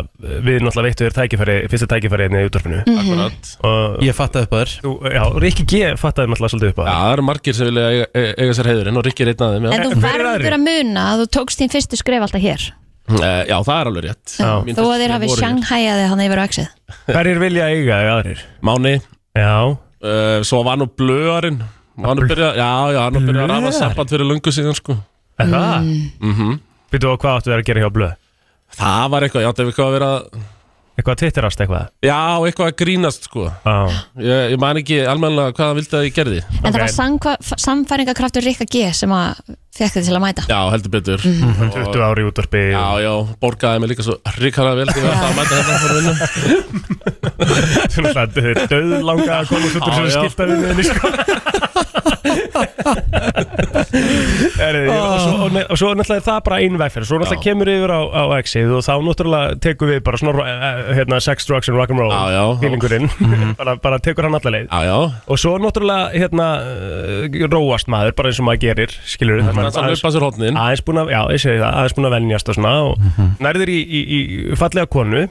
[SPEAKER 3] við náttúrulega veittu þér tækifæri, fyrsta tækifæri hérna í útvarpinu
[SPEAKER 2] Mhm. Akkurat.
[SPEAKER 3] Og-
[SPEAKER 1] Ég fattaði upp að þér
[SPEAKER 3] Þú, já, Rikki G fattaði náttúrulega svolítið upp að þér Já, það eru margir sem vilja eiga, eiga sér heiðurinn og Rikki er einn að þeim
[SPEAKER 2] En þú verður að muna að þú tókst þín fyrstu skref alltaf hér
[SPEAKER 15] Eh, Já, það er alveg rétt Mín
[SPEAKER 2] Þó að
[SPEAKER 15] fyrstu
[SPEAKER 2] þeir hafi
[SPEAKER 15] voru hér.
[SPEAKER 2] sjanghæjaði hann yfir á exið
[SPEAKER 3] Hverjir vilja eiga eða aðrir?
[SPEAKER 15] Máni Eh,
[SPEAKER 3] Já
[SPEAKER 15] Svo var nú blöðarinn Hann er byrjað, já, já, hann er byrjað að rafa samband fyrir lungu síðan sko
[SPEAKER 3] Er það?
[SPEAKER 2] Mm.
[SPEAKER 15] Mhm.
[SPEAKER 3] Býtu og hvað áttu þér að gera hjá blöð?
[SPEAKER 15] Það var eitthvað, ég átti eitthvað að vera
[SPEAKER 3] Eitthvað að twitterast eitthvað?
[SPEAKER 15] Já, eitthvað að grínast sko
[SPEAKER 3] ah.
[SPEAKER 15] ég, ég man ekki almenlega hvað hann vildi að ég gerði
[SPEAKER 2] En það var sangva- samfæringarkraftur Rikka G sem að fekk þig til að mæta
[SPEAKER 15] Já, heldur betur
[SPEAKER 2] Mhm.
[SPEAKER 3] 20 ári útvarpi
[SPEAKER 15] Já, já, borgaði mig líka svo ríkara vel Þegar það mæta hérna fyrir vinnu
[SPEAKER 3] Svona döð langa að koma út úr þessu
[SPEAKER 15] Já, já.
[SPEAKER 3] skipta við minni sko Herri, ég- og, svo, og, ne- og svo náttúrulega er það bara einn vegferð Svo náttúrulega kemur yfir á, á exið og þá náttúrulega tekur við bara svona ro- eh, hérna, sex, drugs and rock'n'roll Fílingurinn, bara, bara tekur hann alla leið
[SPEAKER 15] Mhm. já, já.
[SPEAKER 3] Og svo náttúrulega hérna, eh, róast maður bara eins og maður gerir Skilur
[SPEAKER 15] Mhm. Þannig að hlaupa sér hótnin
[SPEAKER 3] Aðeins búin að, já, ég segi það, aðeins búin að venjast og svona og
[SPEAKER 15] Mhm.
[SPEAKER 3] Nærðir í, í, í fallega konu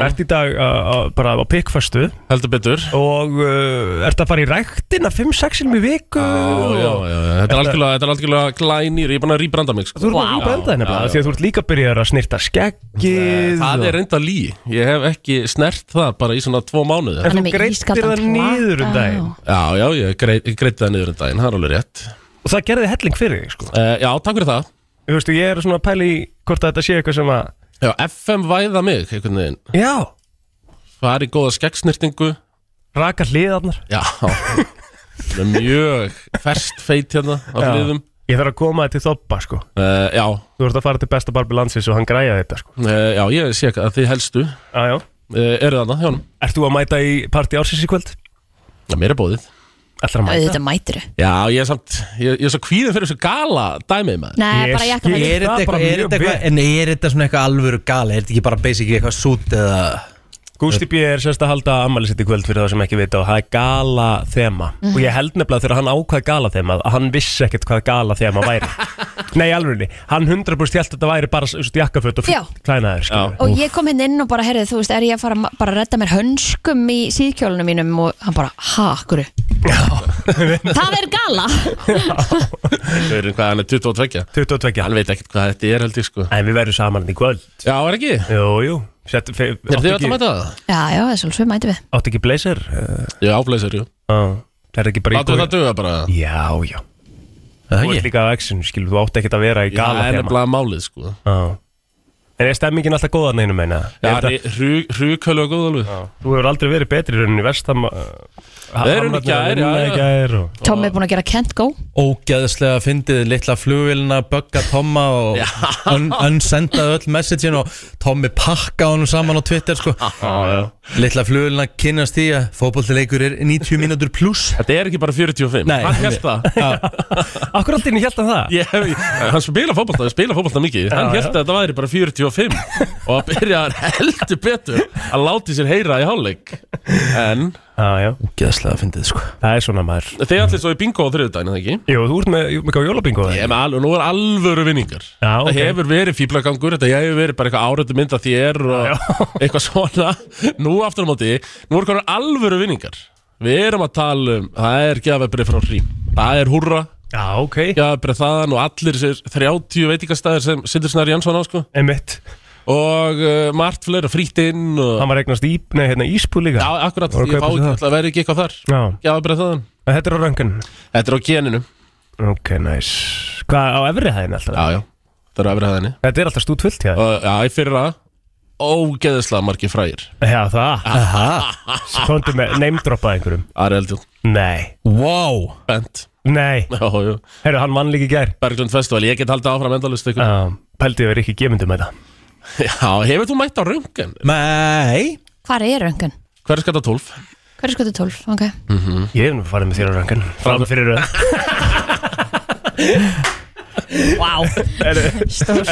[SPEAKER 3] Ert í dag uh, uh, bara á pikkföstu
[SPEAKER 15] Heldur betur
[SPEAKER 3] Og uh, ert að fara í ræktina 5-6 sinum í viku
[SPEAKER 15] Já, já, já, já. Þetta er algjörlega, þetta er algjörlega glænýr, ég er búin að rýbranda mig sko.
[SPEAKER 3] Þú erum að rýpa enda þenni bara, hérna, því að þú ert líka byrjaður að snirta skeggið
[SPEAKER 15] Eh, Það er reynda lí, ég hef ekki snert það bara í svona tvo mánuði
[SPEAKER 3] En þú greittir það niður um daginn
[SPEAKER 15] Já, já, ég greit, greiti það niður um daginn, það er alveg rétt
[SPEAKER 3] Og það gerði helling fyrir þig, sko
[SPEAKER 15] Eh, Já, takk fyrir það
[SPEAKER 3] Þú veistu, ég er svona að pæla í hvort að þetta sé eitthvað sem að
[SPEAKER 15] Já, FM væða mig, einhvern veginn
[SPEAKER 3] Já
[SPEAKER 15] Far í góða skeggsnirtingu
[SPEAKER 3] Raka hliðarnar
[SPEAKER 15] Já Með Mjög ferst feit hérna á
[SPEAKER 3] Já.
[SPEAKER 15] hliðum
[SPEAKER 3] Ég þarf að koma þetta til þoppa, sko
[SPEAKER 15] uh, Já Eh,
[SPEAKER 3] Þú ert að fara til besta barbi landsins og hann græja þetta, sko
[SPEAKER 15] uh, Já, ég sé að þið helstu
[SPEAKER 3] Já, já
[SPEAKER 15] eru þarna hjá honum
[SPEAKER 3] Ert þú að mæta í parti ársins í kvöld?
[SPEAKER 15] Já, mér er bóðið
[SPEAKER 3] Ætlar
[SPEAKER 2] Þetta mætir þau
[SPEAKER 15] Já, ég er samt, ég, ég er svo kvíðin fyrir þessu gala dæmið maður
[SPEAKER 2] Nei, Ég bara jakkafatt. skil
[SPEAKER 1] Er
[SPEAKER 2] það
[SPEAKER 1] þetta
[SPEAKER 2] bara
[SPEAKER 1] eitthvað- er
[SPEAKER 2] mjög
[SPEAKER 1] þetta eitthvað, en er þetta svona eitthvað alvöru gali? Er þetta ekki bara basically eitthvað sút eða
[SPEAKER 3] Gústi B. er semst að halda ammæli sitt í kvöld fyrir það sem ekki vita og það er gala þema
[SPEAKER 1] Mhm.
[SPEAKER 3] og ég held nefnilega þegar hann ákvað gala þema að hann vissi ekkert hvað gala þema væri Nei, alveg, hann 100% held að þetta væri bara svo jakkaföt og
[SPEAKER 2] Já.
[SPEAKER 3] fyrst klænaður skilur.
[SPEAKER 2] Og ég kom hérna inn og bara, heyrðu, þú veist, er ég að fara ma- bara að redda mér hönskum í síðkjólunum mínum og hann bara, ha, hverju? Það er gala!
[SPEAKER 15] Þau eru hvað, hann er 22
[SPEAKER 3] 22
[SPEAKER 15] Hann veit ekkert hvað þetta er held ég sko
[SPEAKER 3] En við verðum saman hérna í kvöld
[SPEAKER 15] Já, er ekki?
[SPEAKER 3] Jú, jú Sett, fe,
[SPEAKER 15] Er þið alltaf mæta það?
[SPEAKER 2] Já, já, þessu alveg mætum við.
[SPEAKER 3] Áttu ekki blazer?
[SPEAKER 15] Já, blazer, jú
[SPEAKER 3] Það er ekki bara í
[SPEAKER 15] Látum við
[SPEAKER 3] góðu-
[SPEAKER 15] það duga bara
[SPEAKER 3] Já, já Þú ert líka á exinu, skilur, þú átt ekkert að vera í
[SPEAKER 15] Já,
[SPEAKER 3] gala hérna.
[SPEAKER 15] það er nefnilega málið sko
[SPEAKER 3] En er stemmingin alltaf góða neinu meina?
[SPEAKER 15] Já,
[SPEAKER 3] Er þetta-
[SPEAKER 15] hrjúkölu og góðalveg
[SPEAKER 3] Þú hefur aldrei verið betri í rauninni Vestam
[SPEAKER 15] Við erum í gær, já, já.
[SPEAKER 2] Tommi er búin að gera Kent Go.
[SPEAKER 1] ógæðslega fyndið litla flugvélina, bögga Tomma og un- unsendaði öll messagin og Tommi pakka honum saman á Twitter sko. litla flugvélina kynnast því að fótbollleikur er 90 mínútur pluss
[SPEAKER 15] Þetta er ekki bara 45
[SPEAKER 1] Nei,
[SPEAKER 15] Hann hélt það
[SPEAKER 3] Akkur allt inn í hjæltan það?
[SPEAKER 15] Ég, hann spila fótbolta, hann spila fótbolta mikið Hann
[SPEAKER 3] Já,
[SPEAKER 15] hélt að þetta væri bara 45 Og að byrja heldur betur Að láti sér heyra í hálfleik En
[SPEAKER 1] Ógæðslega fyndið sko
[SPEAKER 3] Það er svona maður
[SPEAKER 15] Þið allir svo í bingo á þriðudaginn, eða ekki?
[SPEAKER 3] Jú, þú ert með, með hvað jólabingo
[SPEAKER 15] Ég er með alveg, nú er alvöru vinningar
[SPEAKER 3] Já, ok.
[SPEAKER 15] Það hefur verið fýblagangur, þetta hefur verið bara eitthvað árötu mynd að þér og eitthvað svona Nú aftur á móti, nú er konar alvöru vinningar Við erum að tala um, það er gefabrið frá Rím Það er húrra
[SPEAKER 3] Já, ok
[SPEAKER 15] Gefabrið þaðan og allir þessir 30 veitingastæðir sem Sindur Snær Jansson á sko
[SPEAKER 3] Emitt
[SPEAKER 15] Og uh, margt fleira frítt inn og...
[SPEAKER 3] Hann var eignast í, nei, hérna Ísbú líka
[SPEAKER 15] Já, akkurat,
[SPEAKER 3] Voru að
[SPEAKER 15] ég fá
[SPEAKER 3] kaupa sér
[SPEAKER 15] ekki
[SPEAKER 3] það.
[SPEAKER 15] alltaf að vera ekki eitthvað þar
[SPEAKER 3] Já.
[SPEAKER 15] Gefabrið þaðan
[SPEAKER 3] En Þetta er á röngan
[SPEAKER 15] Þetta er á geninu
[SPEAKER 3] Ok, næs Hvað, á efri hæðin alltaf?
[SPEAKER 15] Já, já, það er á efri hæðinni
[SPEAKER 3] Þetta er alltaf stútvöld hjá
[SPEAKER 15] Og, Já, í fyrra Ógeðislega margir frægir
[SPEAKER 3] Já, það
[SPEAKER 15] Aha.
[SPEAKER 3] Kondu með neymdroppað einhverjum
[SPEAKER 15] Ari Eldjón
[SPEAKER 3] Nei
[SPEAKER 1] Wow
[SPEAKER 15] Bent
[SPEAKER 3] Nei
[SPEAKER 15] Já, já
[SPEAKER 3] Herru, hann vann líka í gær
[SPEAKER 15] Berglund Festival, ég get haldið áfram endalust ykkur
[SPEAKER 3] Já, pældi við ekki gemyndum með það
[SPEAKER 15] Já, hefur þú mætt á röngan?
[SPEAKER 1] Nei
[SPEAKER 2] Hvar er röngun?
[SPEAKER 15] Hver er skatta 12?
[SPEAKER 2] Hver er skotu 12? Ok.
[SPEAKER 15] Mm -hmm.
[SPEAKER 3] Mhm. Ég hef nú farið með þér á röngan Fram fyrir röð
[SPEAKER 2] Vá
[SPEAKER 15] Er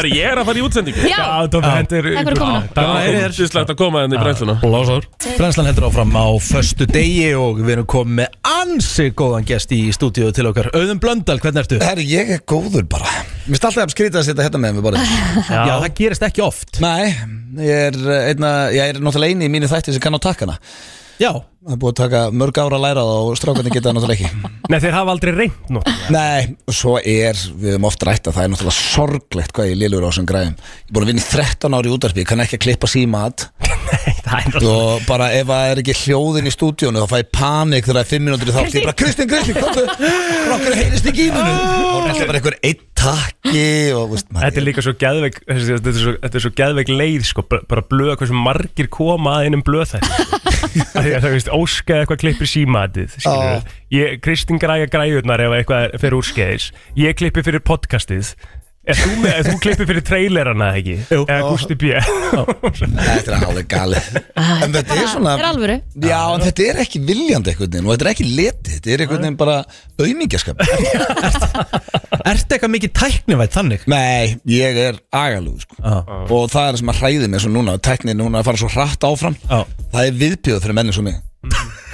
[SPEAKER 15] ég er að fara í útsendingu?
[SPEAKER 2] Já. Já, Dofri, þetta er- Takk fyrir komuna.
[SPEAKER 15] Það er ógeðislegt að koma henni í brennsluna
[SPEAKER 1] Lásar Brennslan heldur áfram á föstu degi og við erum komið með ansi góðan gest í stúdíu til okkar Auðun Blöndal, hvernig ertu?
[SPEAKER 16] Herri, ég er góður bara Mér finnst alltaf að skrýta að setja hérna með mér bara
[SPEAKER 1] Já. Já, það gerist ekki oft
[SPEAKER 16] Nei, ég er, einna, ég er náttúrulega eini í mínu þætti sem kann á takkana
[SPEAKER 1] Já
[SPEAKER 16] Það er búið að taka mörg ára að læra það og strákarnir geta það náttúrulega ekki
[SPEAKER 3] Nei, þeir hafa aldrei reynd nú
[SPEAKER 16] Nei, og svo er, við höfum oft rætt að það er náttúrulega sorglegt hvað ég lélur á þessum græðum Ég er búin að vinna í 13 ári í útarpi, ég kann ekki að klippa símat og bara ef það er ekki hljóðin í stúdíónu þá fæ ég panik þegar það er 5 minútur í þátt ég bara Kristín, Kristín, komdu okkur heyrist ekki í minu og þetta er bara einhver einn takki og veist,
[SPEAKER 3] Þetta er líka svo geðveik þessi- Þetta er svo, þetta er svo geðveik leið sko, bara- bara blöð, hversu margir koma að einum blöð sko. þess Það er veist, óskaði eitthvað klippir símatið skilurðu. Ég, Kristín græja græjurnar ef eitthvað fer úrskeiðis Ég klippi fyrir podcastið Er þú, með, er þú klippir fyrir trailerana ekki? Jú Eða Gusti B
[SPEAKER 16] Þetta er alveg gali En Ah, þetta er svona
[SPEAKER 2] er alvöru.
[SPEAKER 16] Já, en þetta er ekki viljandi einhvern veginn og þetta er ekki letið, þetta er einhvern veginn bara auðmingjaskap
[SPEAKER 1] Ertu eitthvað mikið tæknivætt þannig? Ah.
[SPEAKER 16] Nei, ég er agalúð sko. og það er sem að hræði mig svo núna tæknin núna að fara svo hratt áfram
[SPEAKER 1] Já.
[SPEAKER 16] það er viðbjöð fyrir menni svo mig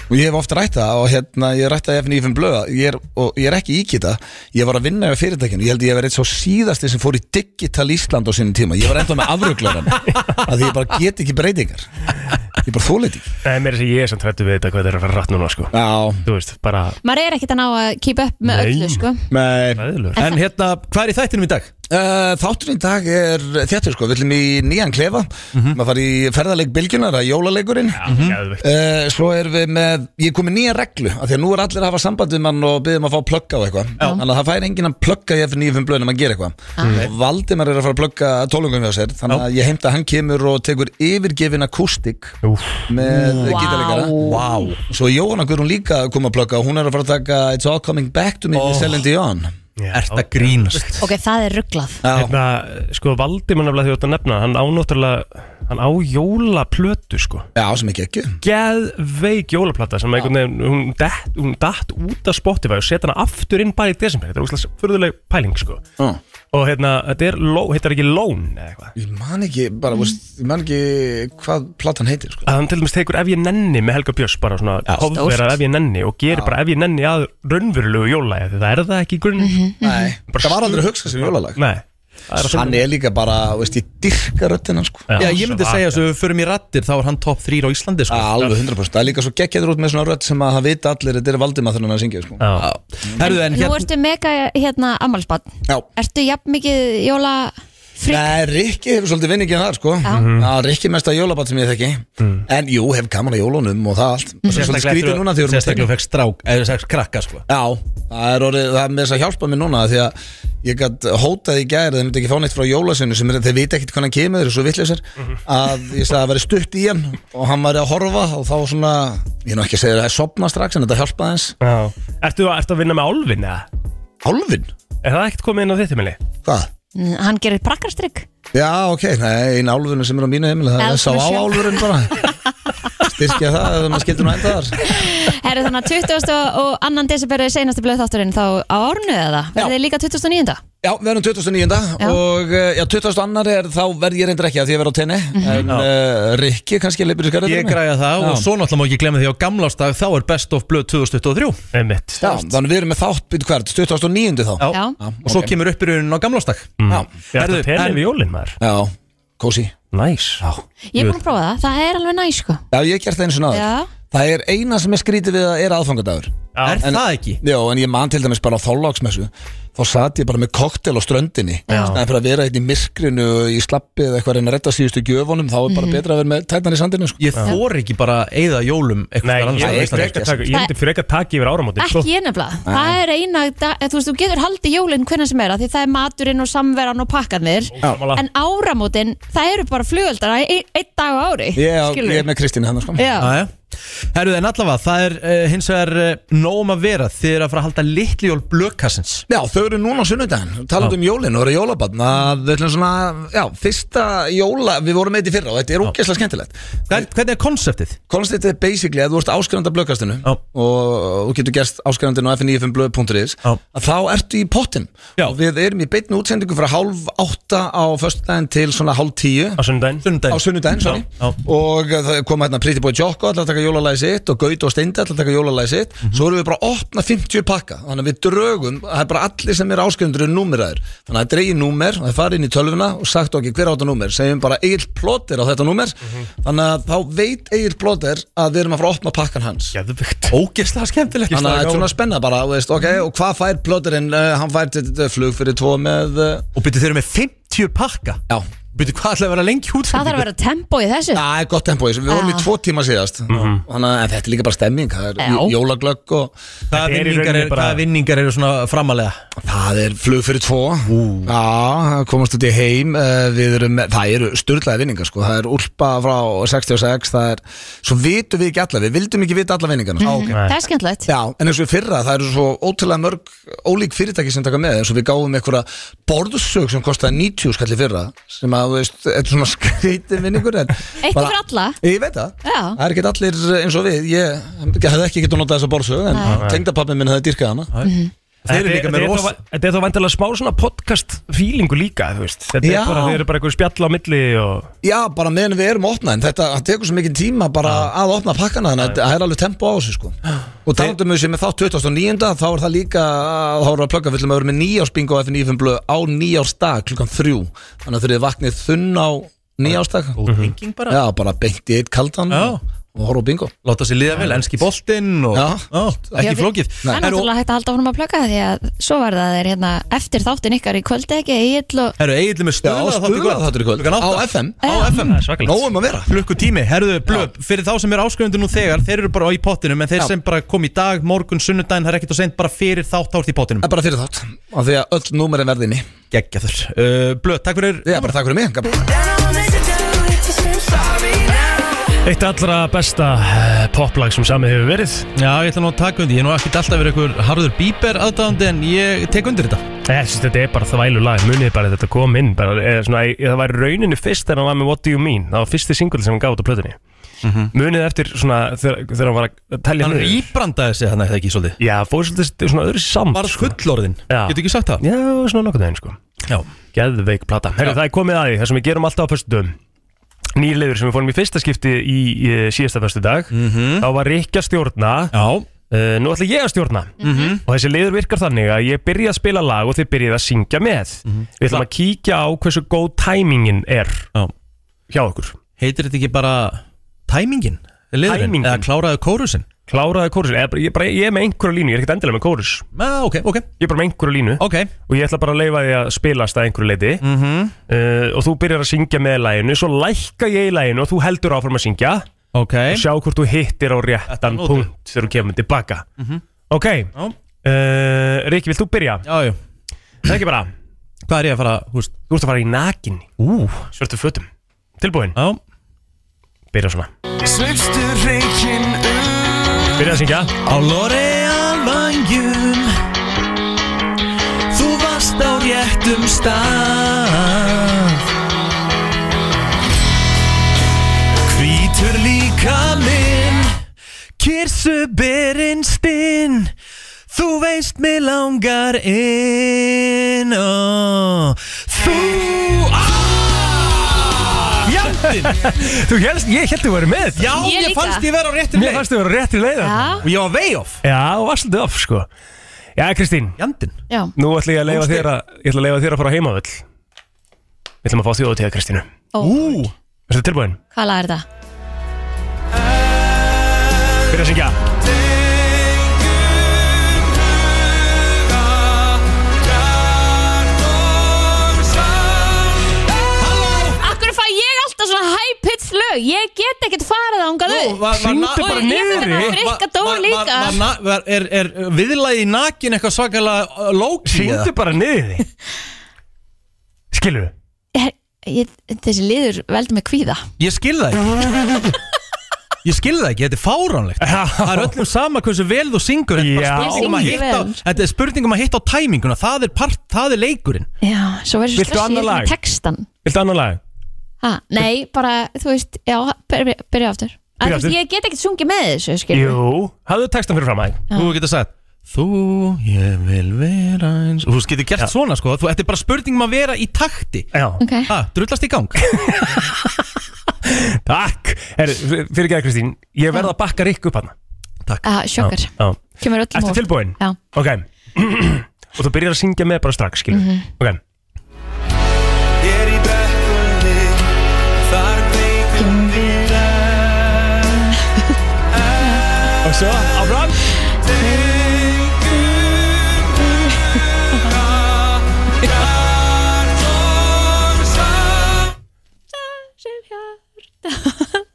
[SPEAKER 16] og ég hef oft rætt það og hérna ég rætt það í FNF blöða ég er, og ég er ekki íkita ég var að vinna í fyrirtækinu, ég held ég hef verið svo síðasti sem fór í Digital Ísland á sinni tíma ég var enda með afruglaran að því ég bara get ekki breytingar ég bara þólið ekki
[SPEAKER 3] Nei, mér er þess að ég er samt hrættu við þetta hvað það er að fara rætt núna sko
[SPEAKER 16] Já
[SPEAKER 3] Þú veist, bara
[SPEAKER 2] Maður er ekkert að ná að keep up með
[SPEAKER 3] Nei.
[SPEAKER 2] öllu, sko.
[SPEAKER 16] Nei
[SPEAKER 1] En hérna, hvað er í þættinum í dag?
[SPEAKER 16] Uh, þátturinn í dag er þjáttur sko, við ætlum í nýjan klefa maður farið í ferðarleik bylgjunar, það er jólaleikurinn
[SPEAKER 1] Mhm.
[SPEAKER 3] geðveikt.
[SPEAKER 16] uh, svo erum við með ég er komið nýja reglu, af því að nú er allir að hafa samband við mann og byggðum að fá plugga á eitthvað þannig að það fær enginn að plugga í F95 blöð en maður gerir eitthvað, Mm.
[SPEAKER 1] Já.
[SPEAKER 16] og Valdimar er að fara að plugga tólungum hjá sér, þannig að ég heimta að hann kemur og tekur yfirgefin akústik með
[SPEAKER 1] Vá.
[SPEAKER 16] gítalegara
[SPEAKER 1] Vá.
[SPEAKER 16] svo Jóhanna Guðrún líka kom að plugga, hún er að fara að taka It's All Coming Back to Me oh.
[SPEAKER 1] Ó.
[SPEAKER 16] með Celine Dion
[SPEAKER 1] Ert að grínast
[SPEAKER 2] ok, það er rugglað
[SPEAKER 3] hérna, sko Valdi mann aflega því að nefna hann á náttúrulega, hann á jólaplötu sko
[SPEAKER 16] já, sem ekki ekki
[SPEAKER 3] geðveik jólaplata sem einhvern veginn, hún datt, hún datt út af Spotify og setja hana aftur inn bara í desember þetta er úrslega fyrðuleg pæling sko
[SPEAKER 16] Já.
[SPEAKER 3] og hérna, þetta er, ló- heitir ekki Lón eða eitthvað
[SPEAKER 16] Ég man ekki, bara, mm. ég man ekki hvað platan heitir sko.
[SPEAKER 3] að hann til dæmis tekur ef ég nenni með Helga Björns bara svona
[SPEAKER 16] Stórt.
[SPEAKER 3] hofverðar ef ég nenni og gerir bara ef ég nenni að raunverulegu jólægi því það er það ekki í grunn
[SPEAKER 16] Nei, Mhm, það var aldrei að hugsa sem jólalag
[SPEAKER 3] Nei
[SPEAKER 16] Hann er líka bara, veist, ég dyrka röddina sko.
[SPEAKER 1] Já, ég myndi segja að við förum í rattir þá er hann topp 3 á Íslandi sko.
[SPEAKER 16] Alveg 100% Það er líka svo geggjaður út með svona rödd sem að það vita allir Þetta er Valdimar þegar hann er að syngja sko.
[SPEAKER 1] Herðu
[SPEAKER 2] nú ertu mega hérna ammalsbann
[SPEAKER 16] Já.
[SPEAKER 2] ertu jafn mikið jóla
[SPEAKER 16] Nei, Rikki hefur svolítið vinningin þar sko
[SPEAKER 2] Já.
[SPEAKER 16] Já, Rikki er mesta jólabat sem ég þekki En jú, hef gaman að jólunum og það allt
[SPEAKER 1] Mhm.
[SPEAKER 16] mm. Svolítið skrítið núna þegar
[SPEAKER 1] Sérstaklega fekk strák, eða fekk krakka sko
[SPEAKER 16] Já, það er, orðið, það er með þess að hjálpa mér núna Því að ég gat hótað í gæri Þeir myndi ekki fá neitt frá jólasinu sem er, Þeir vita ekkit hvernig hann kemur, þeir eru svo vittlisir Að ég sagði að það væri stutt í hann Og hann væri að horfa og þá svona Ég er nú ekki að segja það er sopna strax En þetta hjálpaði hans
[SPEAKER 3] Ertu, ertu að vinna með Álfin eða?
[SPEAKER 16] Álfin?
[SPEAKER 3] Er það ekkert komið inn á þitt heimili?
[SPEAKER 16] Hvað?
[SPEAKER 2] Mm, hann gerir prakkarstrygg
[SPEAKER 16] Já, ok, nei, eina álfurinn sem er á mínu heimilega Það er sá á álfurinn bara Styrkja það, ef maður skildur nú enda þar
[SPEAKER 2] Herru þannig að 20. og 2. desember er seinasti blöð þátturinn þá á árnu eða? Verðið líka 2009.
[SPEAKER 16] Já, við erum 2009.
[SPEAKER 2] Já.
[SPEAKER 16] og uh, já, 2002 er þá verð ég reyndir ekki að því að vera á tenni
[SPEAKER 2] Mhm.
[SPEAKER 16] en uh, Rikki kannski leipur í skarðinu
[SPEAKER 1] Ég græja það og svo náttúrulega má ekki glemja því á gamlástag þá er best of blöð 2023
[SPEAKER 3] Einmitt.
[SPEAKER 16] Já, þannig við erum með þátt byrju hvert, 2009 þá
[SPEAKER 1] Já. Og svo kemur upp í raunin á gamlástag
[SPEAKER 16] Já,
[SPEAKER 3] Ég ætla að penna Mm. við jólinn maður
[SPEAKER 16] já kósi
[SPEAKER 3] Næs
[SPEAKER 16] Já,
[SPEAKER 2] Ég er búin að prófa það, það er alveg næ sko
[SPEAKER 16] Já, ég hef gert það eins og náður
[SPEAKER 2] Já.
[SPEAKER 16] Það er eina sem er skrítið við að er aðfangadagur
[SPEAKER 1] Er það ekki?
[SPEAKER 16] Já, en ég man til dæmis bara á þólagsmessu Þá sat ég bara með koktel á ströndinni Snæði bara að vera einn í myrkrinu Í slappi eða eitthvað að reyna að redda síðustu gjöfunum Þá er bara
[SPEAKER 1] Mhm.
[SPEAKER 16] betra að vera með tætnar í sandinu sko.
[SPEAKER 1] Ég þor ekki bara að eyða jólum
[SPEAKER 3] Nei,
[SPEAKER 1] eitthvað
[SPEAKER 3] ég myndi frekar taka- ég myndi frekar taka yfir áramótin sko.
[SPEAKER 2] Ekki ég nefnilega, það er eina da- eða, Þú veist, þú getur haldið jólinn hvernig sem er af Því það er maturinn og samveran og pakkanir
[SPEAKER 16] Ósammála.
[SPEAKER 2] En áramótin, það eru bara flugöldar Einn dag á ári
[SPEAKER 16] Ég,
[SPEAKER 2] skilurðu.
[SPEAKER 16] ég er með Kristínu hann sko.
[SPEAKER 2] Já.
[SPEAKER 1] Jæja. Herru en allavega, það er uh, hins vegar uh, nóg um að vera þið eru að fara að halda litli jól blökkassins
[SPEAKER 16] Já, þau eru núna á sunnudaginn, talað um jólinn og eru jólabarn að við ætlum svona, já, fyrsta jóla, við vorum með þetta í fyrra og þetta er ógeðslega skemmtilegt
[SPEAKER 1] Hvern, Hvernig er konseptið?
[SPEAKER 16] Konseptið er basically að þú ert áskrifandi af blöggastinu og þú getur gerst áskrifandinn á fn95blöð.is að þá ertu í pottin já. og við erum í beitni útsendingu frá hálf átta á föstudaginn til svona hálf tíu á
[SPEAKER 3] sunnudaginn,
[SPEAKER 16] á sunnudaginn sorry. og það koma hérna Pretty Boy Jocko alltaf að taka jólalagi sitt og Gaut og Steindi alltaf að taka jólalagi sitt svo erum við bara að opna 50 pakka þannig að við drögum, það er bara allir sem er áskrifundur er númeraður, þannig að það er dregið númer það er farið inn í tölvuna og sagt okkur hver á þetta númer segjum bara Egil Plóter á þetta númer þannig að þá veit Egil Plóter að við erum að fara að opna pakkan hans
[SPEAKER 3] Geðvikt.
[SPEAKER 1] Ógeðslega skemmtilegt
[SPEAKER 16] Þannig að þetta
[SPEAKER 1] Ógeðslega
[SPEAKER 16] er
[SPEAKER 1] gaman.
[SPEAKER 16] svona spenna bara, þú veist, ok, og hvað fær plöturinn, uh, hann fær til uh, flug fyrir tvo með uh,
[SPEAKER 1] Og byrju þeir eru með 50 pakka
[SPEAKER 16] Já
[SPEAKER 1] Byrju hvað ætlaði að vera lengi út
[SPEAKER 2] Það þarf að vera tempo í þessu
[SPEAKER 16] Það er gott tempói, við vorum í
[SPEAKER 2] Já.
[SPEAKER 16] tvo tíma síðast
[SPEAKER 1] Mhm.
[SPEAKER 16] Þannig að en þetta er líka bara stemming Það er
[SPEAKER 2] Já.
[SPEAKER 16] jó- jólaglögg og
[SPEAKER 1] Hvaða
[SPEAKER 16] Þetta er í
[SPEAKER 1] vinningar,
[SPEAKER 16] rauninni
[SPEAKER 1] er,
[SPEAKER 16] bara-
[SPEAKER 1] hvaða vinningar eru svona framalega?
[SPEAKER 16] Það er flug fyrir tvo Já, það komast út í heim eh, Við erum, með- það eru sturlaði vinningar sko. Það er úlpa frá 66 Það er, svo vitum við ekki alla Við vildum ekki vita alla vinningarna sko.
[SPEAKER 2] Mhm. Það er skemmtilegt
[SPEAKER 16] Já, en eins og í fyrra, það eru svo ótrúlega mörg ólík fyrirtæki sem taka með eins og við gáum einhverja borðsög sem kostaði 90 skalli fyrra sem að, þú veist, þetta er svona skreiti vinningur Eitthvað
[SPEAKER 2] Eitthvað fyrir alla
[SPEAKER 16] Ég veit það
[SPEAKER 2] Já.
[SPEAKER 16] Það er ekki allir eins og við Ég, ég hefði ekki getað notað þessa borðsög en
[SPEAKER 2] Nei.
[SPEAKER 16] tengdapappi minn hefði dyrkað hana
[SPEAKER 1] Nei.
[SPEAKER 16] Þeir eru líka með rosa-
[SPEAKER 3] Þetta er þá vantilega smá svona podcast feelingu líka þú veist. Þetta
[SPEAKER 16] Já.
[SPEAKER 3] er bara, þeir eru bara einhver spjall á milli og...
[SPEAKER 16] Já, bara meðan við erum opnað en þetta það tekur svo mikið tíma bara að opna pakkana þannig að það er alveg tempo á þessu sko og talandum við sem er þátt 2009 þá er það líka, þá erum við að plugga við ætlum að vera með nýjársbingo á F95 blöð á nýjársdag klukkan þrjú þannig að þurfið þið vaknið þunn á nýjársdag
[SPEAKER 1] Tenging bara
[SPEAKER 16] Já, bara beint í eitt kaldan
[SPEAKER 1] Já.
[SPEAKER 16] og horfa á bingo
[SPEAKER 1] Láta sér liða vel, enski boltinn og
[SPEAKER 16] Já.
[SPEAKER 1] Ó, Ekki
[SPEAKER 2] Já, við-
[SPEAKER 1] flókið
[SPEAKER 2] Það er
[SPEAKER 1] Herru,
[SPEAKER 2] náttúrulega hægt að halda honum að plöka því að svo var það er hérna eftir þáttin ykkar í kvöldi ekki Egil og
[SPEAKER 1] Herru, eiginlega með stöðlað
[SPEAKER 16] stuðlað þáttur í kvöld. Á FM.
[SPEAKER 1] Á FM
[SPEAKER 16] Nóum um að vera
[SPEAKER 1] Flukku tími, herruðu, blöð Fyrir þá sem eru áskrifundu nú þegar Þeir eru bara í pottinum En þeir
[SPEAKER 16] Já.
[SPEAKER 1] sem bara kom í dag, morgun, sunnudaginn Það er ekkert og seint bara fyrir þátt þá ert í pottinum
[SPEAKER 16] Það er bara fyrir þátt af því að öll númerin verðinni
[SPEAKER 1] Geggjaður uh, Blöð, takk fyrir
[SPEAKER 16] Já, bara takk fyrir mig Gaman.
[SPEAKER 4] Sorry now.
[SPEAKER 1] Eitt allra besta eh, poplag sem samið hefur verið Já, ég ætla nú að taka undir, ég er nú ekkert alltaf verið einhver harður bíber aðdáðandi en ég tek undir þetta
[SPEAKER 3] Ég syns þetta er bara þvælu lag, munið bara þetta kom inn bara, eða svona, eða það væri rauninni fyrst þegar hann var með What Do You Mean, það var fyrsti singull sem hann gaf út á plötunni Munið eftir svona þegar, þegar hann var að telja
[SPEAKER 1] Hann íbrandaði sig þannig ekki svolítið
[SPEAKER 3] Já, fór svolítið svona öðru samt sko.
[SPEAKER 1] Var fullorðin, getur ekki sagt það
[SPEAKER 3] Já, svona nokkuð veginn sko
[SPEAKER 1] Já
[SPEAKER 3] Geðveik plata Herru, það er komið aði, það sem við gerum alltaf á föstudum Nýrleifur sem við fórum í fyrsta skipti í, í eh, síðasta föstudag Þá var Rikki að stjórna
[SPEAKER 1] Mhm.
[SPEAKER 3] Eh,
[SPEAKER 1] Já
[SPEAKER 3] Nú ætla ég að stjórna
[SPEAKER 1] Mhm.
[SPEAKER 3] Og þessi liður virkar þannig að ég byrja að spila lag og þið byrjið að syngja með
[SPEAKER 1] Mhm.
[SPEAKER 3] Við ætlum að kíkja á hversu góð tæmingin er
[SPEAKER 1] Já.
[SPEAKER 3] Hjá okkur
[SPEAKER 1] Heitir þetta ekki bara tæmingin? Liðurinn?
[SPEAKER 3] Tæmingin
[SPEAKER 1] Eða kláraði kórusin?
[SPEAKER 3] Kláraði kórusin, eða bara, ég, bara, ég er með einhverja línu, ég er ekkert endilega með kórus
[SPEAKER 1] ah, okay, okay.
[SPEAKER 3] Ég er bara með einhverja línu
[SPEAKER 1] okay.
[SPEAKER 3] Og ég ætla bara að leifa því að spilast að einhverju leiti
[SPEAKER 1] -hmm.
[SPEAKER 3] uh, Og þú byrjar að syngja með læginu Svo lækka ég í læginu og þú heldur áfram að syngja
[SPEAKER 1] okay.
[SPEAKER 3] Og sjá hvort þú hittir á réttan
[SPEAKER 1] nótur.
[SPEAKER 3] punkt Þegar þú kemur tilbaka
[SPEAKER 7] Mm-hmm.
[SPEAKER 1] Mhm.
[SPEAKER 3] Ok, uh, Riki, vilt þú byrja?
[SPEAKER 1] Já, já
[SPEAKER 3] Það ekki bara
[SPEAKER 1] Hvað er ég að fara, húst?
[SPEAKER 3] Þú ert að fara í nakinni
[SPEAKER 1] Ú
[SPEAKER 3] Svörtu fötum Tilbúin
[SPEAKER 1] Já
[SPEAKER 3] Byrja svona
[SPEAKER 7] Svipstu reikin
[SPEAKER 3] Byrja að syngja
[SPEAKER 1] Á
[SPEAKER 7] L'Oreal vangjum Þú varst á réttum stað Hvítur líka minn
[SPEAKER 1] Kirsuberinn stinn Þú veist mig langar inn oh. Þú Jandinn
[SPEAKER 3] Þú helst, ég held þú verið með
[SPEAKER 1] Já,
[SPEAKER 7] Ég
[SPEAKER 1] mér
[SPEAKER 7] líka.
[SPEAKER 1] fannst ég vera á réttum
[SPEAKER 3] Mér
[SPEAKER 1] leið
[SPEAKER 3] fannst þú verið á réttri leið þarna.
[SPEAKER 1] Og ég var way off
[SPEAKER 3] Já, þú varst svolítið off sko Já, Kristín
[SPEAKER 1] Jandinn
[SPEAKER 2] Já
[SPEAKER 3] Nú ætla ég að leifa
[SPEAKER 1] Góð stig.
[SPEAKER 3] þér að, ég ætla að leifa þér að fara á heimavöll Við ætlum að fá þjóðu til það, Kristínu
[SPEAKER 2] Ó.
[SPEAKER 3] Ú Erstu tilbúin?
[SPEAKER 2] Hvað lag er það?
[SPEAKER 3] Byrja að syngja
[SPEAKER 2] Akkur fæ ég alltaf svona high pitch lög Ég get ekkert farið ángað upp Og ég fyrir ekki að dóa líka
[SPEAKER 1] var, var, var, Er, er viðlagið í nakin eitthvað svakalega uh, lókið
[SPEAKER 3] Syngdu bara niður því Skilur
[SPEAKER 2] Ég- ég- Þessi liður veldur mig kvíða
[SPEAKER 1] Ég skil það ekki Ég skil það ekki, þetta er fáránlegt Það er öllum sama hversu vel þú syngur Þetta er
[SPEAKER 2] Já.
[SPEAKER 1] bara spurning um að
[SPEAKER 2] Ég syngi
[SPEAKER 1] hitta
[SPEAKER 2] vel.
[SPEAKER 1] Þetta er spurning um að hitta á tæminguna Það er, part, það er leikurinn
[SPEAKER 2] Já, svo verður
[SPEAKER 1] Viltu
[SPEAKER 2] stressið
[SPEAKER 1] annað
[SPEAKER 2] yfir
[SPEAKER 1] lag?
[SPEAKER 2] textan
[SPEAKER 3] Viltu annan lag?
[SPEAKER 2] ha, Nei, bara, þú veist, já, byrja, byrja aftur
[SPEAKER 3] Byrja
[SPEAKER 2] En þú veist,
[SPEAKER 3] aftur.
[SPEAKER 2] Ég get ekkert sungið með þessu, skilur
[SPEAKER 3] Jú Hafðu textan fyrir fram að
[SPEAKER 2] Já. Þú
[SPEAKER 1] getur sagt Þú, ég vil vera eins Þú getur gert svona sko Þú, Þetta er bara spurning um að vera í takti
[SPEAKER 3] Já
[SPEAKER 2] Ok.
[SPEAKER 1] ha, Drullast í gang
[SPEAKER 3] Takk er, Fyrir geða Kristín Ég verð að bakka Rikku upp hana
[SPEAKER 1] Takk
[SPEAKER 2] Ah, sjokkar.
[SPEAKER 3] Já, já.
[SPEAKER 2] Kemur öllum
[SPEAKER 3] Ertu tilbúin?
[SPEAKER 2] Já
[SPEAKER 3] Ok Og þú byrjar að syngja með bara strax, skilur
[SPEAKER 2] Mhm.
[SPEAKER 3] Ok
[SPEAKER 7] Hér í bekkunni Þar veikum við
[SPEAKER 3] Og svo, áfram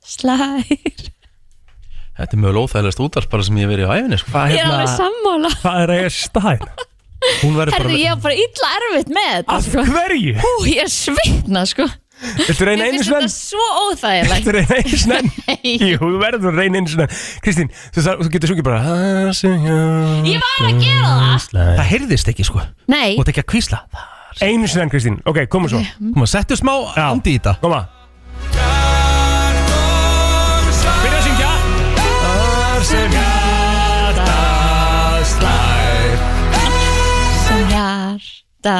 [SPEAKER 2] Slæ
[SPEAKER 1] Þetta er mögulega óþægilegast útvarpara sem ég hef verið á æfinni sko.
[SPEAKER 2] Ég er
[SPEAKER 3] hérna-
[SPEAKER 2] alveg sammála
[SPEAKER 3] Hvað er að ég stæð?
[SPEAKER 1] Hún verður bara
[SPEAKER 2] Herðu, ég var bara illa erfitt með þetta
[SPEAKER 3] Af
[SPEAKER 2] sko.
[SPEAKER 3] hverju?
[SPEAKER 2] Hú, ég er svitna, sko
[SPEAKER 3] Viltu reyna
[SPEAKER 2] Mér
[SPEAKER 3] einu
[SPEAKER 2] finnst
[SPEAKER 3] svenn?
[SPEAKER 2] þetta svo óþægilegt
[SPEAKER 3] Þetta er reyna einu svenn Jú, þú verður að reyna einu svenn Kristín, þú, sa- þú getur sungið bara um Ég
[SPEAKER 2] var að gera það
[SPEAKER 1] Það heyrðist ekki sko Þú
[SPEAKER 2] Nei mm.
[SPEAKER 1] ert ekki að kvísla
[SPEAKER 3] Einu svenn, Kristín, ok, komum svo
[SPEAKER 1] Koma, settu smá andi í þetta
[SPEAKER 3] Koma Byrja að syngja Þar sem hjarta slær
[SPEAKER 2] Sem hjarta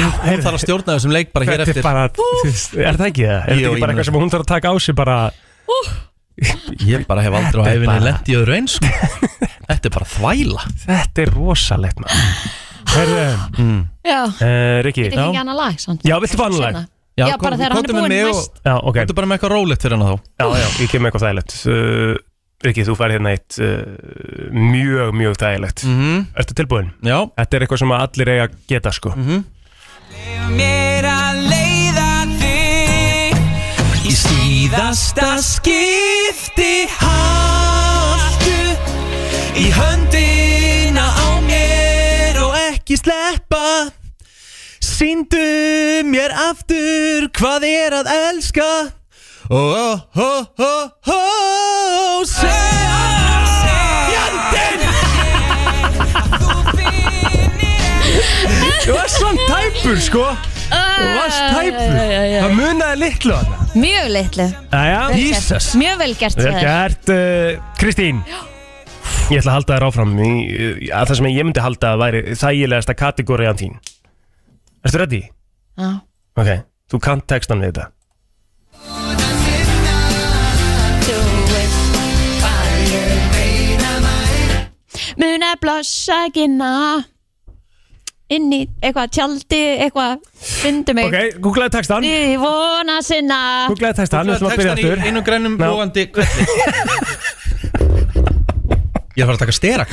[SPEAKER 1] Hún þarf að stjórna þessum leik bara hér
[SPEAKER 3] Þetta er
[SPEAKER 1] eftir
[SPEAKER 3] bara, er það ekki það? Er þetta ekki
[SPEAKER 1] Jú, ég
[SPEAKER 3] bara
[SPEAKER 1] meina-
[SPEAKER 3] eitthvað sem hún þarf að taka á sig bara
[SPEAKER 2] Uh.
[SPEAKER 1] Ég bara hef aldrei á
[SPEAKER 3] Þetta er
[SPEAKER 1] æfinni
[SPEAKER 3] bara-
[SPEAKER 1] lent í öðru eins sko. Þetta er bara þvæla
[SPEAKER 3] Þetta er rosalegt maður Herðu mm.
[SPEAKER 2] Já,
[SPEAKER 3] Riki
[SPEAKER 2] þetta er ekki annað lag samt.
[SPEAKER 3] Já, viltu fá annað lag?
[SPEAKER 2] Seinna. Já, bara þegar hann er búinn næst
[SPEAKER 3] Já, ok Þú
[SPEAKER 1] bara með eitthvað rólegt fyrir hana þá
[SPEAKER 3] Já, já, ég kem með eitthvað þægilegt uh, Riki, þú fær hérna eitt uh, mjög, mjög þægilegt mm -hmm. Ertu tilbúin?
[SPEAKER 1] Mhm. Já Mhm.
[SPEAKER 3] Þetta er eitthvað sem að allir eiga að geta sko mm -hmm.
[SPEAKER 7] Mér að leiða þig Í síðasta skipti Haltu Í höndina á mér Og ekki sleppa
[SPEAKER 1] Sýndu mér aftur hvað er að elska Oh, oh, oh, oh, oh Fjandinn
[SPEAKER 13] Þú varst svona tæpur sko Þú varst tæpur Það munaði litlu hana
[SPEAKER 2] Mjög litlu
[SPEAKER 3] Jæja.
[SPEAKER 2] Vel gert.
[SPEAKER 3] Jesus.
[SPEAKER 2] Mjög vel gert hjá
[SPEAKER 3] Vel
[SPEAKER 2] þér.
[SPEAKER 3] gert, uh, Kristín Ég ætla að halda þér áfram í, í- að það sem ég myndi halda að væri þægilegasta kategóriðan þín Ertu ready?
[SPEAKER 2] Já.
[SPEAKER 3] Ok, þú kant textan við þetta
[SPEAKER 2] Muna blossa gina Inn í eitthvað tjaldi Eitthvað, fyndu mig
[SPEAKER 3] Ok, googlaði textan
[SPEAKER 2] Í vona sinna
[SPEAKER 3] Googlaði textan, við ætlum að byrja
[SPEAKER 1] Textan í
[SPEAKER 3] aftur
[SPEAKER 1] einum grænum
[SPEAKER 3] Ná.
[SPEAKER 1] glóandi kvelli Ég er að fara að taka stera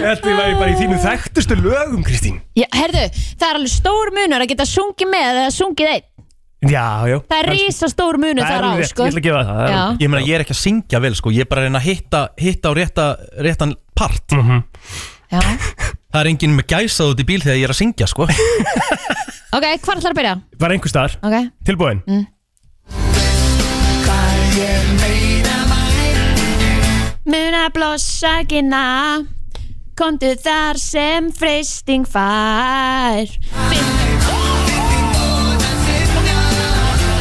[SPEAKER 3] Þetta væri bara í þínu þekktustu lögum, Kristín
[SPEAKER 2] Já, herðu, það er alveg stór munur að geta sungið með eða sungið einn
[SPEAKER 3] Já, já
[SPEAKER 2] Það er rísa stór munur þar á, sko Já.
[SPEAKER 1] Ég meina, ég er ekki að syngja vel, sko Ég er bara að reyna að hitta, hitta á rétta, réttan part
[SPEAKER 2] Já.
[SPEAKER 1] Það er enginn með gæsað út í bíl þegar ég er að syngja, sko
[SPEAKER 2] Ok, hvað ætlar að byrja?
[SPEAKER 3] Var einhver staðar
[SPEAKER 2] Ok
[SPEAKER 3] Tilbúin
[SPEAKER 2] mm. Muna blossa gina Komdu þar sem freysting fær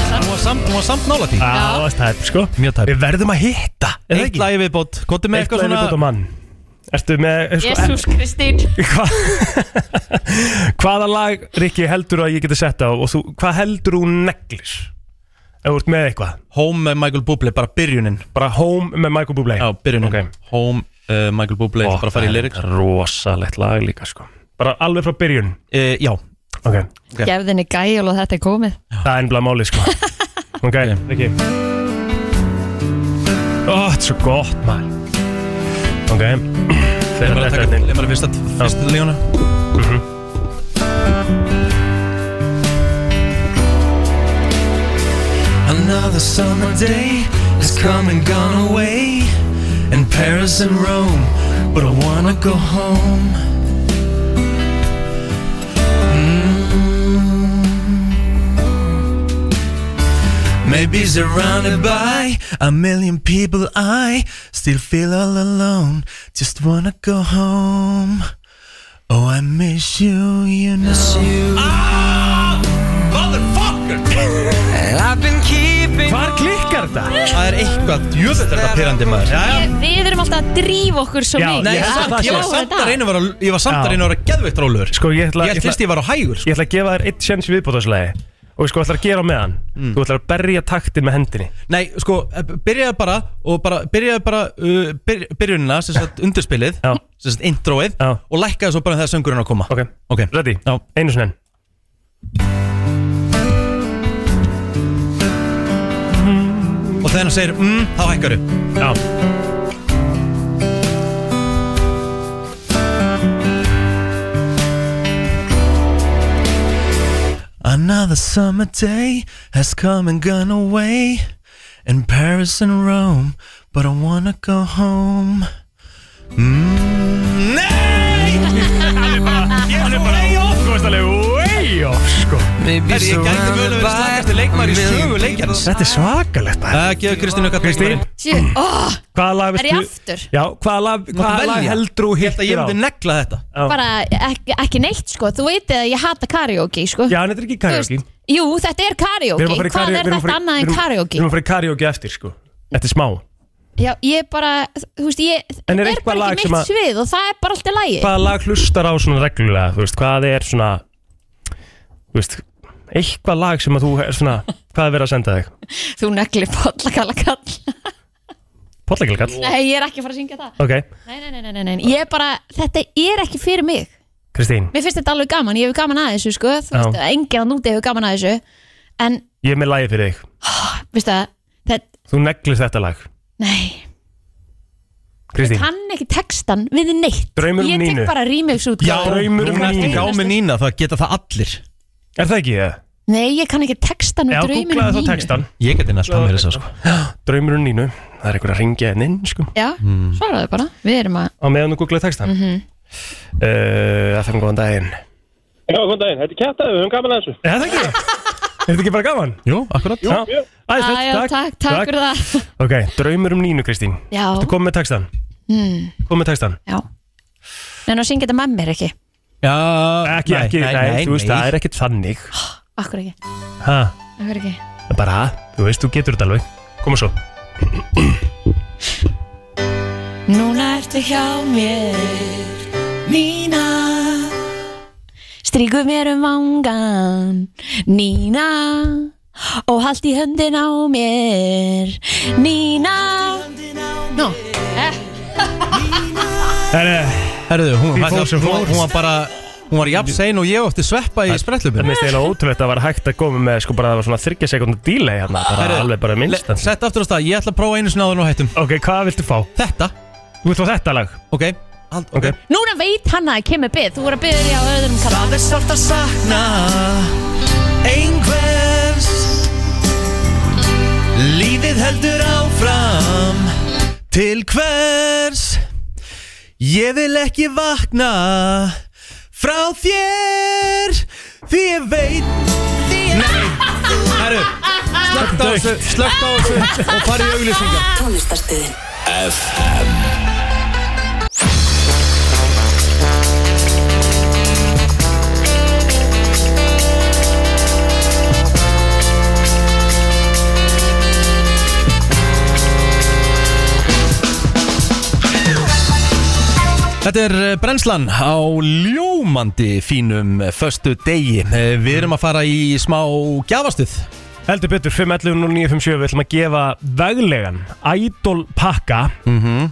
[SPEAKER 1] Hún var samt, hún var samt nála því
[SPEAKER 3] Já, það var tæp, sko Mjög tæp Við verðum að hitta er það
[SPEAKER 1] Eitt
[SPEAKER 3] ekki?
[SPEAKER 1] lagi viðbót, gottum með
[SPEAKER 3] Eitt lagi
[SPEAKER 1] eitthvað svona
[SPEAKER 3] viðbót á mann Ertu með sko,
[SPEAKER 2] Jésús Kristín
[SPEAKER 3] Hvaða lag, Rikki, heldur að ég geti sett á og þú, hvað heldur þú neglir? Ef þú ert með eitthvað
[SPEAKER 1] Home með Michael Bublé, bara byrjunin
[SPEAKER 3] Bara Home með Michael Bublé
[SPEAKER 1] Já, byrjunin Home, uh, Michael Bublé, bara fara í lyrics
[SPEAKER 3] Rosalegt lag líka, sko Bara alveg frá byrjun
[SPEAKER 1] uh, Já
[SPEAKER 3] Ok
[SPEAKER 2] Gefðinni gæl og þetta er komið
[SPEAKER 3] Það er ennbla máli, sko Ok, Rikki Ó, þetta er svo gott, maður Ok Þeir
[SPEAKER 1] bara að taka- leyfðu mér að fyrsta- fyrstu lífuna
[SPEAKER 3] Mhm.
[SPEAKER 5] Another summer day has come and gone away in Paris and Rome, but I wanna go home. Mm. Maybe surrounded by a million people, I still feel all alone. Just wanna go home. Oh, I miss you, you know. Ah, motherfucker! I've been keeping
[SPEAKER 3] Hvar klikkar þetta?
[SPEAKER 1] Það er eitthvað, jöfnveld er þetta pyrrandi maður
[SPEAKER 2] Ég- Við erum alltaf að drífa okkur svo mikið
[SPEAKER 1] Nei, samt, ég var samt að reyna að vera Ég var samt að reyna að vera geðveitt rólegur
[SPEAKER 3] Sko, ég ætla
[SPEAKER 1] Ég finnst ég var á hægur sko.
[SPEAKER 3] Ég ætla að gefa þér eitt sjens viðbótaslega Og sko, ætla að gera á meðan
[SPEAKER 1] Mm.
[SPEAKER 3] Þú ætlar að berja taktin með hendinni
[SPEAKER 1] Nei, sko, byrjaði bara og bara, byrjaði bara uh, byr, byrjunina, sem sagt undirspilið sem sagt introið og lækkaði svo bara þegar söngurinn á að koma
[SPEAKER 3] Ok,
[SPEAKER 1] okay.
[SPEAKER 3] ready,
[SPEAKER 1] Já.
[SPEAKER 3] einu sinni enn.
[SPEAKER 1] Og þegar hann segir, mm, þá hækkar
[SPEAKER 3] Já
[SPEAKER 5] Another summer day has come and gone away in Paris and Rome, but I wanna go home. Mm.
[SPEAKER 3] Hann er bara off, þú veist alveg way off, sko
[SPEAKER 1] Herri, ég gæti mögulega verið slagast leikmæri í sögu leikjarns
[SPEAKER 3] Þetta er svakalegt maður
[SPEAKER 1] Það gefur Kristínu eitthvað
[SPEAKER 3] Kristín,
[SPEAKER 2] Sjö, ó,
[SPEAKER 3] hvaða lag
[SPEAKER 2] Er ég aftur?
[SPEAKER 3] Já, hvaða lag, hvaða lag heldur þú hittir á?
[SPEAKER 1] Ég myndi negla þetta
[SPEAKER 2] bara ekki, ekki neitt sko Þú veit að ég hata karaoke sko
[SPEAKER 3] Já, en þetta er ekki karaoke
[SPEAKER 2] Þú Jú, þetta er
[SPEAKER 3] Við erum að fara í
[SPEAKER 2] karaoke Hvað
[SPEAKER 3] karaoke-
[SPEAKER 2] er
[SPEAKER 3] við erum að
[SPEAKER 2] þetta
[SPEAKER 3] fara í-
[SPEAKER 2] annað
[SPEAKER 3] við erum-
[SPEAKER 2] en
[SPEAKER 3] Við
[SPEAKER 2] karaoke?
[SPEAKER 3] erum að fara í karaoki eftir, sko Þetta er smá
[SPEAKER 2] Já, ég bara, þú veist, ég
[SPEAKER 3] En er
[SPEAKER 2] Þetta er
[SPEAKER 3] eitthvað
[SPEAKER 2] bara
[SPEAKER 3] lag
[SPEAKER 2] ekki
[SPEAKER 3] sem
[SPEAKER 2] mitt
[SPEAKER 3] að-
[SPEAKER 2] svið og það er bara alltaf lægi
[SPEAKER 3] Hvaða lag hlustar á svona reglulega, þú veist, hvað er svona Þú veist, eitthvað lag sem að þú, svona, hvað er verið að senda þig?
[SPEAKER 2] Þú negli pollakalla kall
[SPEAKER 3] Pollakilkall?
[SPEAKER 2] Nei, ég er ekki að fara að syngja það
[SPEAKER 3] Ok,
[SPEAKER 2] Nei, nei, nei, nei, nei, nei. Ég bara, þetta er ekki fyrir mig
[SPEAKER 3] Kristín,
[SPEAKER 2] Mér finnst þetta alveg gaman, ég hefur gaman að þessu sko Þú
[SPEAKER 3] Já.
[SPEAKER 2] veist, enginn að núti hefur gaman að þessu En,
[SPEAKER 3] ég er með lagi fyrir þig
[SPEAKER 2] veistu það, þetta,
[SPEAKER 3] Þú neglir þetta lag
[SPEAKER 2] nei Ég
[SPEAKER 3] Kristín,
[SPEAKER 2] kann ekki textan við neitt
[SPEAKER 3] Draumur um
[SPEAKER 2] Ég
[SPEAKER 3] Nínu.
[SPEAKER 2] tek bara remix út
[SPEAKER 1] Já, núna ertu ekki á með Nína, það geta það allir
[SPEAKER 3] um Er það ekki það?
[SPEAKER 2] Nei, ég kann ekki textan
[SPEAKER 3] Já,
[SPEAKER 2] og draumur um
[SPEAKER 3] googlaðu þá
[SPEAKER 2] Nínu
[SPEAKER 3] um textan
[SPEAKER 1] Ég geti næst að mér þess að sko
[SPEAKER 3] Draumurinn nínu, það er einhver að ringja henn inn sko.
[SPEAKER 1] Hmm.
[SPEAKER 2] Já, svaraðu bara, við erum að
[SPEAKER 3] Á meðan þú googlaði textan
[SPEAKER 2] Mhm.
[SPEAKER 3] uh, FM góðan daginn
[SPEAKER 17] Já, góðan daginn, þetta er kjartaði, við höfum gaman að þessu
[SPEAKER 3] Já, það ekki Er þetta ekki bara gaman? Jú, akkurat
[SPEAKER 17] Jú, mjög.
[SPEAKER 3] Æðislegt,
[SPEAKER 2] Æ, já, takk, takk fyrir það.
[SPEAKER 3] Ok, draumur um Nínu Kristín
[SPEAKER 2] Já.
[SPEAKER 3] Þú kom með textan
[SPEAKER 2] mm.
[SPEAKER 3] Kom með textan
[SPEAKER 2] Já Neina að syngja þetta með mér ekki
[SPEAKER 3] Já Ekki,
[SPEAKER 1] nei,
[SPEAKER 3] ekki,
[SPEAKER 1] nei,
[SPEAKER 3] nei,
[SPEAKER 1] nei,
[SPEAKER 3] þú veist,
[SPEAKER 1] nei.
[SPEAKER 3] það er ekkert þannig
[SPEAKER 2] Akkur ekki
[SPEAKER 3] Ha,
[SPEAKER 2] Akkur ekki
[SPEAKER 3] það er bara, þú veist, þú getur þetta alveg Koma svo
[SPEAKER 4] Núna ertu hjá mér Nína
[SPEAKER 2] Stríku mér um vangan Nína Og hald í höndin á mér Nína Nú eh.
[SPEAKER 3] Herðu,
[SPEAKER 1] herðu, hún,
[SPEAKER 3] Því
[SPEAKER 1] hún,
[SPEAKER 3] fór sem
[SPEAKER 1] hún,
[SPEAKER 3] fór.
[SPEAKER 1] hún var bara Hún var jafn sein og ég átti sveppa í sprellupinu
[SPEAKER 3] Það minnst eiginlega ótrúlegt að það var hægt að koma með sko bara það var svona 30 sekundar delay hérna bara
[SPEAKER 1] Herru,
[SPEAKER 3] alveg bara minnst
[SPEAKER 1] Le- Sett aftur á stað, ég ætla að prófa einu sinna áður og hættum
[SPEAKER 3] Ok, hvað viltu fá?
[SPEAKER 1] Þetta
[SPEAKER 3] Þú vilt fá þetta lag?
[SPEAKER 1] Ok, Hald, ok
[SPEAKER 2] Núna veit hann að það kemur byggð Þú voru að byggður í á öðrum kalla
[SPEAKER 4] Það er sárt að sakna
[SPEAKER 5] Einhvers Lífið heldur áfram Til hvers Ég vil ekki vakna Frá þér Því ég veit Því ég veit
[SPEAKER 1] Herru, slökkt á þessu, slökkt á þessu og farið í auglýsingar
[SPEAKER 14] Tónlistarstöðin
[SPEAKER 6] FM
[SPEAKER 1] Þetta er eh, brennslan á ljómandi fínum eh, föstu degi Eh, Við erum að fara í smá gjafastuð
[SPEAKER 3] Heldur betur 511 og 957 við ætlum að gefa veglegan Idol pakka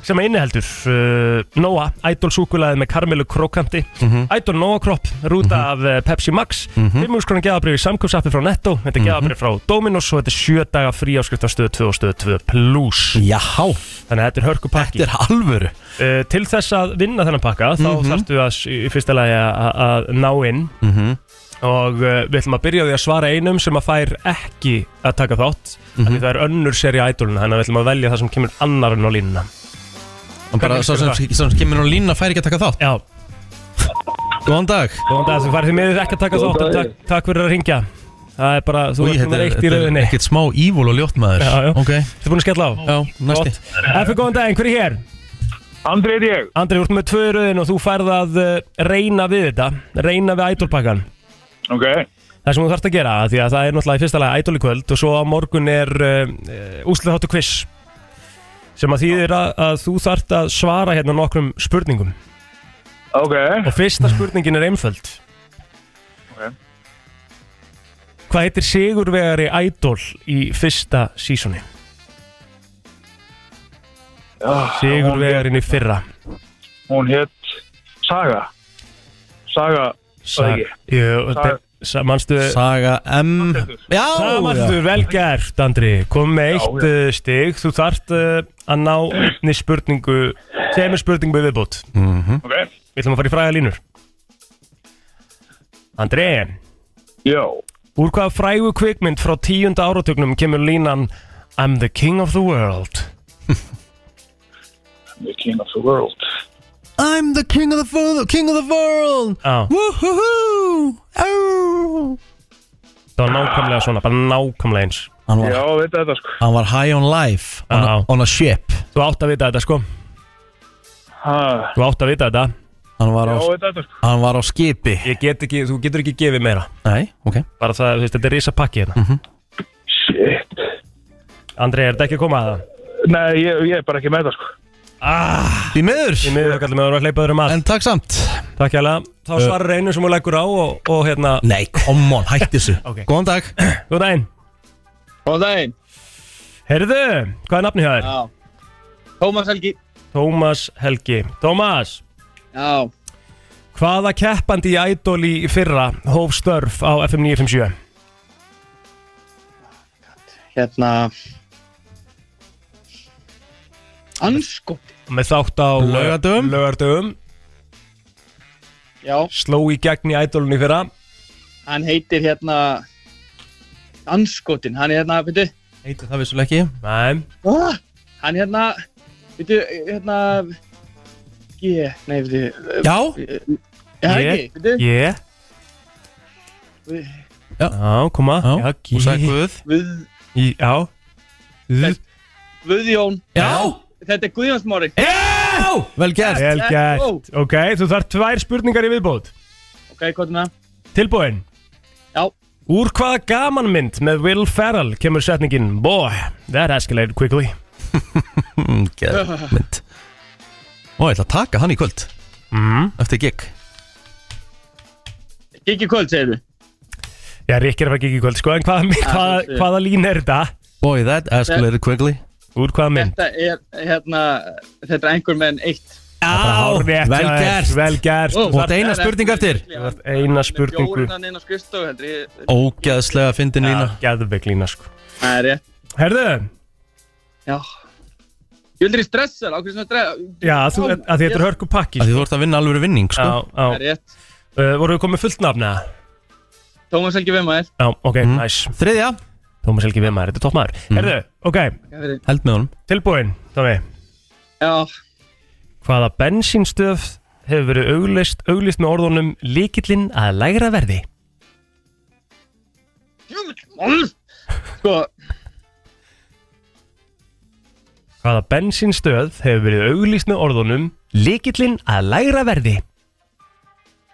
[SPEAKER 3] sem inniheldur uh, Nóa, Idol súkulaði með karmelu krókanti
[SPEAKER 13] Mhm.
[SPEAKER 3] Idol Nóa kropp, rúta af eh, Pepsi Max mm
[SPEAKER 13] Mhm.
[SPEAKER 3] -hmm. 5 skrónar gefabrið í samkjöpsappi frá Netto þetta er
[SPEAKER 13] Mhm.
[SPEAKER 3] gefabrið frá Dominos og þetta er 7 daga frí áskrift á stöðu 2 og stöðu 2 plus
[SPEAKER 1] Jáhá
[SPEAKER 3] Þannig að þetta er hörku pakki
[SPEAKER 1] Þetta er alvöru
[SPEAKER 3] uh, Til þess að vinna þennan pakka þá
[SPEAKER 13] Mhm.
[SPEAKER 3] þarftu að s- í fyrsta lagi að- að að ná inn
[SPEAKER 1] Mhm.
[SPEAKER 3] og uh, við ætlum að byrja á því að svara einum sem að fær ekki að taka þátt mm því það er önnur seri í ædoluna þannig að við ætlum að velja það sem kemur annar en á línuna
[SPEAKER 1] Og bara sá sem, sá sem kemur nú lína fær ekki að taka þátt
[SPEAKER 3] Já
[SPEAKER 1] Góðan dag
[SPEAKER 3] Góðan dag, þú farið því miður ekki að taka
[SPEAKER 1] Góðan
[SPEAKER 3] þátt en
[SPEAKER 1] dag.
[SPEAKER 3] takk, takk fyrir að ringja Það er bara, þú
[SPEAKER 1] Új,
[SPEAKER 3] ert
[SPEAKER 1] þetta
[SPEAKER 3] nummer
[SPEAKER 1] er-
[SPEAKER 3] eitt í
[SPEAKER 1] þetta er
[SPEAKER 3] rauðinni
[SPEAKER 1] Ekkert smá ívól og ljótt maður
[SPEAKER 3] Já, já.
[SPEAKER 1] Ok
[SPEAKER 3] Þú búin að skella á?
[SPEAKER 1] Já, næsti
[SPEAKER 3] Eftir góðan daginn, hver er hér? Andri er ég Andri, þú ert með tvö í rauðin og þú færð að uh, reyna við þetta Reyna við ædolpakkan
[SPEAKER 17] Ok
[SPEAKER 3] Það sem þú þarfst að gera, af því að það er náttúrulega í fyrsta lagi ædol í kvöld og svo á morgun er uh, úslið þáttu quiz sem að þýðir að, að þú þarft að svara hérna nokkrum spurningum
[SPEAKER 17] Ok
[SPEAKER 3] og fyrsta spurningin er einföld
[SPEAKER 17] Ok.
[SPEAKER 3] Hvað heitir Sigurvegari ædol í fyrsta sísoni? Sigurvegarinn í fyrra
[SPEAKER 17] Hún hétt Saga Saga
[SPEAKER 3] Sag- Jú,
[SPEAKER 17] Saga-
[SPEAKER 3] de- sa- Manstu
[SPEAKER 1] Saga M Já
[SPEAKER 3] Það
[SPEAKER 1] já.
[SPEAKER 3] manstu vel gert Andri Kom með eitt
[SPEAKER 1] Já,
[SPEAKER 3] uh, stig Þú þarft uh, að ná einni spurningu Tveimur spurningu við viðbót
[SPEAKER 1] Mhm.
[SPEAKER 17] Ok
[SPEAKER 3] Við ætlum að fara í fræga línur Andri
[SPEAKER 17] Já
[SPEAKER 3] Úr hvaða frægu kvikmynd frá tíunda áratugnum kemur línan I'm the king of the world
[SPEAKER 17] The king of the world
[SPEAKER 1] I'm the king of the, fo- king of the world
[SPEAKER 3] Já.
[SPEAKER 1] Woohoo Oh
[SPEAKER 3] Það var nákvæmlega svona, bara nákvæmlega eins
[SPEAKER 1] Hann var- Já,
[SPEAKER 17] veit þetta sko
[SPEAKER 1] Hann var high on life On, a, on a ship
[SPEAKER 3] Þú átt að vita þetta sko
[SPEAKER 17] Ha
[SPEAKER 3] Þú átt að vita þetta
[SPEAKER 1] Hann var, á,
[SPEAKER 17] Já, veit þetta sko
[SPEAKER 1] hann var á skipi
[SPEAKER 3] Ég get ekki, þú getur ekki gefið meira
[SPEAKER 1] Nei, ok
[SPEAKER 3] Bara það, þú veist, þetta er risa pakki hérna
[SPEAKER 1] Mhm.
[SPEAKER 17] Shit
[SPEAKER 3] Andri, er þetta ekki að koma að það?
[SPEAKER 17] Nei, ég, ég er bara ekki með það sko
[SPEAKER 3] Ah,
[SPEAKER 1] Því miður
[SPEAKER 3] Því miður, kallum við að vera að hleypa öðrum að
[SPEAKER 1] En takk samt
[SPEAKER 3] Takk hjá Þá
[SPEAKER 1] Ö.
[SPEAKER 3] svarar einu sem hún leggur á og, og hérna
[SPEAKER 1] Nei, come on, hætti þessu
[SPEAKER 3] Ok.
[SPEAKER 1] Góðan dag
[SPEAKER 3] Góð daginn
[SPEAKER 17] Góð daginn
[SPEAKER 3] Herðu, hvað er nafni hjá þér?
[SPEAKER 17] Tómas Helgi
[SPEAKER 3] Tómas Helgi Tómas
[SPEAKER 17] Já
[SPEAKER 3] Hvaða keppandi í Idol í fyrra hóf störf á FM 957?
[SPEAKER 17] Hérna Ansko
[SPEAKER 3] Með þátt á
[SPEAKER 1] Laugardögum.
[SPEAKER 3] Laugardögum
[SPEAKER 17] Já
[SPEAKER 3] Sló í gegn í Idolunni í fyrra
[SPEAKER 17] Hann heitir hérna Anskotin Hann er hérna, veitu
[SPEAKER 1] Heitir það vissulega ekki
[SPEAKER 3] Nei
[SPEAKER 17] ah, Hann hérna Veitu, hérna G, nei, við
[SPEAKER 1] Já
[SPEAKER 17] Já, ekki, við
[SPEAKER 18] Ég Já, koma Já,
[SPEAKER 1] Þú sagði Guð
[SPEAKER 17] Við,
[SPEAKER 18] Í- Já Við
[SPEAKER 17] Guðjón
[SPEAKER 1] Já
[SPEAKER 17] Þetta er Guðjónsmári
[SPEAKER 1] Já Vel gert
[SPEAKER 3] Vel gert Ok, þú þarf tvær spurningar í viðbót
[SPEAKER 17] Ok, hvað er með það?
[SPEAKER 3] Tilbúin
[SPEAKER 17] Já
[SPEAKER 3] Úr hvaða gamanmynd með Will Ferrell kemur setningin Boy, that escalated quickly
[SPEAKER 1] Geðmynd Ó, Hmm, ég ætla að taka hann í kvöld
[SPEAKER 3] mm.
[SPEAKER 1] Eftir gig
[SPEAKER 17] Gigi kvöld, segir við
[SPEAKER 3] Já, Rikki er að fara gigi í kvöld sko En hvaða,
[SPEAKER 17] Já,
[SPEAKER 3] hvaða,
[SPEAKER 17] þessi.
[SPEAKER 3] hvaða lín er þetta?
[SPEAKER 1] Boy, that
[SPEAKER 17] escalated
[SPEAKER 1] quickly
[SPEAKER 3] Úr hvaða mynd?
[SPEAKER 17] Þetta er, hérna, þetta er einhver menn eitt
[SPEAKER 3] Já,
[SPEAKER 1] vel gert.
[SPEAKER 3] Vel gert hérna Þú
[SPEAKER 17] Ó,
[SPEAKER 1] Og
[SPEAKER 3] þarf-
[SPEAKER 1] eina spurning eftir
[SPEAKER 3] Þú þarf Eina spurningu
[SPEAKER 17] Jórinnan inn á skrifstofu, heldur ég
[SPEAKER 1] Ógeðslega fyndin lína
[SPEAKER 3] Gæðveik lína sko
[SPEAKER 17] Það er ég
[SPEAKER 3] Herðu
[SPEAKER 17] Já Ég vildur í stressa, ákveður svona stressa
[SPEAKER 3] Já, þú, að því þetta er hörku pakki
[SPEAKER 1] Því þú ert að vinna alveg vinning sko
[SPEAKER 3] Já, já
[SPEAKER 17] Það er rétt.
[SPEAKER 3] uh, Voru við komið fullt nafna?
[SPEAKER 17] Tómas Helgi Vimmaður
[SPEAKER 3] Já, ok, nice
[SPEAKER 1] Mhm. Þriðja Mhm.
[SPEAKER 3] Tómas Helgi Vimar, þetta er toppmaður mm. Herðu,
[SPEAKER 17] Herðu.
[SPEAKER 3] ok
[SPEAKER 1] Held með honum
[SPEAKER 3] Tilbúin, Tómi
[SPEAKER 17] Já
[SPEAKER 3] Hvaða bensínstöð hefur verið auglist, auglist með orðunum Líkillinn að lægra verði?
[SPEAKER 17] Djöfull, Sko
[SPEAKER 3] Hvaða bensínstöð hefur verið auglist með orðunum Líkillinn að lægra verði?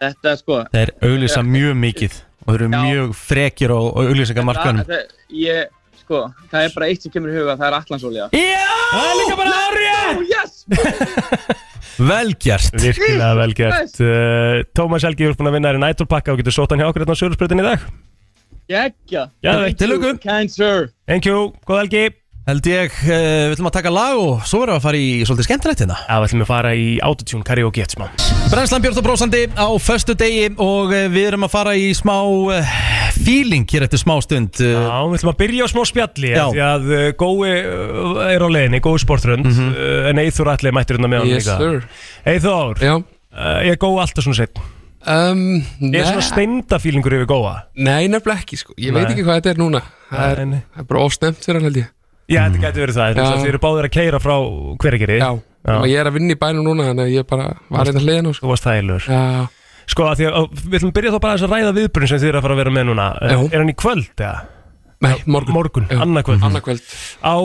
[SPEAKER 17] Þetta sko
[SPEAKER 1] Þeir auglýsa mjög mikið og þeir eru mjög frekir á á auglýsingamarkanum
[SPEAKER 17] það, það, ég, sko, það er bara eitt sem kemur í huga Það er allansólja
[SPEAKER 3] Já,
[SPEAKER 17] það
[SPEAKER 3] er líka bara
[SPEAKER 17] árið Yes
[SPEAKER 1] Vel gert
[SPEAKER 3] Virkilega vel gert uh, Tómas Helgi, þú ert búin að vinna þér í nætúrpakka og getur sótt hann hjá okkur hérna á Sörursprutin í dag
[SPEAKER 17] Gekja
[SPEAKER 3] Geðveikt.
[SPEAKER 17] Til lukku Kind sir
[SPEAKER 3] Thank you, góð helgi
[SPEAKER 1] Held ég, uh, við ætlum að taka lag og svo verðum við að fara í svolítið skemmtilegt hérna
[SPEAKER 3] Já, við ætlum að fara í autotune karaoke eitt smá
[SPEAKER 1] Brennslan Björn og Brósandi á föstu degi og eh, við erum að fara í smá eh, feeling hér eftir smá stund Já,
[SPEAKER 3] við ætlum að byrja á smá spjalli
[SPEAKER 1] Já.
[SPEAKER 3] af Því að uh, gói uh, er á leiðinni, gói sportrönd
[SPEAKER 1] Mhm.
[SPEAKER 3] uh, En Eithor allir mættur hérna með hann
[SPEAKER 19] Yes,
[SPEAKER 3] líka
[SPEAKER 19] sir.
[SPEAKER 3] Eithor, uh, ég gói alltaf svona sett
[SPEAKER 19] um,
[SPEAKER 3] Ég er svona steindafílingur yfir góa
[SPEAKER 19] Nei, nefnilega ekki sko Ég veit
[SPEAKER 3] Nei.
[SPEAKER 19] ekki hvað þetta er núna Það er, það er bara ofstemt fyrir hann held ég
[SPEAKER 3] Já, þetta getur verið það, þess
[SPEAKER 19] Já.
[SPEAKER 3] að þið eru báðir að keira frá hvergeri Já,
[SPEAKER 19] Og Ég er að vinna í bænum núna Þannig að ég bara var
[SPEAKER 3] Varst-
[SPEAKER 19] eitthvað hliðin og
[SPEAKER 3] sko Þú varst þælur
[SPEAKER 19] Já
[SPEAKER 3] Sko, af því að, að- við ætlum að byrja þá bara aðeins að ræða viðbrun sem þið eru að fara að vera með núna Já. Er hann í kvöld, eða?
[SPEAKER 19] Nei, morgun
[SPEAKER 3] Morgun, annarkvöld
[SPEAKER 19] Annarkvöld
[SPEAKER 3] Á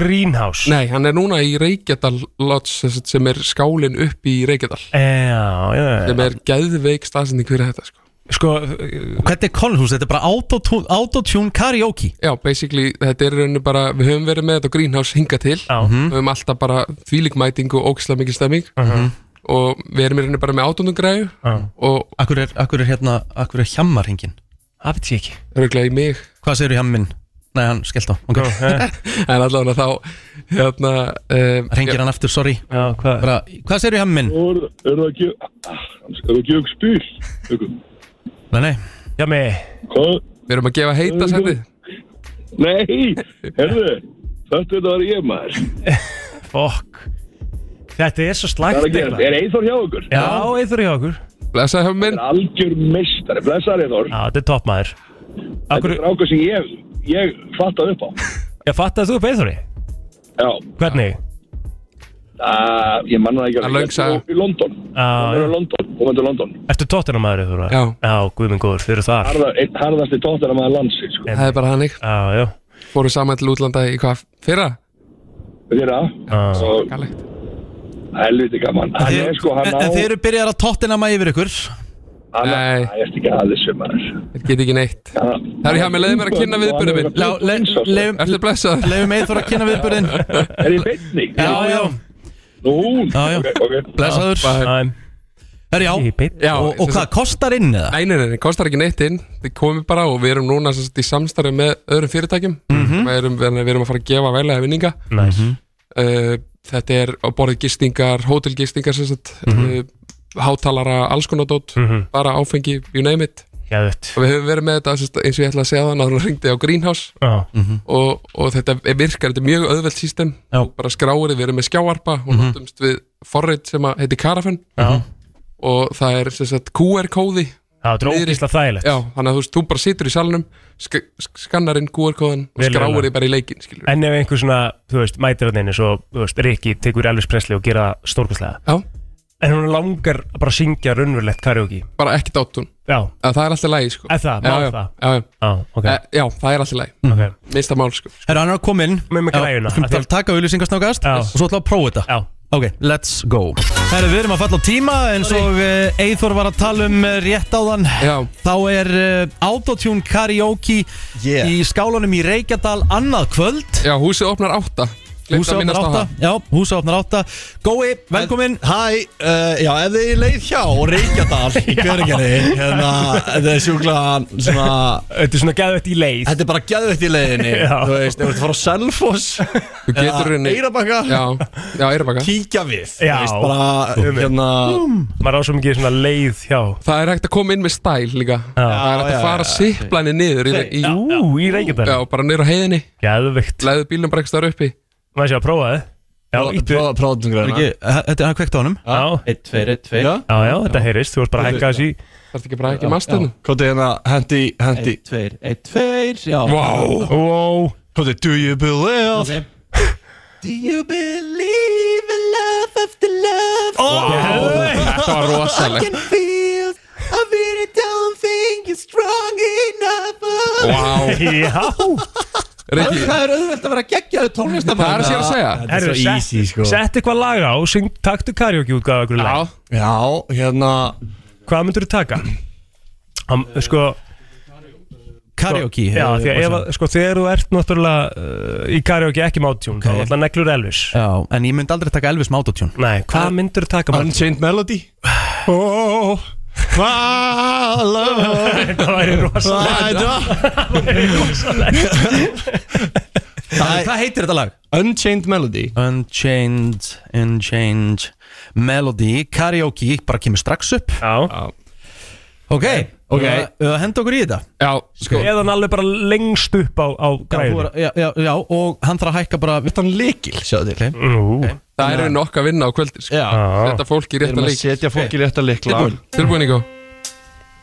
[SPEAKER 3] Greenhouse
[SPEAKER 19] Nei, hann er núna í Reykjadal Lodge sem sagt, sem er skálinn upp í Reykjadal
[SPEAKER 3] Já, já, já.
[SPEAKER 19] Sem er geðveik staðsending fyrir þetta sko
[SPEAKER 3] Sko
[SPEAKER 1] Hvernig er Kolhús? Þetta er bara autotune, autotune karaoke
[SPEAKER 19] Já, basically, þetta er í rauninni bara Við höfum verið með þetta á Greenhouse hinga til Já
[SPEAKER 3] Mhm.
[SPEAKER 19] Við höfum alltaf bara þvílíkmæting og ógislega mikið stemming
[SPEAKER 1] Mhm.
[SPEAKER 19] Og við erum í rauninni bara með átundum græðu Og
[SPEAKER 1] Akkur er, akkur er hérna, akkur er hjammarhingin?
[SPEAKER 3] Það veit ég ekki
[SPEAKER 19] Örglega í mig
[SPEAKER 1] Hvað segir hjamminn? Nei, hann skellt á okay.
[SPEAKER 3] eh.
[SPEAKER 19] En allavega þá hérna, um,
[SPEAKER 1] Hringir hann aftur, sorry
[SPEAKER 3] Já, hvað
[SPEAKER 1] Bara, Hvað segir hjamminn?
[SPEAKER 7] Er, er það ekki, er það ekki ekki spil? Ykkur.
[SPEAKER 1] Nei, nei
[SPEAKER 3] Já, mig
[SPEAKER 7] Hvað?
[SPEAKER 19] Við erum að gefa heita sendið
[SPEAKER 7] Nei, herðu, þetta er það er ég maður.
[SPEAKER 3] Fokk Þetta er svo slægt
[SPEAKER 7] Það er að gera,
[SPEAKER 3] eiginlega.
[SPEAKER 7] er Eithor hjá ykkur?
[SPEAKER 3] Já, Eithor hjá okkur
[SPEAKER 19] Blessaði hjá minn
[SPEAKER 7] Þetta er algjör mistari, blessaði Eithor.
[SPEAKER 3] Já, þetta er toppmaður
[SPEAKER 7] Þetta er ákveð sem ég, ég fattaði upp á.
[SPEAKER 3] Ég fatt að þú er Eithori
[SPEAKER 7] Já.
[SPEAKER 3] Hvernig?
[SPEAKER 7] Það, ég manna það ekki
[SPEAKER 3] Það er löng saga.
[SPEAKER 7] Ég er í London.
[SPEAKER 3] Já,
[SPEAKER 7] Það er í London, þú vendur London.
[SPEAKER 3] Ertu tóttina maður Eithori? Já Já, guð minn góður, þið eru þar
[SPEAKER 7] Harða, einn harðasti tóttina maður landsins, sko.
[SPEAKER 19] Það er bara hannig
[SPEAKER 3] Já, já
[SPEAKER 19] Fóru saman til útlanda í hvað fyrra?
[SPEAKER 7] Fyrra
[SPEAKER 1] Ah.
[SPEAKER 3] Já,
[SPEAKER 19] skalegt
[SPEAKER 7] Helviti gaman. Hann er sko, hann
[SPEAKER 1] En,
[SPEAKER 7] á...
[SPEAKER 1] en þeir eru byrjar að tottina maður yfir ykkur
[SPEAKER 7] Hann, Nei. Það er ekki aðeins sem maður.
[SPEAKER 19] Þeir get ekki neitt. Herri, hjá mig, leiði mér að kynna viðburðið minn.
[SPEAKER 1] Já, le- leifum-
[SPEAKER 19] Ertu blessað?
[SPEAKER 1] Leifum Eithor að kynna viðburðin
[SPEAKER 7] Er ég beinni?
[SPEAKER 1] Já, já
[SPEAKER 7] Nú,
[SPEAKER 1] já, já. Blessaður Herri, já
[SPEAKER 19] Já,
[SPEAKER 1] Og, og hvað, kostar inn eða?
[SPEAKER 19] Nei, nei, nei, nei, kostar ekki neitt inn Þið komið bara og við erum núna sem sagt, í samstarfi með öðrum fyrirtækjum
[SPEAKER 1] Mhm.
[SPEAKER 19] við, erum, við erum að fara að gefa veglega vinninga
[SPEAKER 3] Næs
[SPEAKER 19] uh, Þetta er á borðið gistingar, hótelgistingar sem sagt, uh, hátalara, alls konar dót
[SPEAKER 3] Mhm.
[SPEAKER 19] bara áfengi, you name it
[SPEAKER 3] Geðveikt.
[SPEAKER 19] Og við höfum verið með þetta sem sagt, eins og ég ætla að segja þannig að hún ringdi á Greenhouse
[SPEAKER 3] Já.
[SPEAKER 19] og, og þetta er- virkar, þetta er mjög auðvelt system
[SPEAKER 1] Mhm. Já.
[SPEAKER 19] bara skráirið, við erum með skjáarpa og
[SPEAKER 1] Mhm.
[SPEAKER 19] notumst við forrið sem að heiti Carafun
[SPEAKER 3] Já.
[SPEAKER 19] og það er sem sagt QR-kóði
[SPEAKER 3] Já, þetta er ógeðslega þægilegt.
[SPEAKER 19] Já, þannig að þú veist, þú bara situr í salnum sk sk- skannar inn QR-kóðan og
[SPEAKER 3] Vel
[SPEAKER 19] skráir
[SPEAKER 3] unnið.
[SPEAKER 19] þig bara í leikin skilur.
[SPEAKER 3] En ef einhver svona, þú veist, mætir hann einu svo, þú veist, Rikki tekur Elvis Presley og gera stórkvæslega
[SPEAKER 19] Já
[SPEAKER 3] En hún langar bara að syngja raunverulegt karaoke
[SPEAKER 19] Bara ekki dátun
[SPEAKER 3] Já
[SPEAKER 19] Það er alltaf lægi sko
[SPEAKER 3] Ef það,
[SPEAKER 19] Já,
[SPEAKER 3] má
[SPEAKER 19] já,
[SPEAKER 3] það?
[SPEAKER 19] Já, já.
[SPEAKER 3] Já, ok.
[SPEAKER 19] Eh, já, það er alltaf lægi
[SPEAKER 3] Ok.
[SPEAKER 19] Minnsta mál sko
[SPEAKER 1] Herra, hann er að koma inn
[SPEAKER 3] Með mig græjuna,
[SPEAKER 1] Skulum
[SPEAKER 3] af því
[SPEAKER 1] bara
[SPEAKER 3] að-
[SPEAKER 1] taka auðlýsingasnákast Og svo ætla að prófa þetta
[SPEAKER 3] Já
[SPEAKER 1] Ok, let's go Herra, við erum að falla á tíma En svo uh, Eithor var að tala um uh, rétt áðan
[SPEAKER 19] Já
[SPEAKER 1] Þá er uh, Autotune Karaoke
[SPEAKER 19] Yeah.
[SPEAKER 1] Í skálanum í Reykjadal annað kvöld
[SPEAKER 19] Já, húsið opnar átta Gleymt að
[SPEAKER 1] Húsa opnar
[SPEAKER 19] minnast á
[SPEAKER 1] átta
[SPEAKER 19] það.
[SPEAKER 1] Já, húsa opnar átta Gói, velkomin
[SPEAKER 20] Hæ,
[SPEAKER 19] eh,
[SPEAKER 20] uh, já, ef þið leið hjá Reykjadal í Björgjari hérna, þetta er sjúklega svona
[SPEAKER 3] Þetta er svona geðvett í leið
[SPEAKER 20] Þetta er bara geðvett í leiðinni
[SPEAKER 19] Já.
[SPEAKER 20] Þú veist, ef þú ert að fara á Selfoss
[SPEAKER 19] Þú getur
[SPEAKER 20] eða
[SPEAKER 19] henni
[SPEAKER 20] Eyrarbakka
[SPEAKER 19] Já, já Eyrabakka
[SPEAKER 20] Kíkja við
[SPEAKER 3] Já
[SPEAKER 20] Þú veist, bara,
[SPEAKER 3] um,
[SPEAKER 20] hérna
[SPEAKER 3] Maður á svo mikið svona leið hjá
[SPEAKER 19] Það er hægt að koma inn með stæl líka Það er hægt
[SPEAKER 3] Já,
[SPEAKER 19] að
[SPEAKER 3] já,
[SPEAKER 19] fara
[SPEAKER 3] já.
[SPEAKER 19] sipplænið niður í, í,
[SPEAKER 3] Ú, í Reykjadal.
[SPEAKER 19] Já, bara niður á heiðinni
[SPEAKER 3] Geðvikt
[SPEAKER 19] Læðu bílnum bara ekki staðar uppi
[SPEAKER 3] Maður sé að prófa þið Já, íttu
[SPEAKER 20] Prófaðum
[SPEAKER 1] Ekki, eh, Þetta er hann kveikt á honum
[SPEAKER 3] Já
[SPEAKER 20] 1, 2, 1, 2
[SPEAKER 3] Já, já, þetta heyrist, þú varst bara að hækka þessi
[SPEAKER 19] Það er ekki bara
[SPEAKER 3] hækka í masternu.
[SPEAKER 20] Kóti hérna, hendi, hendi
[SPEAKER 3] 1,
[SPEAKER 20] 2, 1, 2, já
[SPEAKER 3] Vá. Wow
[SPEAKER 20] Kóti, do you believe
[SPEAKER 4] Do you believe in love after love?
[SPEAKER 19] Þetta
[SPEAKER 4] I
[SPEAKER 19] var rosalegt
[SPEAKER 4] can feel I really don't think you're strong enough
[SPEAKER 19] Vá.
[SPEAKER 3] Já
[SPEAKER 19] Rikki.
[SPEAKER 20] Það er auðvelt að vera geggjaðu tónlistamæður
[SPEAKER 19] Það er að sér að segja.
[SPEAKER 20] Þetta er svo easy, sko
[SPEAKER 3] Sett eitthvað lag á, syng, taktu karaoke útgáðu okkur lag
[SPEAKER 20] Já, hérna
[SPEAKER 3] Hvað myndur þú taka? Am, sko
[SPEAKER 1] Karaoke
[SPEAKER 3] Já,
[SPEAKER 1] eh,
[SPEAKER 3] því að ef, að- sko, þegar þú ert náttúrulega uh, í karaoke ekki mátjún okay. þá alltaf neglur Elvis
[SPEAKER 1] Já, en ég myndi aldrei taka Elvis með autotune
[SPEAKER 3] Nei, hvað myndur þú taka með?
[SPEAKER 20] Unchained Melody Oh Hvað
[SPEAKER 3] Þetta væri
[SPEAKER 1] Hvað heitir þetta lag?
[SPEAKER 20] Unchained Melody
[SPEAKER 1] Unchained, Unchained Melody, karaoke Bara kemur strax upp
[SPEAKER 3] Já
[SPEAKER 1] Ok,
[SPEAKER 20] Ok.
[SPEAKER 1] Uh, Henda okkur í þetta
[SPEAKER 19] Já, sko
[SPEAKER 3] Eða hann alveg bara lengst upp á, á
[SPEAKER 1] Já, þú
[SPEAKER 3] græðinu
[SPEAKER 1] er- já, já, já, og hann þarf að hækka bara Vitt hann líkil, sjáðu til
[SPEAKER 3] okay.
[SPEAKER 19] Það er nokk að vinna á kvöldir sko. Þetta fólk í rétta
[SPEAKER 20] Erum að
[SPEAKER 19] leik
[SPEAKER 20] setja fólk í rétta leik
[SPEAKER 19] Tilbúin, tilbúin Íko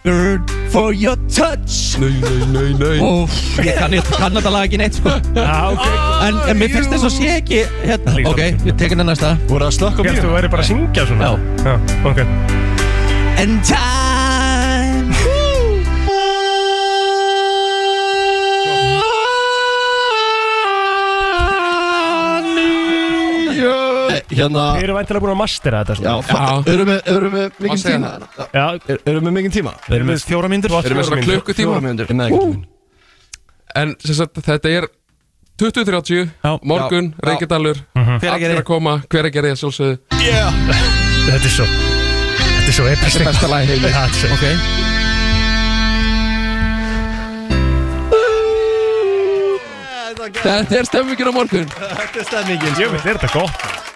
[SPEAKER 20] Bird for your touch
[SPEAKER 19] Nei, nei, nei, nei
[SPEAKER 4] Oh,
[SPEAKER 20] Óf, ég kann, ég kann þetta lag ekki neitt sko
[SPEAKER 3] Já, ok
[SPEAKER 20] En, en mér finnst þess að sé ekki hérna
[SPEAKER 1] Ok, ég tek hennar næsta
[SPEAKER 20] Voru það slökk á
[SPEAKER 3] Ég held þú væri bara að syngja svona Já, ok
[SPEAKER 20] And time
[SPEAKER 4] Ah.
[SPEAKER 20] Hérna
[SPEAKER 3] Við erum væntilega búin að mastera þetta
[SPEAKER 20] Já,
[SPEAKER 3] sko. svona
[SPEAKER 20] fa- erum við, erum við
[SPEAKER 19] Má
[SPEAKER 20] mikinn
[SPEAKER 19] segja
[SPEAKER 20] tíma?
[SPEAKER 3] Já,
[SPEAKER 20] Er- Erum við mikinn tíma?
[SPEAKER 1] Erum við fjóra myndir?
[SPEAKER 19] Erum við svona klukkutíma?
[SPEAKER 20] Fjóra myndir, nei, ekki
[SPEAKER 19] En sem sagt, þetta er 20.30 Morgun,
[SPEAKER 20] Já.
[SPEAKER 19] Reykjadalur
[SPEAKER 20] Mhm. Hver er
[SPEAKER 19] Allir
[SPEAKER 20] gerði?
[SPEAKER 19] að koma, hver er gerði að sjálfsögðu
[SPEAKER 20] Yeah
[SPEAKER 3] Þetta er svo Þetta er svo episkt
[SPEAKER 19] Þetta er besta lag í heimi.
[SPEAKER 3] Já, þetta er svo
[SPEAKER 1] Ok
[SPEAKER 19] Þetta er stemmingin á morgun
[SPEAKER 20] Þetta er stemmingin
[SPEAKER 1] sko.
[SPEAKER 3] Ég veit, er þetta gott